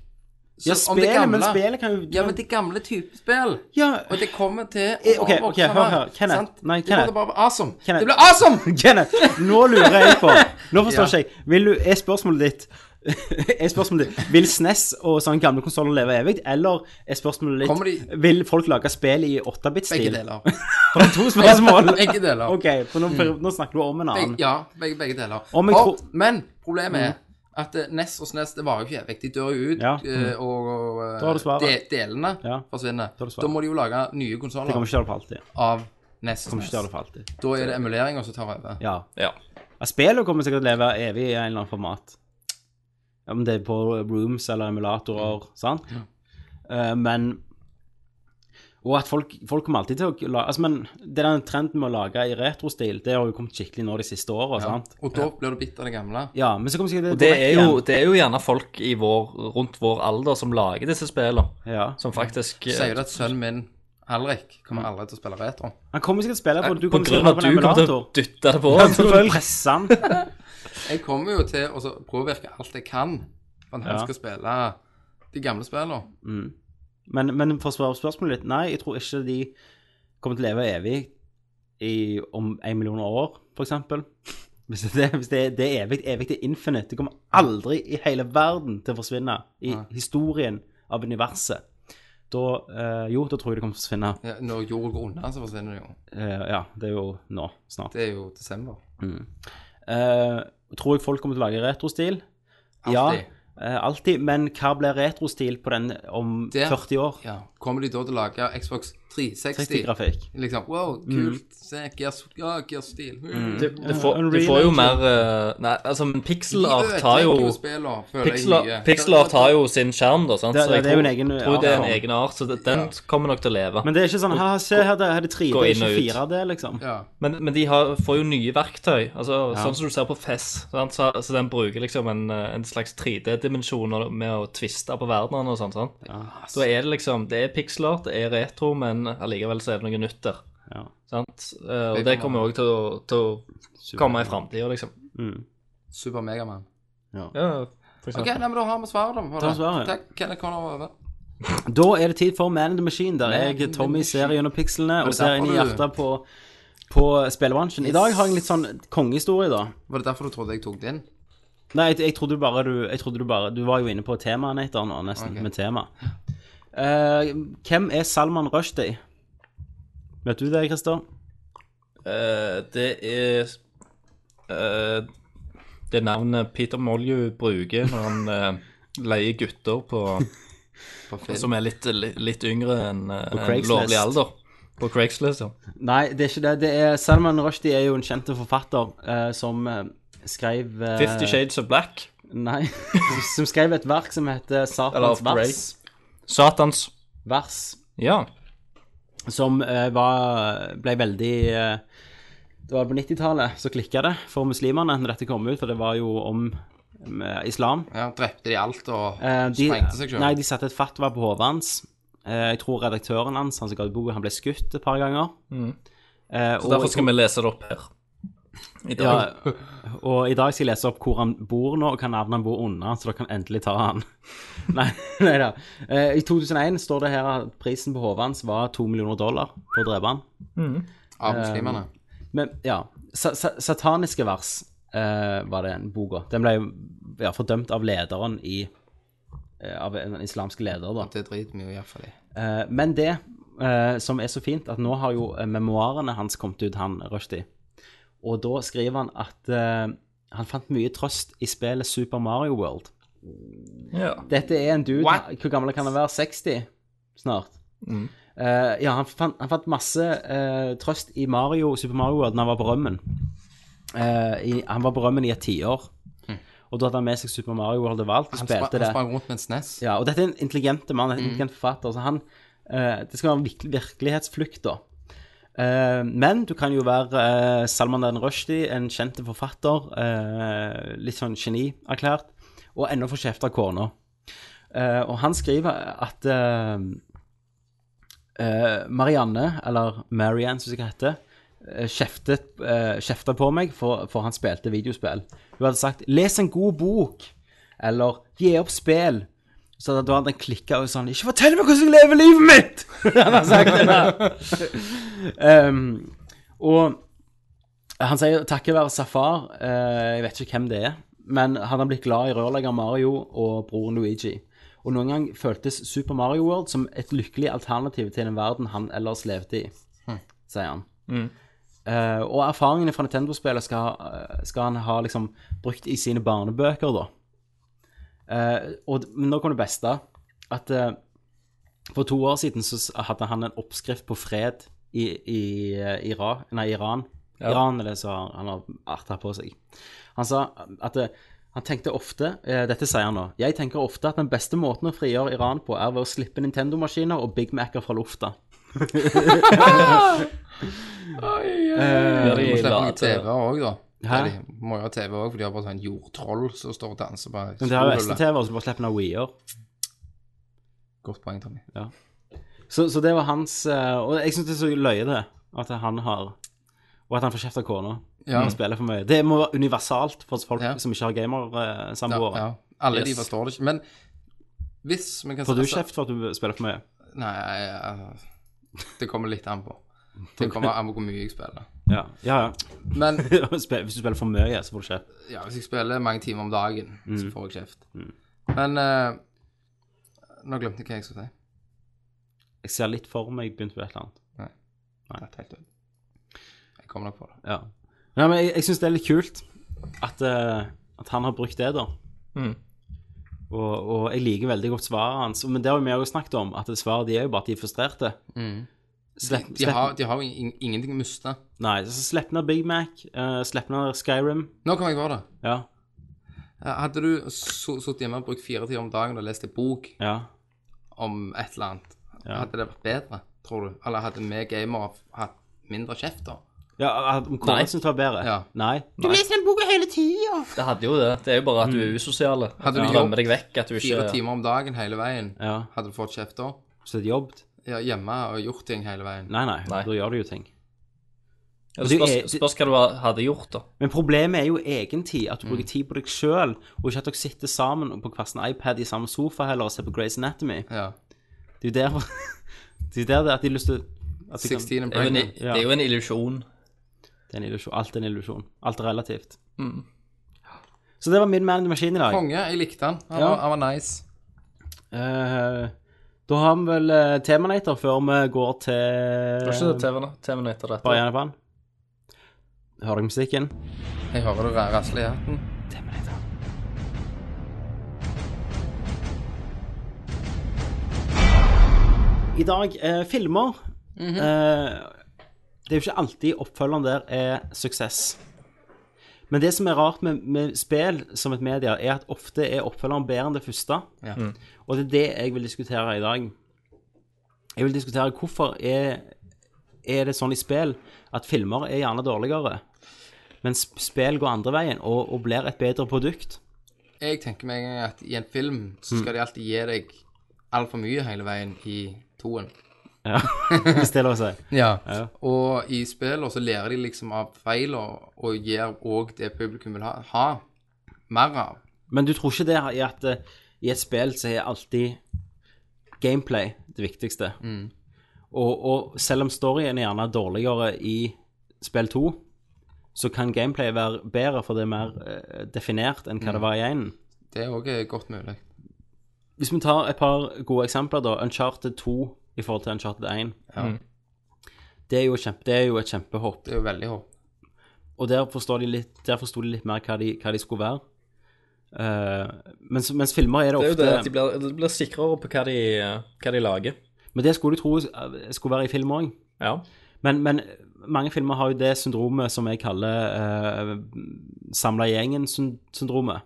Så Ja, om det spillet, men gamle- spillet kan jo Ja, men det gamle type spill. Ja, Og det kommer til Eh, ok, overvokse ok, hør meg, her. Kenneth, sant? nei, Det kommer Kenneth. til å bare være awesome. Kenneth. Det blir awesome! Kenneth, nå lurer jeg på Nå Ja. forstår ikke jeg. Vil du, er spørsmålet ditt er spørsmålet ditt Vil SNES og sånne gamle konsoller leve evig, eller er spørsmålet Kommer ditt de- Vil folk lage spill i Begge 8-bit-stil? deler. For det er to spørsmål. Begge deler. OK, for nå, nå snakker du om en annen. Begge, ja, begge, begge deler. Om jeg For- tror- Mm. Men problemet er at eh, NES og SNES det varer jo ikke evig. De dør jo ut, Ja. Mm. eh, og, og eh, Da har du svaret. de, delene Ja. forsvinner. har du svaret. Da må de jo lage nye Det konsoller kommer ikke til å holde på alltid. av Nest, Kommer ikke til å gjøre det for alltid. Da er det emuleringer som tar over. Ja. Ja. Ja, Spillet kommer sikkert til å leve evig i en eller annen format. Om det er på rooms eller emulatorer, sant? Eh, men Og at folk, folk kommer alltid til å lage altså, Men det er den trenden med å lage i retrostil, det har jo kommet skikkelig nå de siste åra, sant? Og da blir du bitt av det gamle. Ja, men så kommer sikkert Og det til er, å vekke jo, igjen. det er jo gjerne folk i vår, rundt vår alder som lager disse spillene. ja. Mm. Som faktisk eh, Sier du at sønnen min Alrik kommer aldri til å spille retro? Han kommer sikkert til å spille på Du På kommer grunn sikkert av at til du å spille kommer på en til å emulator. dytte det på Ja, han, så kommer du til å selvfølgelig. presse han. Jeg kommer jo til å så påvirke alt jeg kan for at han Ja. skal spille de gamle spillene. Mm. Men, men for å svare på spørsmålet litt, nei, jeg tror ikke de kommer til å leve evig i, om en million år, for eksempel. Hvis det, hvis det, det er evig, evig det er infinite. Det kommer aldri i hele verden til å forsvinne i Nei. historien av universet. Da, eh, jo, da tror jeg det kommer til å forsvinne. Ja, når jorda går unna, så forsvinner det jo. Eh, ja, det er jo nå, snart. Det er jo desember. Eh, tror jeg folk kommer til å lage retrostil? Alltid. Ja, eh, alltid. Men hva blir retrostil på den om Det- 40 år? Ja. Kommer de da til å lage Xbox 360? 30-grafikk. Liksom, wow, Mm. kult. Se, Gears, ja, Gears-stil. Mm. Du, du, får, du får jo mer eh, Nei, altså, men pixel art tar jo Pixel, pixel art har jo sin skjerm, da, sant? Det- så jeg det er jo tror, en egen tror det er art, en ja. egen art, så det, den kommer nok til å leve. Men det er ikke sånn «Ha, Se her, det her er det 3D, Gå inn ikke og ut. 4D, liksom. Ja. Men, men de har, får jo nye verktøy. Altså, Sånn som du ser på FES. Sant? Så, så den bruker liksom en, eh, en slags 3D-dimensjon med å tviste på verdenene og sånn. sant? Så er det liksom Det er pixelart, det er retro, men allikevel så er det noe nytt der. Ja. Sant? Eh, Og det kommer òg til, å- til å komme i framtida, liksom. mm. Super Megaman. Ja, for OK, eksempel. nei, men da har vi svaret da, på Da har vi svaret. det. Takk, Kenneth Connor var over. Da er det tid for Man in the Machine, der Man in jeg, the Tommy, ser Machine. gjennom pikslene det og ser inn i derfor du- hjertet på, på spillebransjen. I dag har jeg en litt sånn kongehistorie, da. Var det derfor du trodde jeg tok din? Nei, jeg, jeg trodde bare du Jeg trodde du bare Du var jo inne på temaet, Nathan, nå, nesten, Ok. med tema. Eh, hvem er Salman Rushdie? Vet du det, Christer? Eh, det er eh, Det navnet Peter Molyu bruker når han eh, leier gutter på, På film? som er litt, litt, litt yngre enn eh, enn På lovlig Craigslist. alder. På Craigslist, ja. Nei, det er ikke det. det er, Salman Rushdie er jo en kjent forfatter eh, som eh, skrev eh, Fifty Shades of Black. Nei. Som skrev et verk som heter Eller Satans of Grey. vers. Satans. vers Ja. som eh, var, ble veldig eh, Det var på 90-tallet så klikka det for muslimene når dette kom ut, for det var jo om eh, islam. Ja, drepte de alt og Eh, de, sprengte seg Nei, sjøl? de satte et fatwa på hodet hans. Eh, jeg tror redaktøren hans, han som ga ut boka, han ble skutt et par ganger. Eh, og, Derfor skal vi lese det opp her. I ja, dag. og i dag skal jeg lese opp hvor han bor nå, og hva navnet han bor under, så dere kan endelig ta han. nei, nei da. Eh, I 2001 står det her at prisen på hodet hans var 2 millioner dollar for å drepe han. eh, Av muslimene? Men ja, sa sa sataniske vers eh, var den boka. Den ble jo ja, fordømt av lederen i eh, Av en islamsk leder, da. Det driter vi jo iallfall i. Eh, men det eh, som er så fint, at nå har jo eh, memoarene hans kommet ut, han Rushdie. Og da skriver han at eh, han fant mye trøst i spillet Super Mario World. Ja. Dette er en dude Hvor gammel kan han være? 60 snart? Mm. Eh, ja, han fant, han fant masse eh, trøst i Mario, Super Mario World når han var på rømmen. Eh, i, han var på rømmen i et tiår. Og da hadde han med seg Super Mario World overalt og Mm. Han, spra spilte han det. sprang rundt med en SNES. Ja, og dette er en intelligent mann, en intelligent forfatter, så han eh, Det skal være en virke- virkelighetsflukt, da. Eh, men du kan jo være eh, Salman den Rushdie, en kjent forfatter, eh, litt sånn genierklært, og ennå få kjeft av kona. Eh, og han skriver at eh, eh, Marianne, eller Marianne som hun heter, eh, kjeftet, eh, kjefta på meg for, for han spilte videospill. Hun hadde sagt 'les en god bok', eller 'gi opp spill'. Så da, da hadde han klikka og sånn 'Ikke fortell meg hvordan jeg lever livet mitt!' han har sagt det der. um, og han sier takket være Safar eh, Jeg vet ikke hvem det er, men hadde han blitt glad i rørlegger Mario og broren Luigi. Og noen gang føltes Super Mario World som et lykkelig alternativ til den verden han ellers levde i, sier han. Eh, og erfaringene fra Nintendo-spillet skal, eh, skal han ha liksom brukt i sine barnebøker, da. Eh, og d- men nå kom det beste. At eh, for to år siden så s- hadde han en oppskrift på fred i, i eh, Ira, nei, Iran. Iran er det som han har arta på seg. Han sa at eh, han tenkte ofte eh, Dette sier han nå. Jeg tenker ofte at den beste måten å frigjøre Iran på, er ved å slippe Nintendo-maskiner og Big Mac-er fra lufta. Der de Må slippe noe late- TV òg, da. Hæ? Nei, de må jo ha TV òg, for de har bare sånn jordtroll som står og danser på Men det er jo ST-TV, og så bare slipper han av Wii-er. Godt poeng, Tommy. Så, så det var hans eh, Og jeg syns det er så løye det, at han har Og at han får kjeft av kona Ja. når han spiller for mye. Det må være universalt for folk Ja. som ikke har Ja, gamersamboere. ja. Alle de Yes. forstår det ikke. Men hvis vi kan Får du altså- kjeft for at du spiller for mye? Nei, eh, det kommer litt an på. Det kommer an på hvor mye jeg spiller. Ja, ja. Men ja. Sp- Hvis du spiller for mye, så får du kjeft. ja, hvis jeg spiller mange timer om dagen, Mm. så får jeg kjeft. Men eh, Nå glemte jeg hva jeg skulle si. Jeg ser litt for meg begynte på et eller annet. Nei, helt død. Jeg kommer nok på det. Ja. Nei, men jeg, jeg syns det er litt kult at, eh, at han har brukt det, da. Mm. Mhm. Og, og jeg liker veldig godt svaret hans. Men det har jo vi også snakket om, at svaret de er jo bare at de er frustrerte. Mm. Slipp, De slipp- har, de har jo ing- ingenting å miste. Nei, så slipp ned Big Mac, uh, slipp ned Skyrim. Nå kom jeg på det. Ja, Eh, Hadde du so- sittet hjemme og brukt fire timer om dagen og lest en bok ja. om et eller annet, Ja. hadde det vært bedre, tror du? Eller hadde vi gamere hatt mindre kjeft da? ja at- om kona Nei. syntes det var bedre? Ja. Nei. Det hadde jo det. Det er jo bare at du er usosial. At Hadde du du glemmer jobb? deg vekk. At du ikke Fire timer om dagen hele veien, Ja. hadde du fått kjeft da? Så det jobbet? Ja, hjemme og gjort ting hele veien. Nei, nei, Nei. da gjør du jo ting. Ja, Og det det spørs, er- spørs hva du ha- hadde gjort, da. Men problemet er jo egentid, at du bruker tid på deg sjøl, og ikke at dere sitter sammen på hver sin iPad i samme sofa heller og ser på Grey's Anatomy. Ja. Det er jo der Det er jo der det at de har lyst til at de kan, 16 and Det er jo en, pregnant. det er jo en illusjon. det er en illusjon. Alt er en illusjon. Alt er relativt. Så det var min man in the machine i dag. Konge, jeg likte han. Han, Ja. var, han var nice. Eh, da har vi vel uh, Temanator før vi går Det var til ikke TV-en TV etter dette. Bare gjerne på den. Hører dere musikken? Jeg hører du rasler i hatten. I dag, eh, filmer eh, Det er jo ikke alltid oppfølgeren der er suksess. Men det som er rart med, med spill som et media, er at ofte er oppfølgeren bedre enn det første. Ja. Og det er det jeg vil diskutere i dag. Jeg vil diskutere hvorfor er, er det sånn i spill at filmer er gjerne dårligere, mens spill går andre veien og, og blir et bedre produkt. Jeg tenker meg en gang at i en film så skal de alltid gi deg altfor mye hele veien i toen. Ja, hvis det er lov å si. Ja. Og i spillene så lærer de liksom av feil og, og gir òg det publikum vil ha, ha mer av. Men du tror ikke det i at eh, i et spill så er alltid gameplay det viktigste. Og, og selv om storyen er gjerne dårligere i spill 2, så kan gameplay være bedre, for det er mer eh, definert enn hva det var i enen. Det er òg godt mulig. Hvis vi tar et par gode eksempler, da. Uncharted 2 i forhold til Uncharted 1. Det, er jo kjempe, det er jo et kjempehopp. Det er jo veldig håp. Og der forstår de litt, der forsto de litt mer hva de, hva de skulle være. Eh, mens, mens filmer er det Det er ofte jo det at de blir, de blir sikrere på hva de, hva de lager. Men det skulle du tro eh, skulle være i film òg. Ja. Men, men mange filmer har jo det syndromet som jeg kaller uh, samla gjengen-syndromet.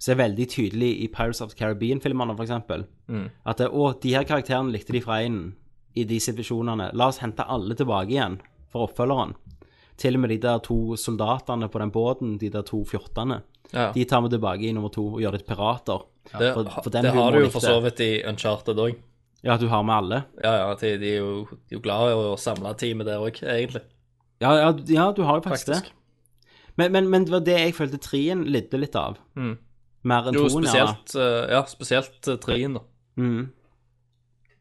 Som er veldig tydelig i Pirates of the Caribbean-filmene, f.eks. Mm. At det, å, de her karakterene likte de fra én i de situasjonene. La oss hente alle tilbake igjen for oppfølgeren. Til og med de der to soldatene på den båten, de der to fjortene. Ja. De tar vi tilbake i nummer to og gjør det til pirater. Det, for- for den det har humoren du jo likte for jeg. så vidt i Uncharted òg. Ja, at du har med alle. Ja, ja, de, de er jo, de er jo glad i å samle teamet der òg, egentlig. Ja, ja, ja, du har jo faktisk, Faktisk. det. Men, men, men det var det jeg følte trien lidde litt av. Mer enn Mm. Jo, toen, ja. spesielt, eh, ja, spesielt eh, treen, da. Mm.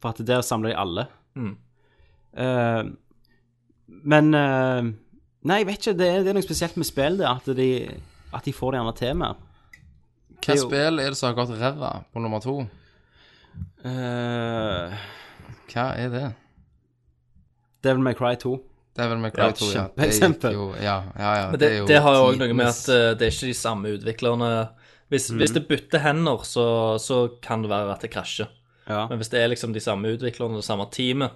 For at der samler de alle. Mm. Eh, men eh, Nei, jeg vet ikke. Det er, det er noe spesielt med spill, det. At de, at de får det gjerne til mer. Hva er jo- spill er det som har gått ræva på nummer to? Uh, Hva er det? Devil May Cry 2. Det er vel med Ja, Cry 2, ja. Det gikk kjempeeksempel. jo- Ja, ja, ja. Men det, det har jo òg noe med tidenes- at eh, det er ikke de samme utviklerne Hvis, Mhm. hvis det bytter hender, så, så kan det være at det krasjer. Ja. Men hvis det er liksom de samme utviklerne og det samme teamet,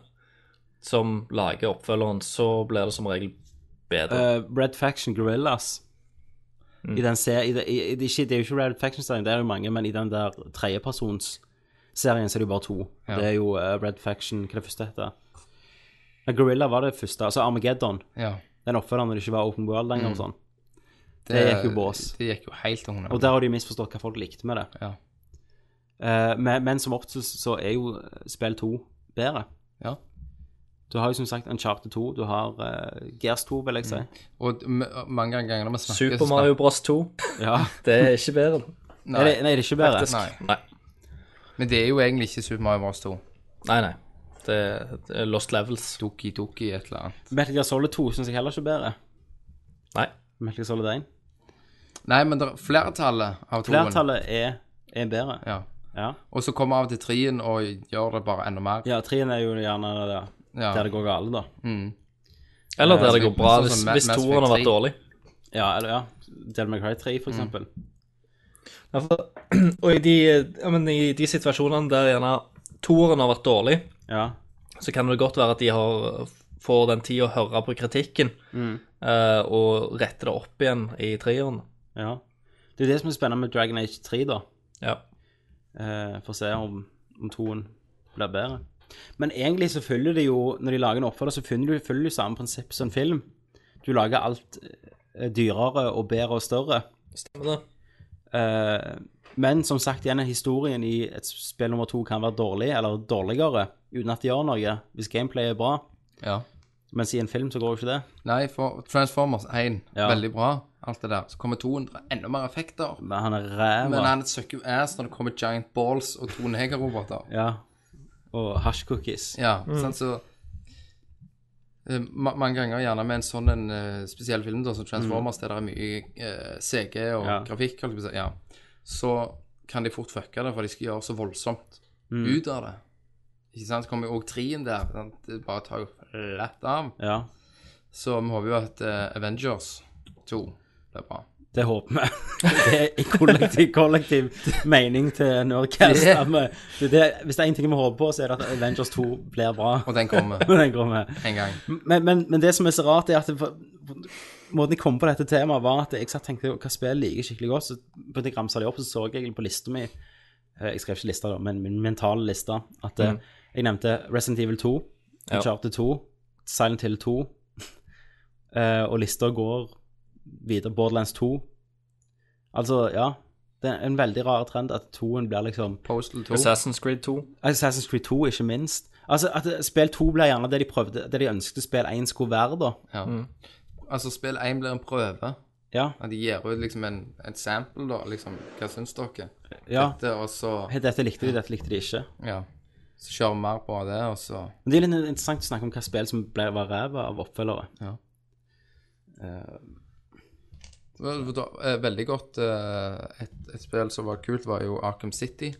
som lager oppfølgeren, så blir det som regel bedre. Eh, Red Faction Gorillas I den serien i, det- i, i, det er ikke- Det er jo ikke Red Faction-serien, det er jo mange, men i den der tredjepersons-serien så er det jo bare to. Det er jo eh, Red Faction Hva er det første heter? Ja, Gorilla var det første. Altså Armageddon. Ja. eh, Den oppfølgeren når det ikke var Open World lenger. og sånn. Det, gikk jo bås. Mm. Det gikk jo helt til hundre. Og der har de misforstått hva folk likte med det. Ja. Eh, men, men som oftest så er jo eh, spill 2 bedre. Ja. Du har jo som sagt Uncharted 2, du har eh, Gears 2, vil jeg si. Og d- m- mange ganger når vi snakker så Super snakker- Mario Bros. 2, Ja. det er ikke bedre. Nei. Nei, Er det, nei, det er ikke bedre. nei. Nei, Men det er jo egentlig ikke Super Mario Bros. 2. nei. nei. Det, det er Lost Levels. Doki Doki et eller annet. Metal Gear Solid 2 syns jeg heller ikke er bedre. Nei. Metal Gear Solid 1. Nei, men det er flertallet av toen. Flertallet er, er bedre. Ja. Ja. Og så kommer av og til trien og gjør det bare enda mer. ja, treen er jo gjerne det der, Ja. Mm. der det går galt, da. Eller der det går bra, Sånn som hvis, Ma- hvis Mass Effect toeren har 3. vært dårlig. Ja, eller ja. Del McRae 3, Mm. for eksempel. Ja, for, og i de, ja, men i de situasjonene der gjerne toeren har vært dårlig, Ja. så kan det godt være at de har, får den tid å høre på kritikken Mm. eh, og rette det opp igjen i treeren. ja. Det er jo det som er spennende med Dragon Age 3, da. Ja. Eh, for å se om, om toen blir bedre. Men egentlig så følger det jo, når de lager en oppfølger, så følger du, følger du samme prinsipp som en film. Du lager alt eh, dyrere og bedre og større. Stemmer det? Eh, men som sagt, igjen, historien i et spill nummer to kan være dårlig, eller dårligere, uten at de gjør noe, hvis gameplay er bra. Ja. Mens i en film så går jo ikke det. Nei, for Transformers 1, Ja. veldig bra, alt det der. Så kommer toen, det er enda mer effekter. Men han er ræva. Men han søkker jo ass når det kommer giant balls og to negerroboter. Ja. Og hashcookies. Ja, sant, så eh, ma Mange ganger gjerne med en sånn en, eh, spesiell film da, som Transformers, der det er mye eh, CG og Ja. grafikk, holdt jeg på å si, ja. så kan de fort fucke det, for de skal gjøre så voldsomt ut av det. Ikke sant? Så kommer jo òg trien der. Sant? Det bare tar jo lett av. Ja. Så vi håper jo at eh, Avengers 2 blir bra. Det håper vi. Det er i kollektiv, kollektiv mening til Nerdcast. Det- at vi- Det, det, hvis det er én ting vi håper på, så er det at Avengers 2 blir bra. Og den kommer Men den går med. en gang. Men, men, men det som er så rart, er at det, for- måten jeg kom på dette temaet, var at jeg satt og tenkte hva spill liker jeg skikkelig godt. Så begynte jeg å ramse det opp, så så jeg egentlig på lista mi eh, Jeg skrev ikke lista, da, men min mentale liste. At eh, jeg nevnte Resident Evil 2, Ja. Charter 2, Silent Hill 2. eh, og lista går videre. Borderlands 2. Altså, ja. Det er en veldig rar trend at toen blir liksom Postal 2. Assassin's Creed 2. Assassin's Creed 2, ikke minst. Altså, at eh, spill 2 blir gjerne det de prøvde, det de ønsket spill 1 skulle være, da. Ja. Altså, spill 1 blir en prøve. Ja. At de gir ut liksom en, et sample, da. Liksom, hva syns dere? ja. Dette, og så Hei, Dette likte de, dette likte de ikke. Ja. Så kjører vi mer på det, og så Men det er litt interessant å snakke om hva spill som ble, var ræva av oppfølgere. Det var- det var, eh, Veldig godt eh, et, et spill som var kult, var jo Arkham City.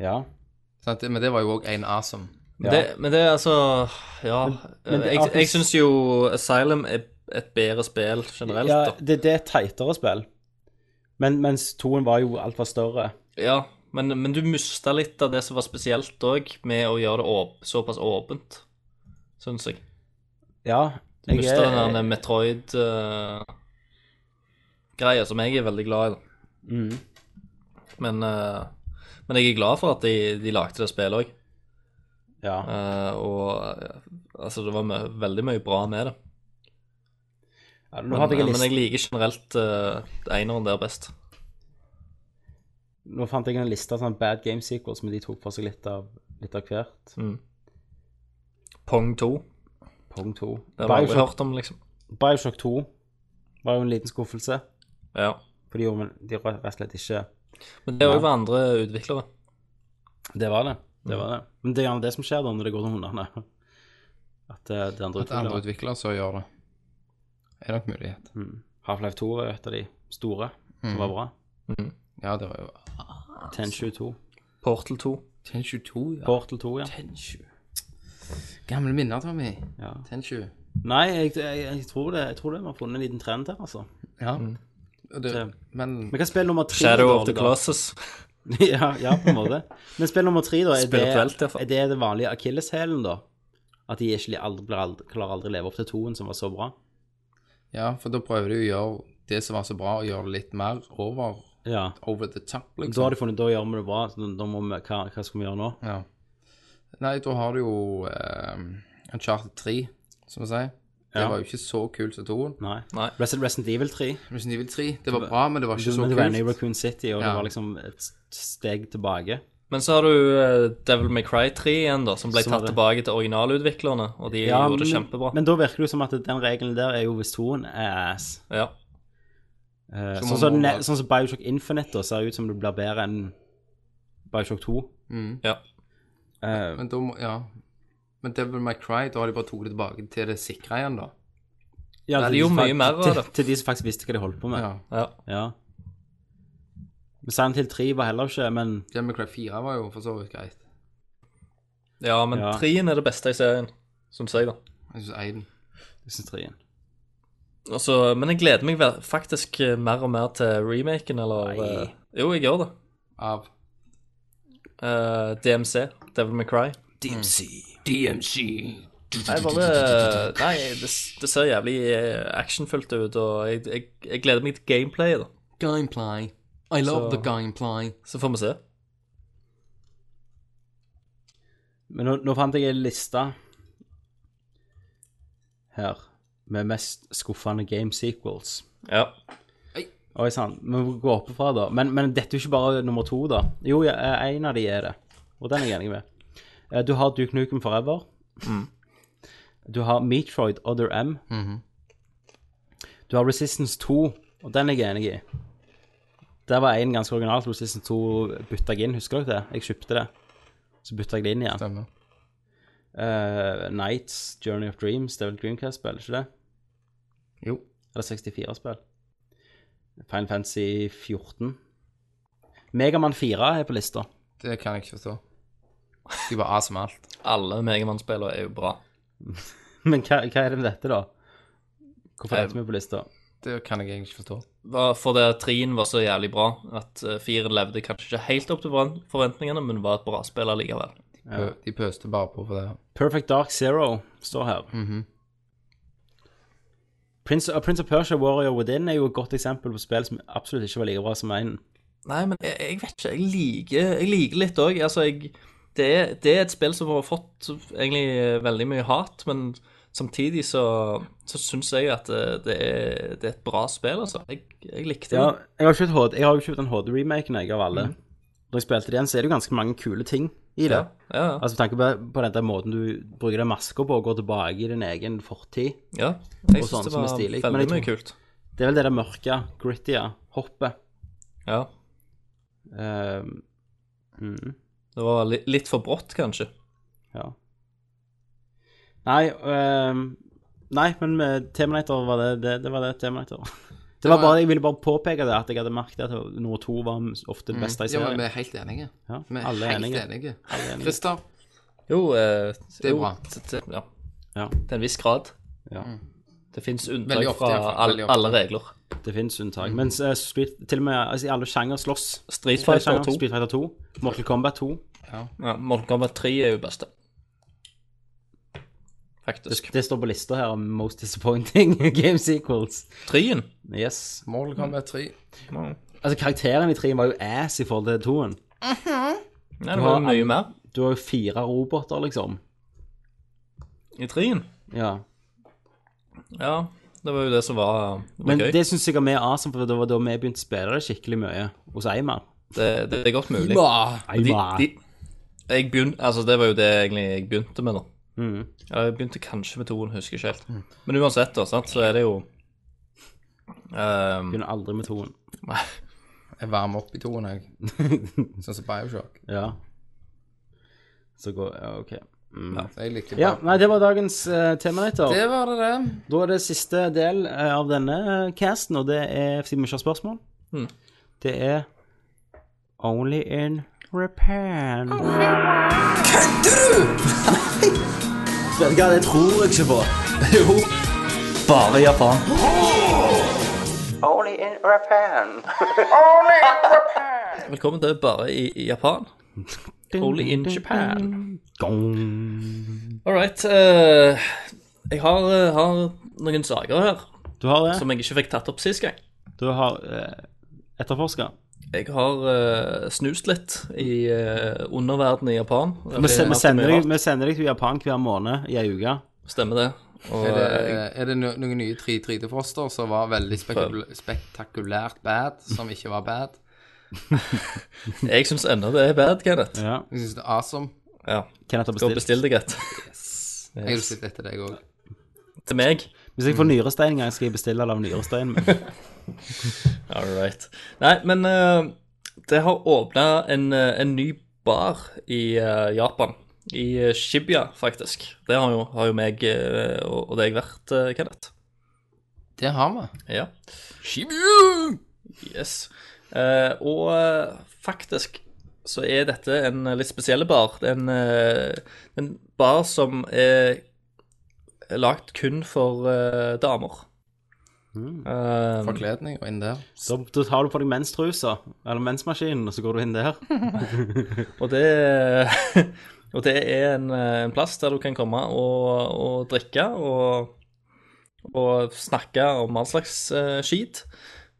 Ja. Sant? Men det var jo òg en awesome. Men det, men det er altså Ja. men det- jeg jeg syns jo Asylum er et bedre spill generelt, ja da. det, det er et teitere spill. Men, mens toen var jo altfor større. Ja, men, men du mista litt av det som var spesielt òg, med å gjøre det åp såpass åpent, syns jeg. Ja. Du mista den der Metroid-greia, som jeg er veldig glad i, da. mm. Men, eh, men jeg er glad for at de, de lagde det spillet òg. Ja. og eh, altså, det var mø- veldig mye bra med det. ja. Nå Men, eh, hadde jeg en men jeg liste liker generelt uh, eineren der best. Nå fant jeg en liste av sånne bad game sequels, men de tok for seg litt av, litt av hvert. Pong 2. Pong 2. Det har vi aldri Bioshock, hørt om, liksom. Bioshock 2 var jo en liten skuffelse. Ja. For de gjorde de rett og slett ikke Men det er òg ved andre utviklere. Det var det. det, var Mm. det. Men det er gjerne det som skjer da når det går til hundene. At eh, det andre At andre utviklere utviklere så gjør det. Er nok mulighet. Mm. Half-Life 2 var jo et av de store som Mm. var bra. Ja, det var jo 1022. Portal 2. 1022, ja. Portal 2, ja. 1020. Gamle minner, Tommy. ja. 1020. Nei, jeg, jeg, jeg tror det. Jeg tror det vi har funnet en liten trend her, altså. Ja. Og Det, Det- men Men hva spiller nummer tre? Shadow da, of the da? Classes. ja, ja, på en måte. Men spill nummer tre, da, er Spirituelt, i hvert det, fall. er det det vanlige akilleshælen, da? At de ikke aldri, blir aldri, klarer aldri å leve opp til toen, som var så bra. Ja, for da prøver de å gjøre det som var så bra, å gjøre det litt mer over, Ja. over the top, Da liksom. har de funnet da gjør vi det bra. så Da må vi, hva, hva skal vi gjøre nå? Ja. Nei, da har du jo eh, Uncharted 3, som vi sier. Det Ja. var jo ikke så kult som toen. Nei. Nei. Resident, Resident Evil 3. Resident Evil 3, det var bra, men det var ikke så Men det var inne i kult. Raccoon City, og Ja. det var liksom et steg tilbake. Men så har du eh, Devil May Cry 3 igjen, da, som ble Som tatt det. tilbake til originalutviklerne, og de Ja, gjorde det men- kjempebra. Men da virker det jo som at den regelen der er jo hvis toen er ass. ja. Eh, Så sånn må som man ne- bare- sånn som Bioshock Infinite da, ser ut som det blir bedre enn Bioshock 2. ja. Eh, Men da må, ja. Men Devil May Cry, da har de bare tatt det tilbake til det sikre igjen, da. ja, det til er jo de som mye fakt- mer av til, det. Til de som faktisk visste hva de holdt på med. Ja. ja. Ja. Men Silent Hill 3 var heller ikke Men Devil May Cry 4 var jo for så vidt greit. Ja, men Ja. 3 er det beste i serien, syns jeg, da. Jeg synes Aiden. jeg synes 3 Altså, men jeg gleder meg vel- faktisk eh, mer og mer til remaken, eller Nei. eh, Jo, jeg gjør det. Av Eh, DMC, Devil May Cry. Mm. DMC. Nei, bare Nei, det, det ser jævlig eh, actionfullt ut, og jeg, jeg, jeg gleder meg til gameplayet, da. Gameplay. I love Så- the gameplay. Så får vi se. Men nå, nå fant jeg en liste her med mest skuffende game sequels. Ja. Oi sann, vi må gå opp fra da. Men, men dette er jo ikke bare nummer to, da. Jo, ja, eh, en av de er det. Og den er jeg enig med. Eh, Du har Duke Nukem Forever. Du har Metroid Other M. Du har Resistance 2, og den er jeg enig i. Der var en ganske originalt. Resistance 2 bytta jeg inn, husker dere det? Jeg kjøpte det. Så bytta jeg det inn igjen. Stemmer. Eh, Nights, Journey of Dreams, det er vel et Dreamcast-spill, ikke det? Jo. Eller 64-spill. Final Fantasy 14. Megaman 4 er på lista. Det kan jeg ikke forstå. De var A som alt. Alle Megamann-spillene er jo bra. Men hva, hva er det med dette, da? Hvorfor er Eh, dette med på lista? Det kan jeg egentlig ikke forstå. Var for det at trien var så jævlig bra at eh, firen levde kanskje ikke helt opp til forvent- forventningene, men var et bra spill allikevel. Pø- De pøste bare på for det. her. Perfect Dark Zero står her. Prince, og Prince of Persia Warrior Within er jo et godt eksempel på spill som absolutt ikke var like bra som en. Nei, men jeg, jeg vet ikke. Jeg liker, jeg liker litt òg. Altså, jeg det er, det er et spill som har fått egentlig eh, veldig mye hat, men samtidig så, så syns jeg at eh, det er, det er et bra spill, altså. Jeg, jeg likte det. Ja, jeg har jo kjøpt, HD, jeg har jo kjøpt den HD-remaken jeg av alle. Når jeg spilte det igjen, så er det jo ganske mange kule ting i det. Ja, ja, ja. Altså med tanke på, på den der måten du bruker den maska på og går tilbake i din egen fortid. ja. Jeg sånn syns det som er var stilig, men veldig jeg mye tror- kult. Det er vel det der mørke, gritty, hoppet. Ja. Ehm, mm, Det var li litt for brått, kanskje. ja. Nei, ehm, nei, men eh, Terminator var det, det, det var det Terminator. Det var var- bare, jeg ville bare påpeke det, at jeg hadde merket at nummer to var ofte Mm, det beste i Ja, men serien. vi er helt enige. Ja, Vi er alle er helt enige. enige. er enige. Christer, Jo, eh, er jo, bra. t- t- Ja. Ja. Til en viss grad. Ja. Det fins Veldig unntak ofte, fra iallfall. all, Veldig ofte. alle regler. Det finnes unntak. Mens eh, Street, til og med altså, i alle sjanger slåss. Street Fighter Sjanger, 2. Street Fighter 2, Mortal Kombat 2. Ja, Mortal Kombat 3 er jo beste. Faktisk. Det står på lista her om most disappointing game sequels. Trien? Yes. Mortal Kombat 3. Altså, karakteren i treen var jo ass i forhold til toen. Nei, det var Du jo har- mye mer Du har jo fire roboter, liksom. i trien. Ja. Ja, det var jo det som var, det var Men gøy. Det, det syns jeg er mer awesome, for det var da vi begynte å spille det skikkelig mye hos Eimar. det, det er godt mulig. De, Eimar. de, jeg begynte, altså det var jo det egentlig jeg begynte med, da. Mm. Ja, Jeg begynte kanskje med toen, husker ikke helt. Men uansett, da, sant, så er det jo ehm, Begynner aldri med toen. Jeg varmer opp i toen, jeg. Sånn som Bioshock. Ja. Så går Ja, OK. Så Jeg likte Ja, bare- nei, det var dagens uh, Terminator. Det var det, det. Da er det siste del eh, av denne eh, casten, og det er siden vi ikke har spørsmål. Hmm. Det er Only in Repan. Ah, Kødder du?! Vet du hva, det tror jeg ikke på. Jo. Bare Japan. Only in Repan. Velkommen til Bare i, i Japan. Only in Japan. Gong. All right. eh, jeg har, eh, har noen saker her Du har det? som jeg ikke fikk tatt opp sist gang. Du har eh, etterforska? Jeg har eh, snust litt i eh, underverdenen i Japan. Vi, se, vi, Alltid mye sender deg, rart. vi sender deg til Japan hver måned i ei uke. Stemmer det. Og, Er det, eh, er det no- noen nye 3-3 til Foster som var veldig spekul spektakulært bad, som ikke var bad? eh, jeg jeg syns ennå det er bad, Kenneth. Ja. Jeg syns det er awesome. Ja. Kenneth har Gå og bestilt. bestill deg et. Jeg har lyst etter deg òg. Til meg. Hvis jeg får Hmm. nyrestein en gang, skal jeg bestille det av nyresteinen min. All right. Nei, men eh, det har åpna en, eh, en ny bar i eh, Japan. I eh, Shibuya, faktisk. Det har jo, har jo meg eh, og, og deg vært, eh, Kenneth. Det har vi. Ja. Yes. Eh, og eh, faktisk så er dette en litt spesiell bar. Det er en, eh, en bar som er lagd kun for eh, damer. Eh, Forkledning og inn der. Da, da tar du på deg menstrusa, eller mensmaskinen, og så går du inn der. og det Og det er en, eh, en plass der du kan komme og, og drikke og, og snakke om all slags eh, skit.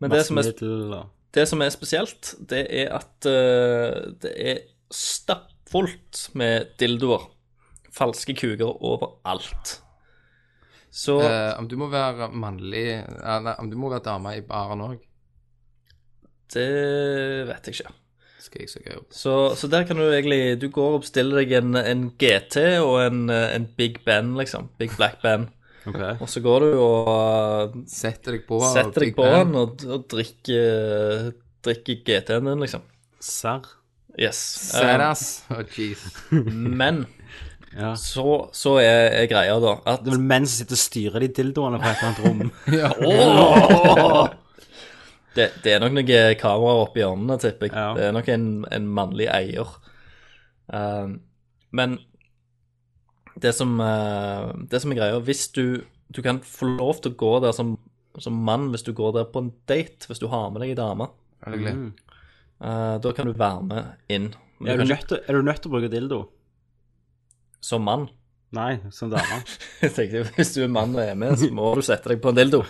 Men det som er Vaskemiddel og det som er spesielt, det er at eh, det er stappfullt med dildoer. Falske kuker overalt. Så Eh, om du må være mannlig eh, Nei, om du må være dame i baren òg, det vet jeg ikke. skal jeg søke jobb. Så, så der kan du egentlig Du går og bestiller deg en, en GT og en, eh, en Big Band, liksom. Big Black Band. Ok. Og så går du og eh, Setter deg på. eh, setter deg Big på Ben. den og, og drikker, drikker GT-en din, liksom. Serr. Yes. Eh, Sad ass. Å, jeez. men Ja. så, så er, er greia, da, at Det er vel menn som sitter og styrer de dildoene på et eller annet rom. Ja. Det, det er nok noen kameraer oppi hjørnene, tipper jeg. Ja. Det er nok en, en mannlig eier. Um, men det som, eh, det som er greia, hvis du, du kan få lov til å gå der som, som mann hvis du går der på en date, hvis du har med deg ei dame, Er det glede? eh, da kan du være med inn. Men Mm. Er du du kan nødt til, er du nødt til å bruke dildo? ikke som mann. Nei, som dame. Jeg tenkte, Hvis du er mann og er med, så må du sette deg på en dildo.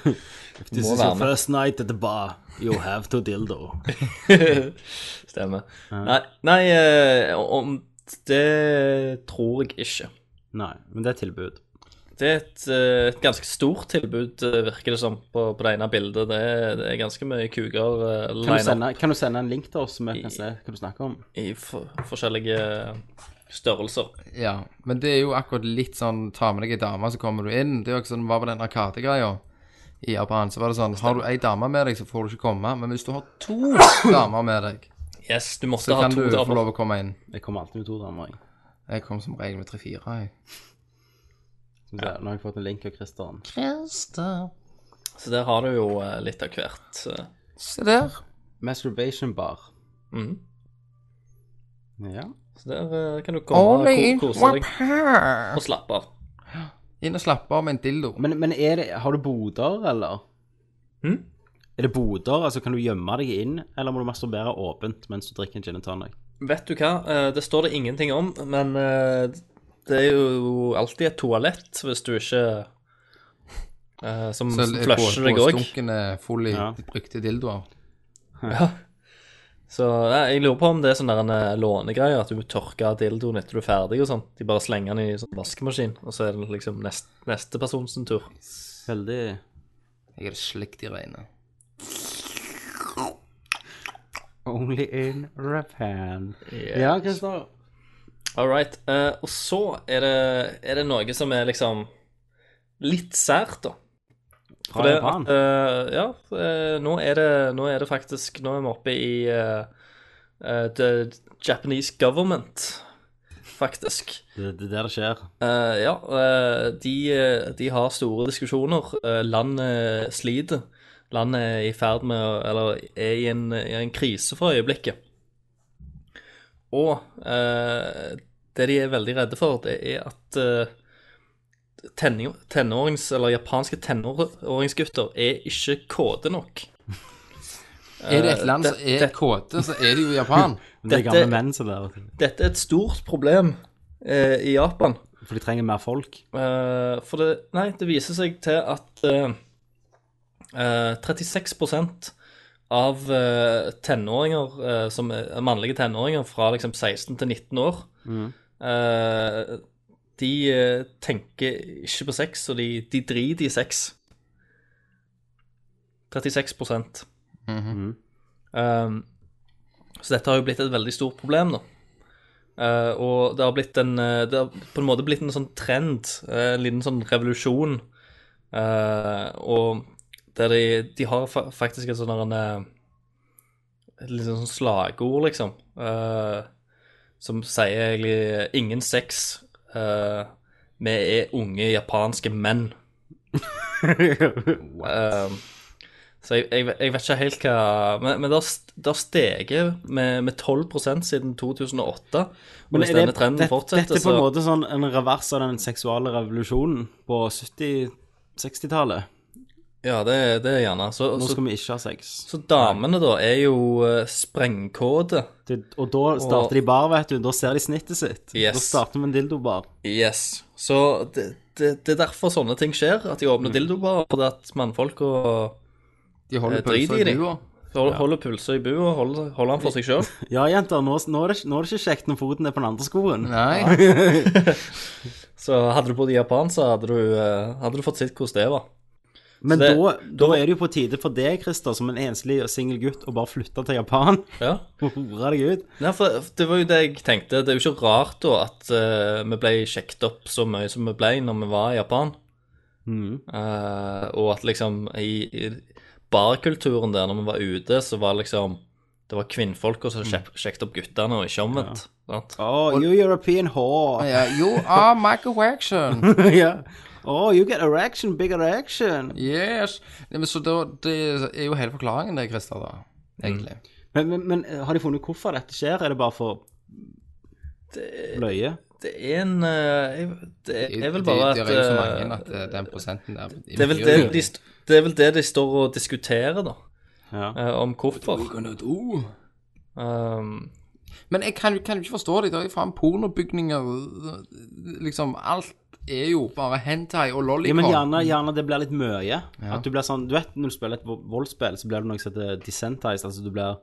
This Må is your være med. first night at the bar. You have to dildo. Stemmer. Nei, nei eh, om det tror jeg ikke. Nei, men det er et tilbud. Det er et, eh, et ganske stort tilbud, eh, virker det som, på, på det ene bildet. Det er, det er ganske mye kuker eh, Kan du, line sende, kan du sende en link til oss, så vi kan se hva du snakker om? up i for, forskjellige størrelser. Ja. Men det er jo akkurat litt sånn ta med deg ei dame, så kommer du inn. Det er jo ikke sånn det var på den arkadegreia i Japan. Så var det sånn Har du ei dame med deg, så får du ikke komme. Men hvis du har to damer med deg, Yes, du måtte så ha kan to du få damer. lov å komme inn. Jeg kommer alltid med to damer, jeg. Jeg kom som regel med tre-fire, jeg. Skal vi se, Nå har jeg fått en link av Christian. Så der har du jo eh, litt av hvert. eh. Se der. Masturbation bar. Mhm. Ja. Så der eh, kan du komme Only in og ko- kose deg Japan. og slappe av. Inn og slappe av med en dildo. Men, men er det, har du boder, eller? Hm? Er det boder? Altså, kan du gjemme deg inn, eller må du masturbere åpent mens du drikker en gin and tonic? Vet du hva, Eh, det står det ingenting om, men eh, det er jo alltid et toalett hvis du ikke eh, Som som flusher deg òg. Stunken er full i Ja. brukte dildoer. Så ja, jeg lurer på om det er sånn der en eh, lånegreie, at du tørker dildoen etter du er ferdig og sånn. De bare slenger den i sånn vaskemaskin, og så er det liksom nest, neste person sin tur. Veldig Jeg er det slikt i regnet. Only in Japan. Yeah. Ja, Christer. All right. eh, og så er det, er det noe som er liksom litt sært, da. Fra det Japan. at, eh, ja, eh, nå er, det, nå er det faktisk Nå er vi oppe i eh, eh, The Japanese government, faktisk. Det det er der det skjer. Eh, ja, eh, de, eh, de har store diskusjoner. Eh, landet sliter. Landet er i ferd med å Eller er i en, i en krise for øyeblikket. Og eh, det de er veldig redde for, det er at eh, tenning- tenårings, eller japanske tenåringsgutter er ikke kåte nok. Er det et land som er Eh, det- kåte, så er det jo Japan. Men det er Dette- gamle menn som der. Dette er et stort problem eh, i Japan. For de trenger mer folk. Eh, for det, nei, det viser seg til at eh, eh, 36 av eh, tenåringer, eh, som er, mannlige tenåringer fra liksom 16 til 19 år, eh, de eh, tenker ikke på sex, og de, de driter i sex. 36 Eh, Så dette har jo blitt et veldig stort problem, da. Eh, og det har blitt en eh, Det har på en måte blitt en sånn trend, eh, en liten sånn revolusjon. Eh, og der de, de har fa faktisk et sånn der, eh, et litt sånn slagord, liksom. eh, som sier egentlig eh, 'ingen sex'. eh, vi er unge japanske menn. Eh, så jeg, jeg, jeg vet ikke helt hva Men, men det har st- det har steget med, med 12 siden 2008. Og hvis denne trenden det- fortsetter, dette er på en så måte sånn en revers av den seksuale revolusjonen på 70-, 60-tallet. Ja, det, det er gjerne. Så, Nå så, skal vi ikke ha sex. så damene, da, er jo eh, sprengkåte. Det, og da starter de bar, vet du. Da ser de snittet sitt. Yes. Da starter vi en dildobar. Yes. Så det, det, det er derfor sånne ting skjer, at de åpner dildobarer. Fordi at mannfolk og De holder Eh, drit pølser i i de. bua. hold- holder pulser i bua, holder, holder han for seg sjøl. Ja, jenter, nå, nå, er det, nå er det ikke kjekt når foten er på den andre skoen. Nei. Så hadde du bodd i Japan, så hadde du, eh, hadde du fått sett hvordan det var. Men Så det- da, da er det jo på tide for deg, Christer, som en enslig og singel gutt, å bare flytte til Japan Ja. og hore deg ut. Nei, for Det var jo det jeg tenkte. Det er jo ikke rart da at eh, vi ble sjekket opp så mye som vi ble når vi var i Japan. Mm. Eh, og at liksom i, i barkulturen der, når vi var ute, så var liksom Det var kvinnfolka som sjek- sjekket opp guttene, og ikke omvendt. sant? Oh, you European whore. Ja, you are microaction. ja. Oh, you get erection, big erection. Yes. Nei, men så da, det er jo hele forklaringen det, Christer, da. Egentlig. Mm. Men, men, men eh, har de funnet ut hvorfor dette skjer? Er det bare for løye? Det er en eh, jeg- Det Det er vel det- bare det at er jo så eh, mange at eh, den prosenten der det, er vel det, de, st- det er vel det de står og diskuterer, da. Ja. eh, om hvorfor. Oh. Um, Men jeg kan, kan jo ikke forstå det. Det er jo faen pornobygninger Liksom, alt er jo bare hentai og Ja, men lollicon. gjerne, gjerne det blir litt mye. At du blir sånn Du vet når du spiller et vo- voldsspill, så blir du noe som heter desensitized. Altså du blir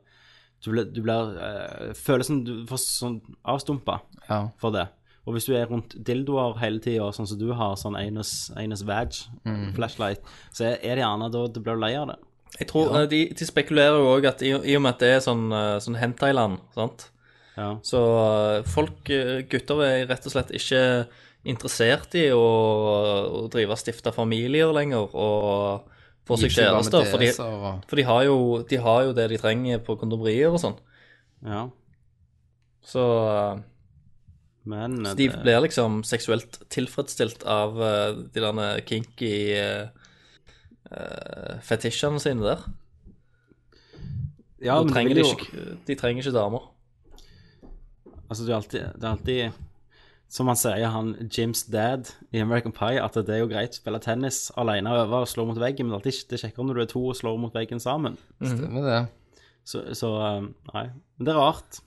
Du blir, du blir eh, Føler som du får sånn avstumpa Ja. for det. Og hvis du er rundt dildoer hele tida, sånn som du har, sånn anus, anus vag, Mm. flashlight, så er er det gjerne da du blir lei av det. Jeg tror, eh, de, de spekulerer jo òg at i, i og med at det er sånn, eh, sånn hentai-land, sant Ja. Så eh, folk, eh, gutter, er rett og slett ikke interessert i å, å drive og stifte familier lenger og få seg Ikke bare med kjærester. For, det, de, så- for de, har jo, de har jo det de trenger på kondomerier og sånn. ja. Så eh, Men så eh, de det- blir liksom seksuelt tilfredsstilt av eh, de der kinky eh, eh, fetisjene sine der. ja, da men det trenger vil de, jo- ikke, de trenger ikke damer. Altså, det er alltid, det er alltid Som han sier, han Jims dad i American Pie, at det er jo greit å spille tennis alene over og slå mot veggen, men det er alltid det er kjekkere når du er to og slår mot veggen sammen. Mhm. Stemmer det. Så, så um, nei. Men det er rart.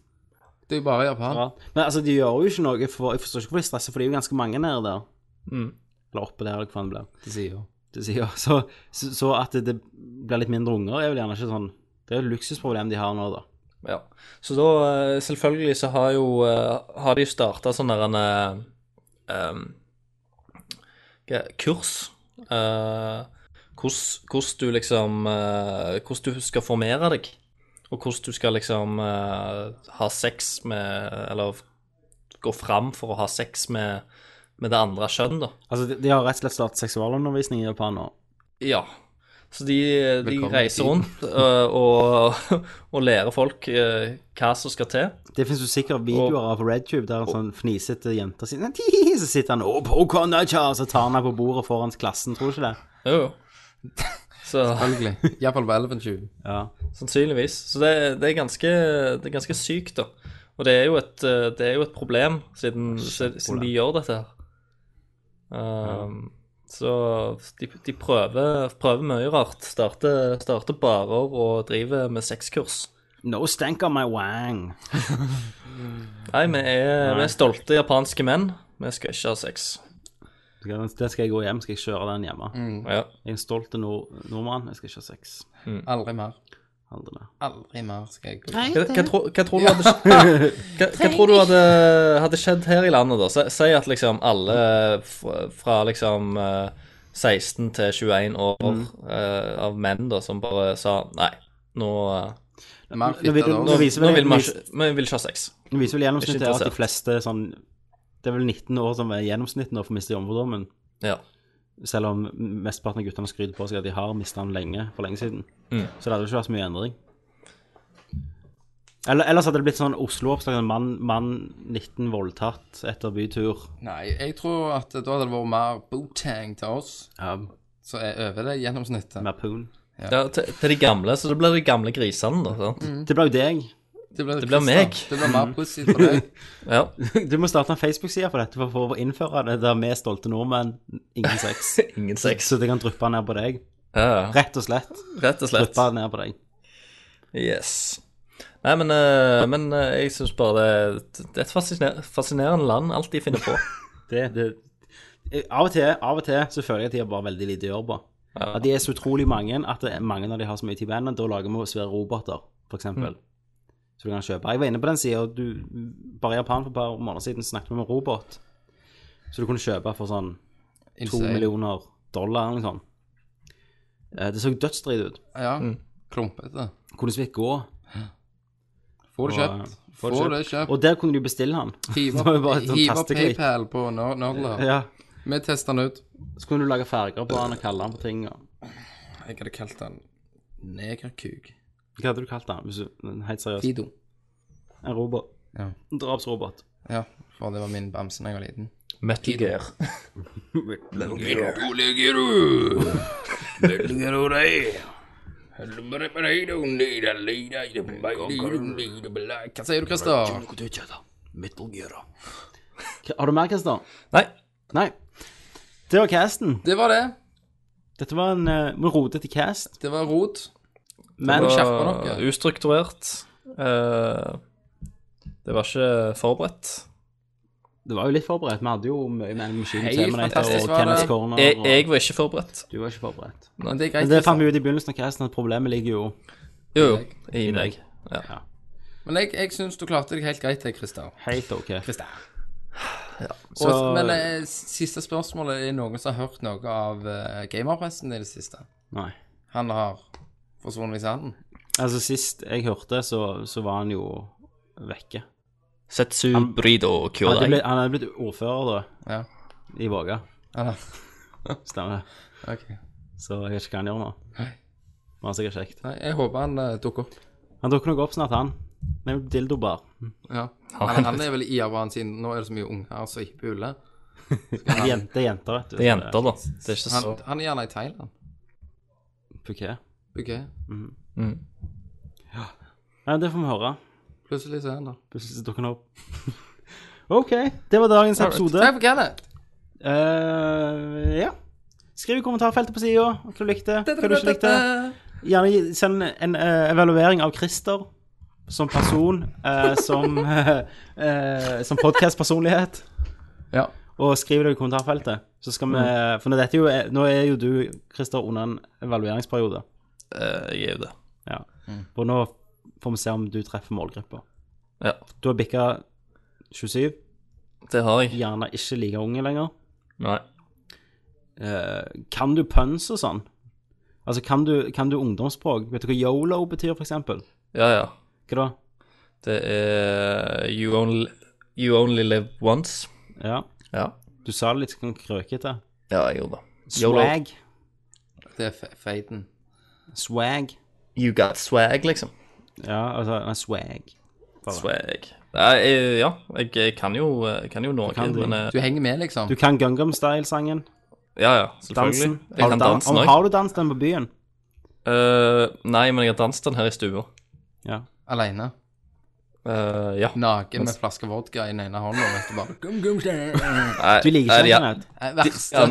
Det er jo bare Japan. rart. Men altså, de gjør jo ikke noe for Jeg forstår ikke hvorfor de stresser, for det er jo ganske mange nede der. Mm. Eller oppe der, eller hva det blir. De sier jo. Det sier jo- Så, så, så at det, det blir litt mindre unger, er vel gjerne ikke sånn Det er jo et luksusproblem de har nå, da. Ja. Så da, eh, selvfølgelig så har jo eh, Har de starta sånn der en eh, em, ja, Kurs. eh, Hvordan hvordan du liksom eh, Hvordan du skal formere deg. Og hvordan du skal liksom eh, ha sex med Eller gå fram for å ha sex med, med det andre kjønn, da. Altså, de, de har rett og slett startet seksualundervisning i Japan nå. Ja. Så de, de Velkommen reiser i tiden. rundt eh, og, og lærer folk eh, hva som skal til. Det finnes jo sikkert videoer av RedTube der en sånn fnisete jente sier «Nei, tihi», Så sitter han og på konnacha, og så tar han henne på bordet foran klassen, tror du ikke det? Jo, jo. Så Selvfølgelig. Iallfall på 1120. Ja. sannsynligvis. Så det, det, er ganske, det er ganske sykt, da. Og det er jo et, eh, det er jo et problem, siden, siden de gjør dette her. Um, Så de, de prøver, prøver mye rart. Starter, starter barer og driver med sexkurs. No stank on my wang. Nei, vi er, vi er stolte japanske menn. Vi skal ikke ha sex. Det skal jeg gå hjem, skal jeg kjøre den hjemme. Ja. Jeg er en stolt nord nordmann, jeg skal ikke ha sex. Aldri mer. Aldri mer. Aldri mer skal jeg Hva, hva, tro, hva tror du hadde, hva, hva tror du hadde, hadde skjedd her i landet, da? Si, si at liksom alle fra, fra liksom eh, 16 til 21 år Mm. eh, av menn da, som bare sa nei, nå, eh, Mer Nå vil, fitte da nå også. viser nå vil vel, vi vis, ikke vi vil ikke ha sex. viser vel gjennomsnittet Ikke at de interessert. fleste sånn Det er vel 19 år som er gjennomsnittet nå for å miste jomfrudommen. Ja. Selv om mesteparten av guttene skryter på seg at de har mista den lenge, for lenge siden. Mm. Så det hadde jo ikke vært så mye endring. Eller, ellers hadde det blitt sånn Oslo-oppslag. sånn Mann, mann 19 voldtatt etter bytur. Nei, jeg tror at da hadde det vært mer Bootang til oss, Ja, så er over det gjennomsnittet. med poon. Ja, til, til de gamle, så det blir de gamle grisene, da. sant? Det ble jo deg. blir, Det blir meg. Det blir mer pussig for deg. Ja. Du må starte en Facebook-side for dette for, for å innføre det der vi er stolte nordmenn, ingen sex. Ingen sex. Så det kan dryppe ned på deg. Ja, Rett og slett. rett og slett. Dryppe ned på deg. Yes. Nei, men, eh, men eh, jeg syns bare det, det er et fasciner- fascinerende land, alt de finner på. Det, det, av, og til, av og til så føler jeg at de har bare veldig lite å gjøre på. Ja. At de er så utrolig mange at det, er mange av de har så mye tid på hendene. Da lager vi svære roboter, f.eks. eksempel Mm. Så du kan kjøpe. Jeg var inne på den sida, og du Bare i Japan for et par måneder siden snakket vi om en robot. Så du kunne kjøpe for sånn to Insane. millioner dollar eller noe sånt. Eh, Det så dødsdrit ut. Ja, klumpete. Kunne så vidt gå. Får det kjøpt. Får det kjøpt. Og der kunne du bestille han. Hive Det var jo bare opp- et sånt hive opp tasteklikk. PayPal på ner- nerdler. Ja. Vi tester den ut. Så kunne du lage farger på han og kalle han på ting. Og... Jeg hadde kalt den Negerkuk. Hva hadde du kalt han? Hvis du, helt seriøst. Fido. En robot. Ja. En drapsrobot. Ja, for det var min bamse da jeg var liten. Metal Gear. Hva sier du, Christer? K- Har du mer, Christer? Nei, Nei. Det var casten. Det var det. Dette var en uh, rodete cast. Det var rot. Men var- Kjær- skjerper dere. Og Ustrukturert. Eh, det var ikke forberedt. det var jo litt forberedt. Vi hadde jo mye mer Machine Hei, Terminator fantastisk og var Kenneth det. Corner. Jeg, Og... jeg var ikke forberedt. Du var ikke forberedt. Men det er greit. Men det fant Christer. vi ut i begynnelsen av casten, at problemet ligger jo Jo, jo. I I meg. meg. Ja. Men jeg, jeg syns du klarte deg helt greit, jeg, Christer. helt OK. Og- Men eh, siste spørsmålet er noen som har hørt noe av eh, gamerpressen i det siste. Nei. Han har forsvunnet i sanden. Altså, sist jeg hørte, så, så var han jo vekke. Setsu Brido Han hadde Kyodai. blitt, han hadde blitt ordfører, da. Ja. I Våga. Eller? Stemmer. Ok. Så jeg vet ikke hva han gjør nå. Nei. Men han er sikkert kjekt. Nei, jeg håper han eh, dukker opp. Han dukker nok opp snart, han. Med dildobar. Ja. Han, han er vel i Japan siden nå er det så mye unger som ikke puler. Det er jen- det er jenter, vet du. Det er jenter, da. Det er ikke Han, så han er gjerne i Thailand. Puké. Ok. Nei, det får vi høre. Plutselig så er han der. Plutselig så dukker han opp. OK. Det var dagens episode. Takk for Kenneth. Eh, ja. Skriv i kommentarfeltet på sida hva du likte, hva du ikke likte. Gjerne gi- send en eh, evaluering av Christer som person, eh, som, eh, eh, som podkast-personlighet. Ja. Og skriv det i kommentarfeltet. Så skal vi, for nå, dette er jo, eh, nå er jo du, Christer, under en evalueringsperiode. Eh, Jeg er jo det. Ja. Og nå får vi se om du treffer målgruppa. Ja, Du har bikka 27, det har jeg. gjerne ikke like unge lenger. Nei. Eh, kan du puns og sånn? Altså, kan du, kan du ungdomsspråk? Vet du hva yolo betyr, for eksempel? Ja, ja. Hva da? Det er eh, You only, you only live once. Ja. Ja. Du sa det litt sånn krøkete. ja, jeg gjorde det. YOLO. Swag. Det er fe- feiten. Swag. You got swag, liksom. Ja, altså, nei, swag. Swag. Nei, jeg, ja, jeg, jeg kan jo, jeg kan jo noe, kan du. men eh, Du henger med, liksom. Du kan Gungam Style-sangen. Ja, ja, selvfølgelig. Dansen. Jeg Har kan du, dan dansen om, òg. har du dans den på byen? Eh, nei, men jeg har danset den her i stua. Ja. Aleine. Eh, ja. Naken med flaske vodka i den ene hånda. og vet du bare, gum, gum, stæ. Nei, Du liker nei, ikke ja. den? Kenneth? Nei, De, ja,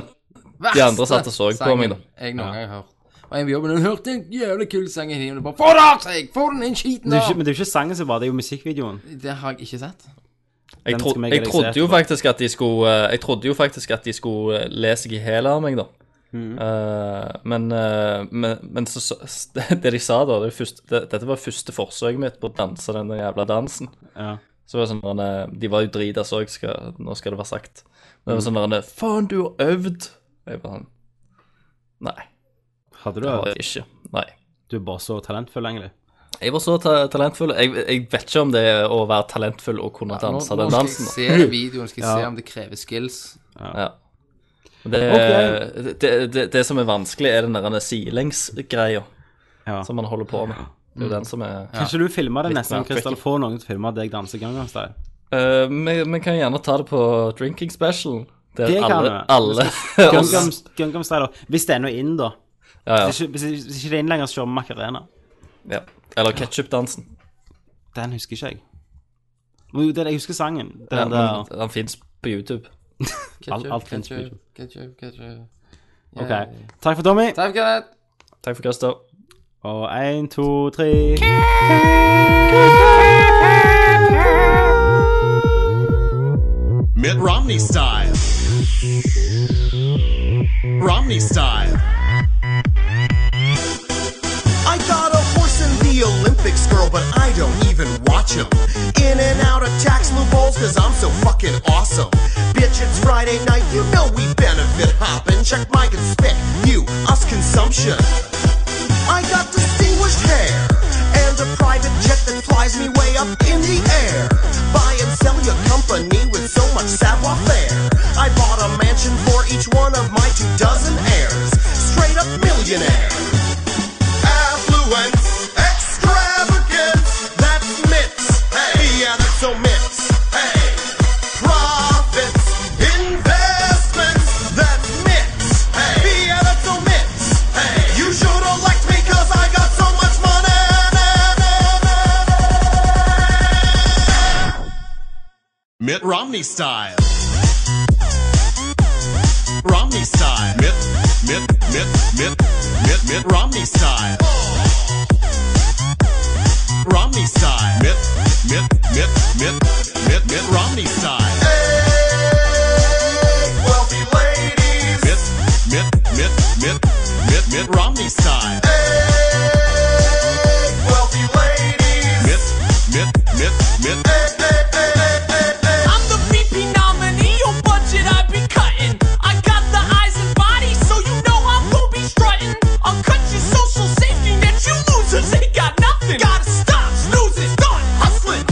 Verste. De andre satt og så på meg, da. Jeg noen gang har hørt. Og jeg på jobben, hun hørte en jævlig kul sang i himmelen. Bare få det av seg! Få den inn skiten Det er jo ikke, av! men det er jo ikke sangen som var det, det er jo musikkvideoen. Det har jeg ikke sett. Jeg, Den tro, skal vi jeg trodde jo etterpå. faktisk at de skulle eh, Jeg trodde jo faktisk at de skulle eh, le seg i hæl av meg, da. Mm. Eh, men, eh, men, men så, så, det de sa, da det første, det, Dette var første forsøket mitt på å danse den jævla dansen. Ja. Så var det sånn der, eh, De var jo drita, så jeg skal, nå skal det være sagt. Men det var Mm. sånn der, Faen, du har øvd! Og jeg bare sånn Nei, Hadde du det har det? jeg ikke. Nei. Du er bare så talentfull, egentlig. Jeg var så ta talentfull. Jeg, jeg vet ikke om det er å være talentfull og kunne Nå, nå danse skal den jeg dansen. da. se den videoen, skal jeg se om det krever skills. Ja. Det, det, det, det som er vanskelig, er den der silengsgreia Ja. som man holder på med. Det er jo den som er Kanskje du filmer det neste gang, mer Christer? tricky. Få noen til å filme deg danse Gangnam Style. Eh, Vi vi kan gjerne ta det på drinking special. Der Det kan alle, vi. alle oss Gangnam, Gangnam Style, da. hvis det er noe inn, da. ja, ja, Hvis ikke, hvis ikke- hvis ikke det er inn lenger, så kjører vi Macarena. ja. Eller ketchupdansen. Den husker ikke jeg. Men jo, det er det jeg husker sangen. Den Ja, der. men den fins på YouTube. Alt- alt finnes på ketchup, YouTube. ketchup, ketchup. Ok. Takk for Tommy. Takk, Kenneth. Takk for Christer. Og én, to, tre Mitt Romney style. Romney style. I got a horse in the Olympics, girl, but I don't even watch him. In and out of tax loopholes, cause I'm so fucking awesome. Bitch, it's Friday night, you know we benefit hopping. Check my conspic, you, us consumption. I got distinguished hair and a private jet that flies me way up in the air. Buy and sell your company with so much savoir faire. I bought a mansion for each one of my two dozen heirs. Straight up millionaire. Affluence, extravagance, that's mitts. Hey, yeah, that's so mitts. Hey, profits, investments, that's mitts. Hey, yeah, that's so mitts. Hey, you should have liked me 'cause I got so much money. Mitt Romney style. Romney style. Mitt, Mitt, Mitt, Mitt, Mitt, Mitt Romney style. Romney style. Mitt, Mitt, Mitt, Mitt, Mitt, Mitt Romney style. Hey, wealthy ladies. Mitt, Mitt, Mitt, Mitt, Mitt, Mitt Romney style. Hey, wealthy ladies. Mitt, Mitt, Mitt, Mitt. I'm the VP nominee, your budget I be cutting. I got the eyes and body, so you know I'm gonna be strutting. I'll cut your social safety net, you losers ain't got nothing. Gotta stop snoozing, start hustling.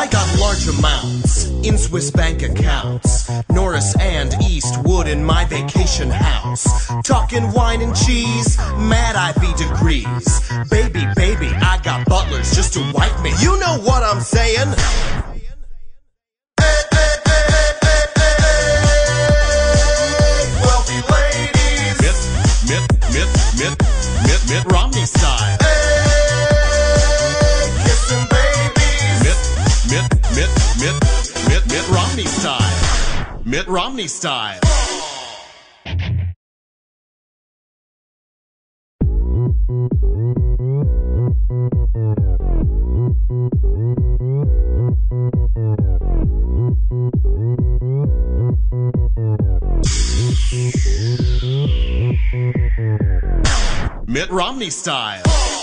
I got large amounts in Swiss bank accounts. Norris and Eastwood in my vacation house. Talking wine and cheese, mad IV degrees. Baby, baby, I got butlers just to wipe me. You know what I'm saying? Wealthy ladies. Mitt, mitt, mitt, mitt, mitt, mitt Romney style. Hey, kissing babies. Mitt, mitt, mitt, mitt, mitt, mitt Romney style. Mitt Romney style. Mitt Romney style.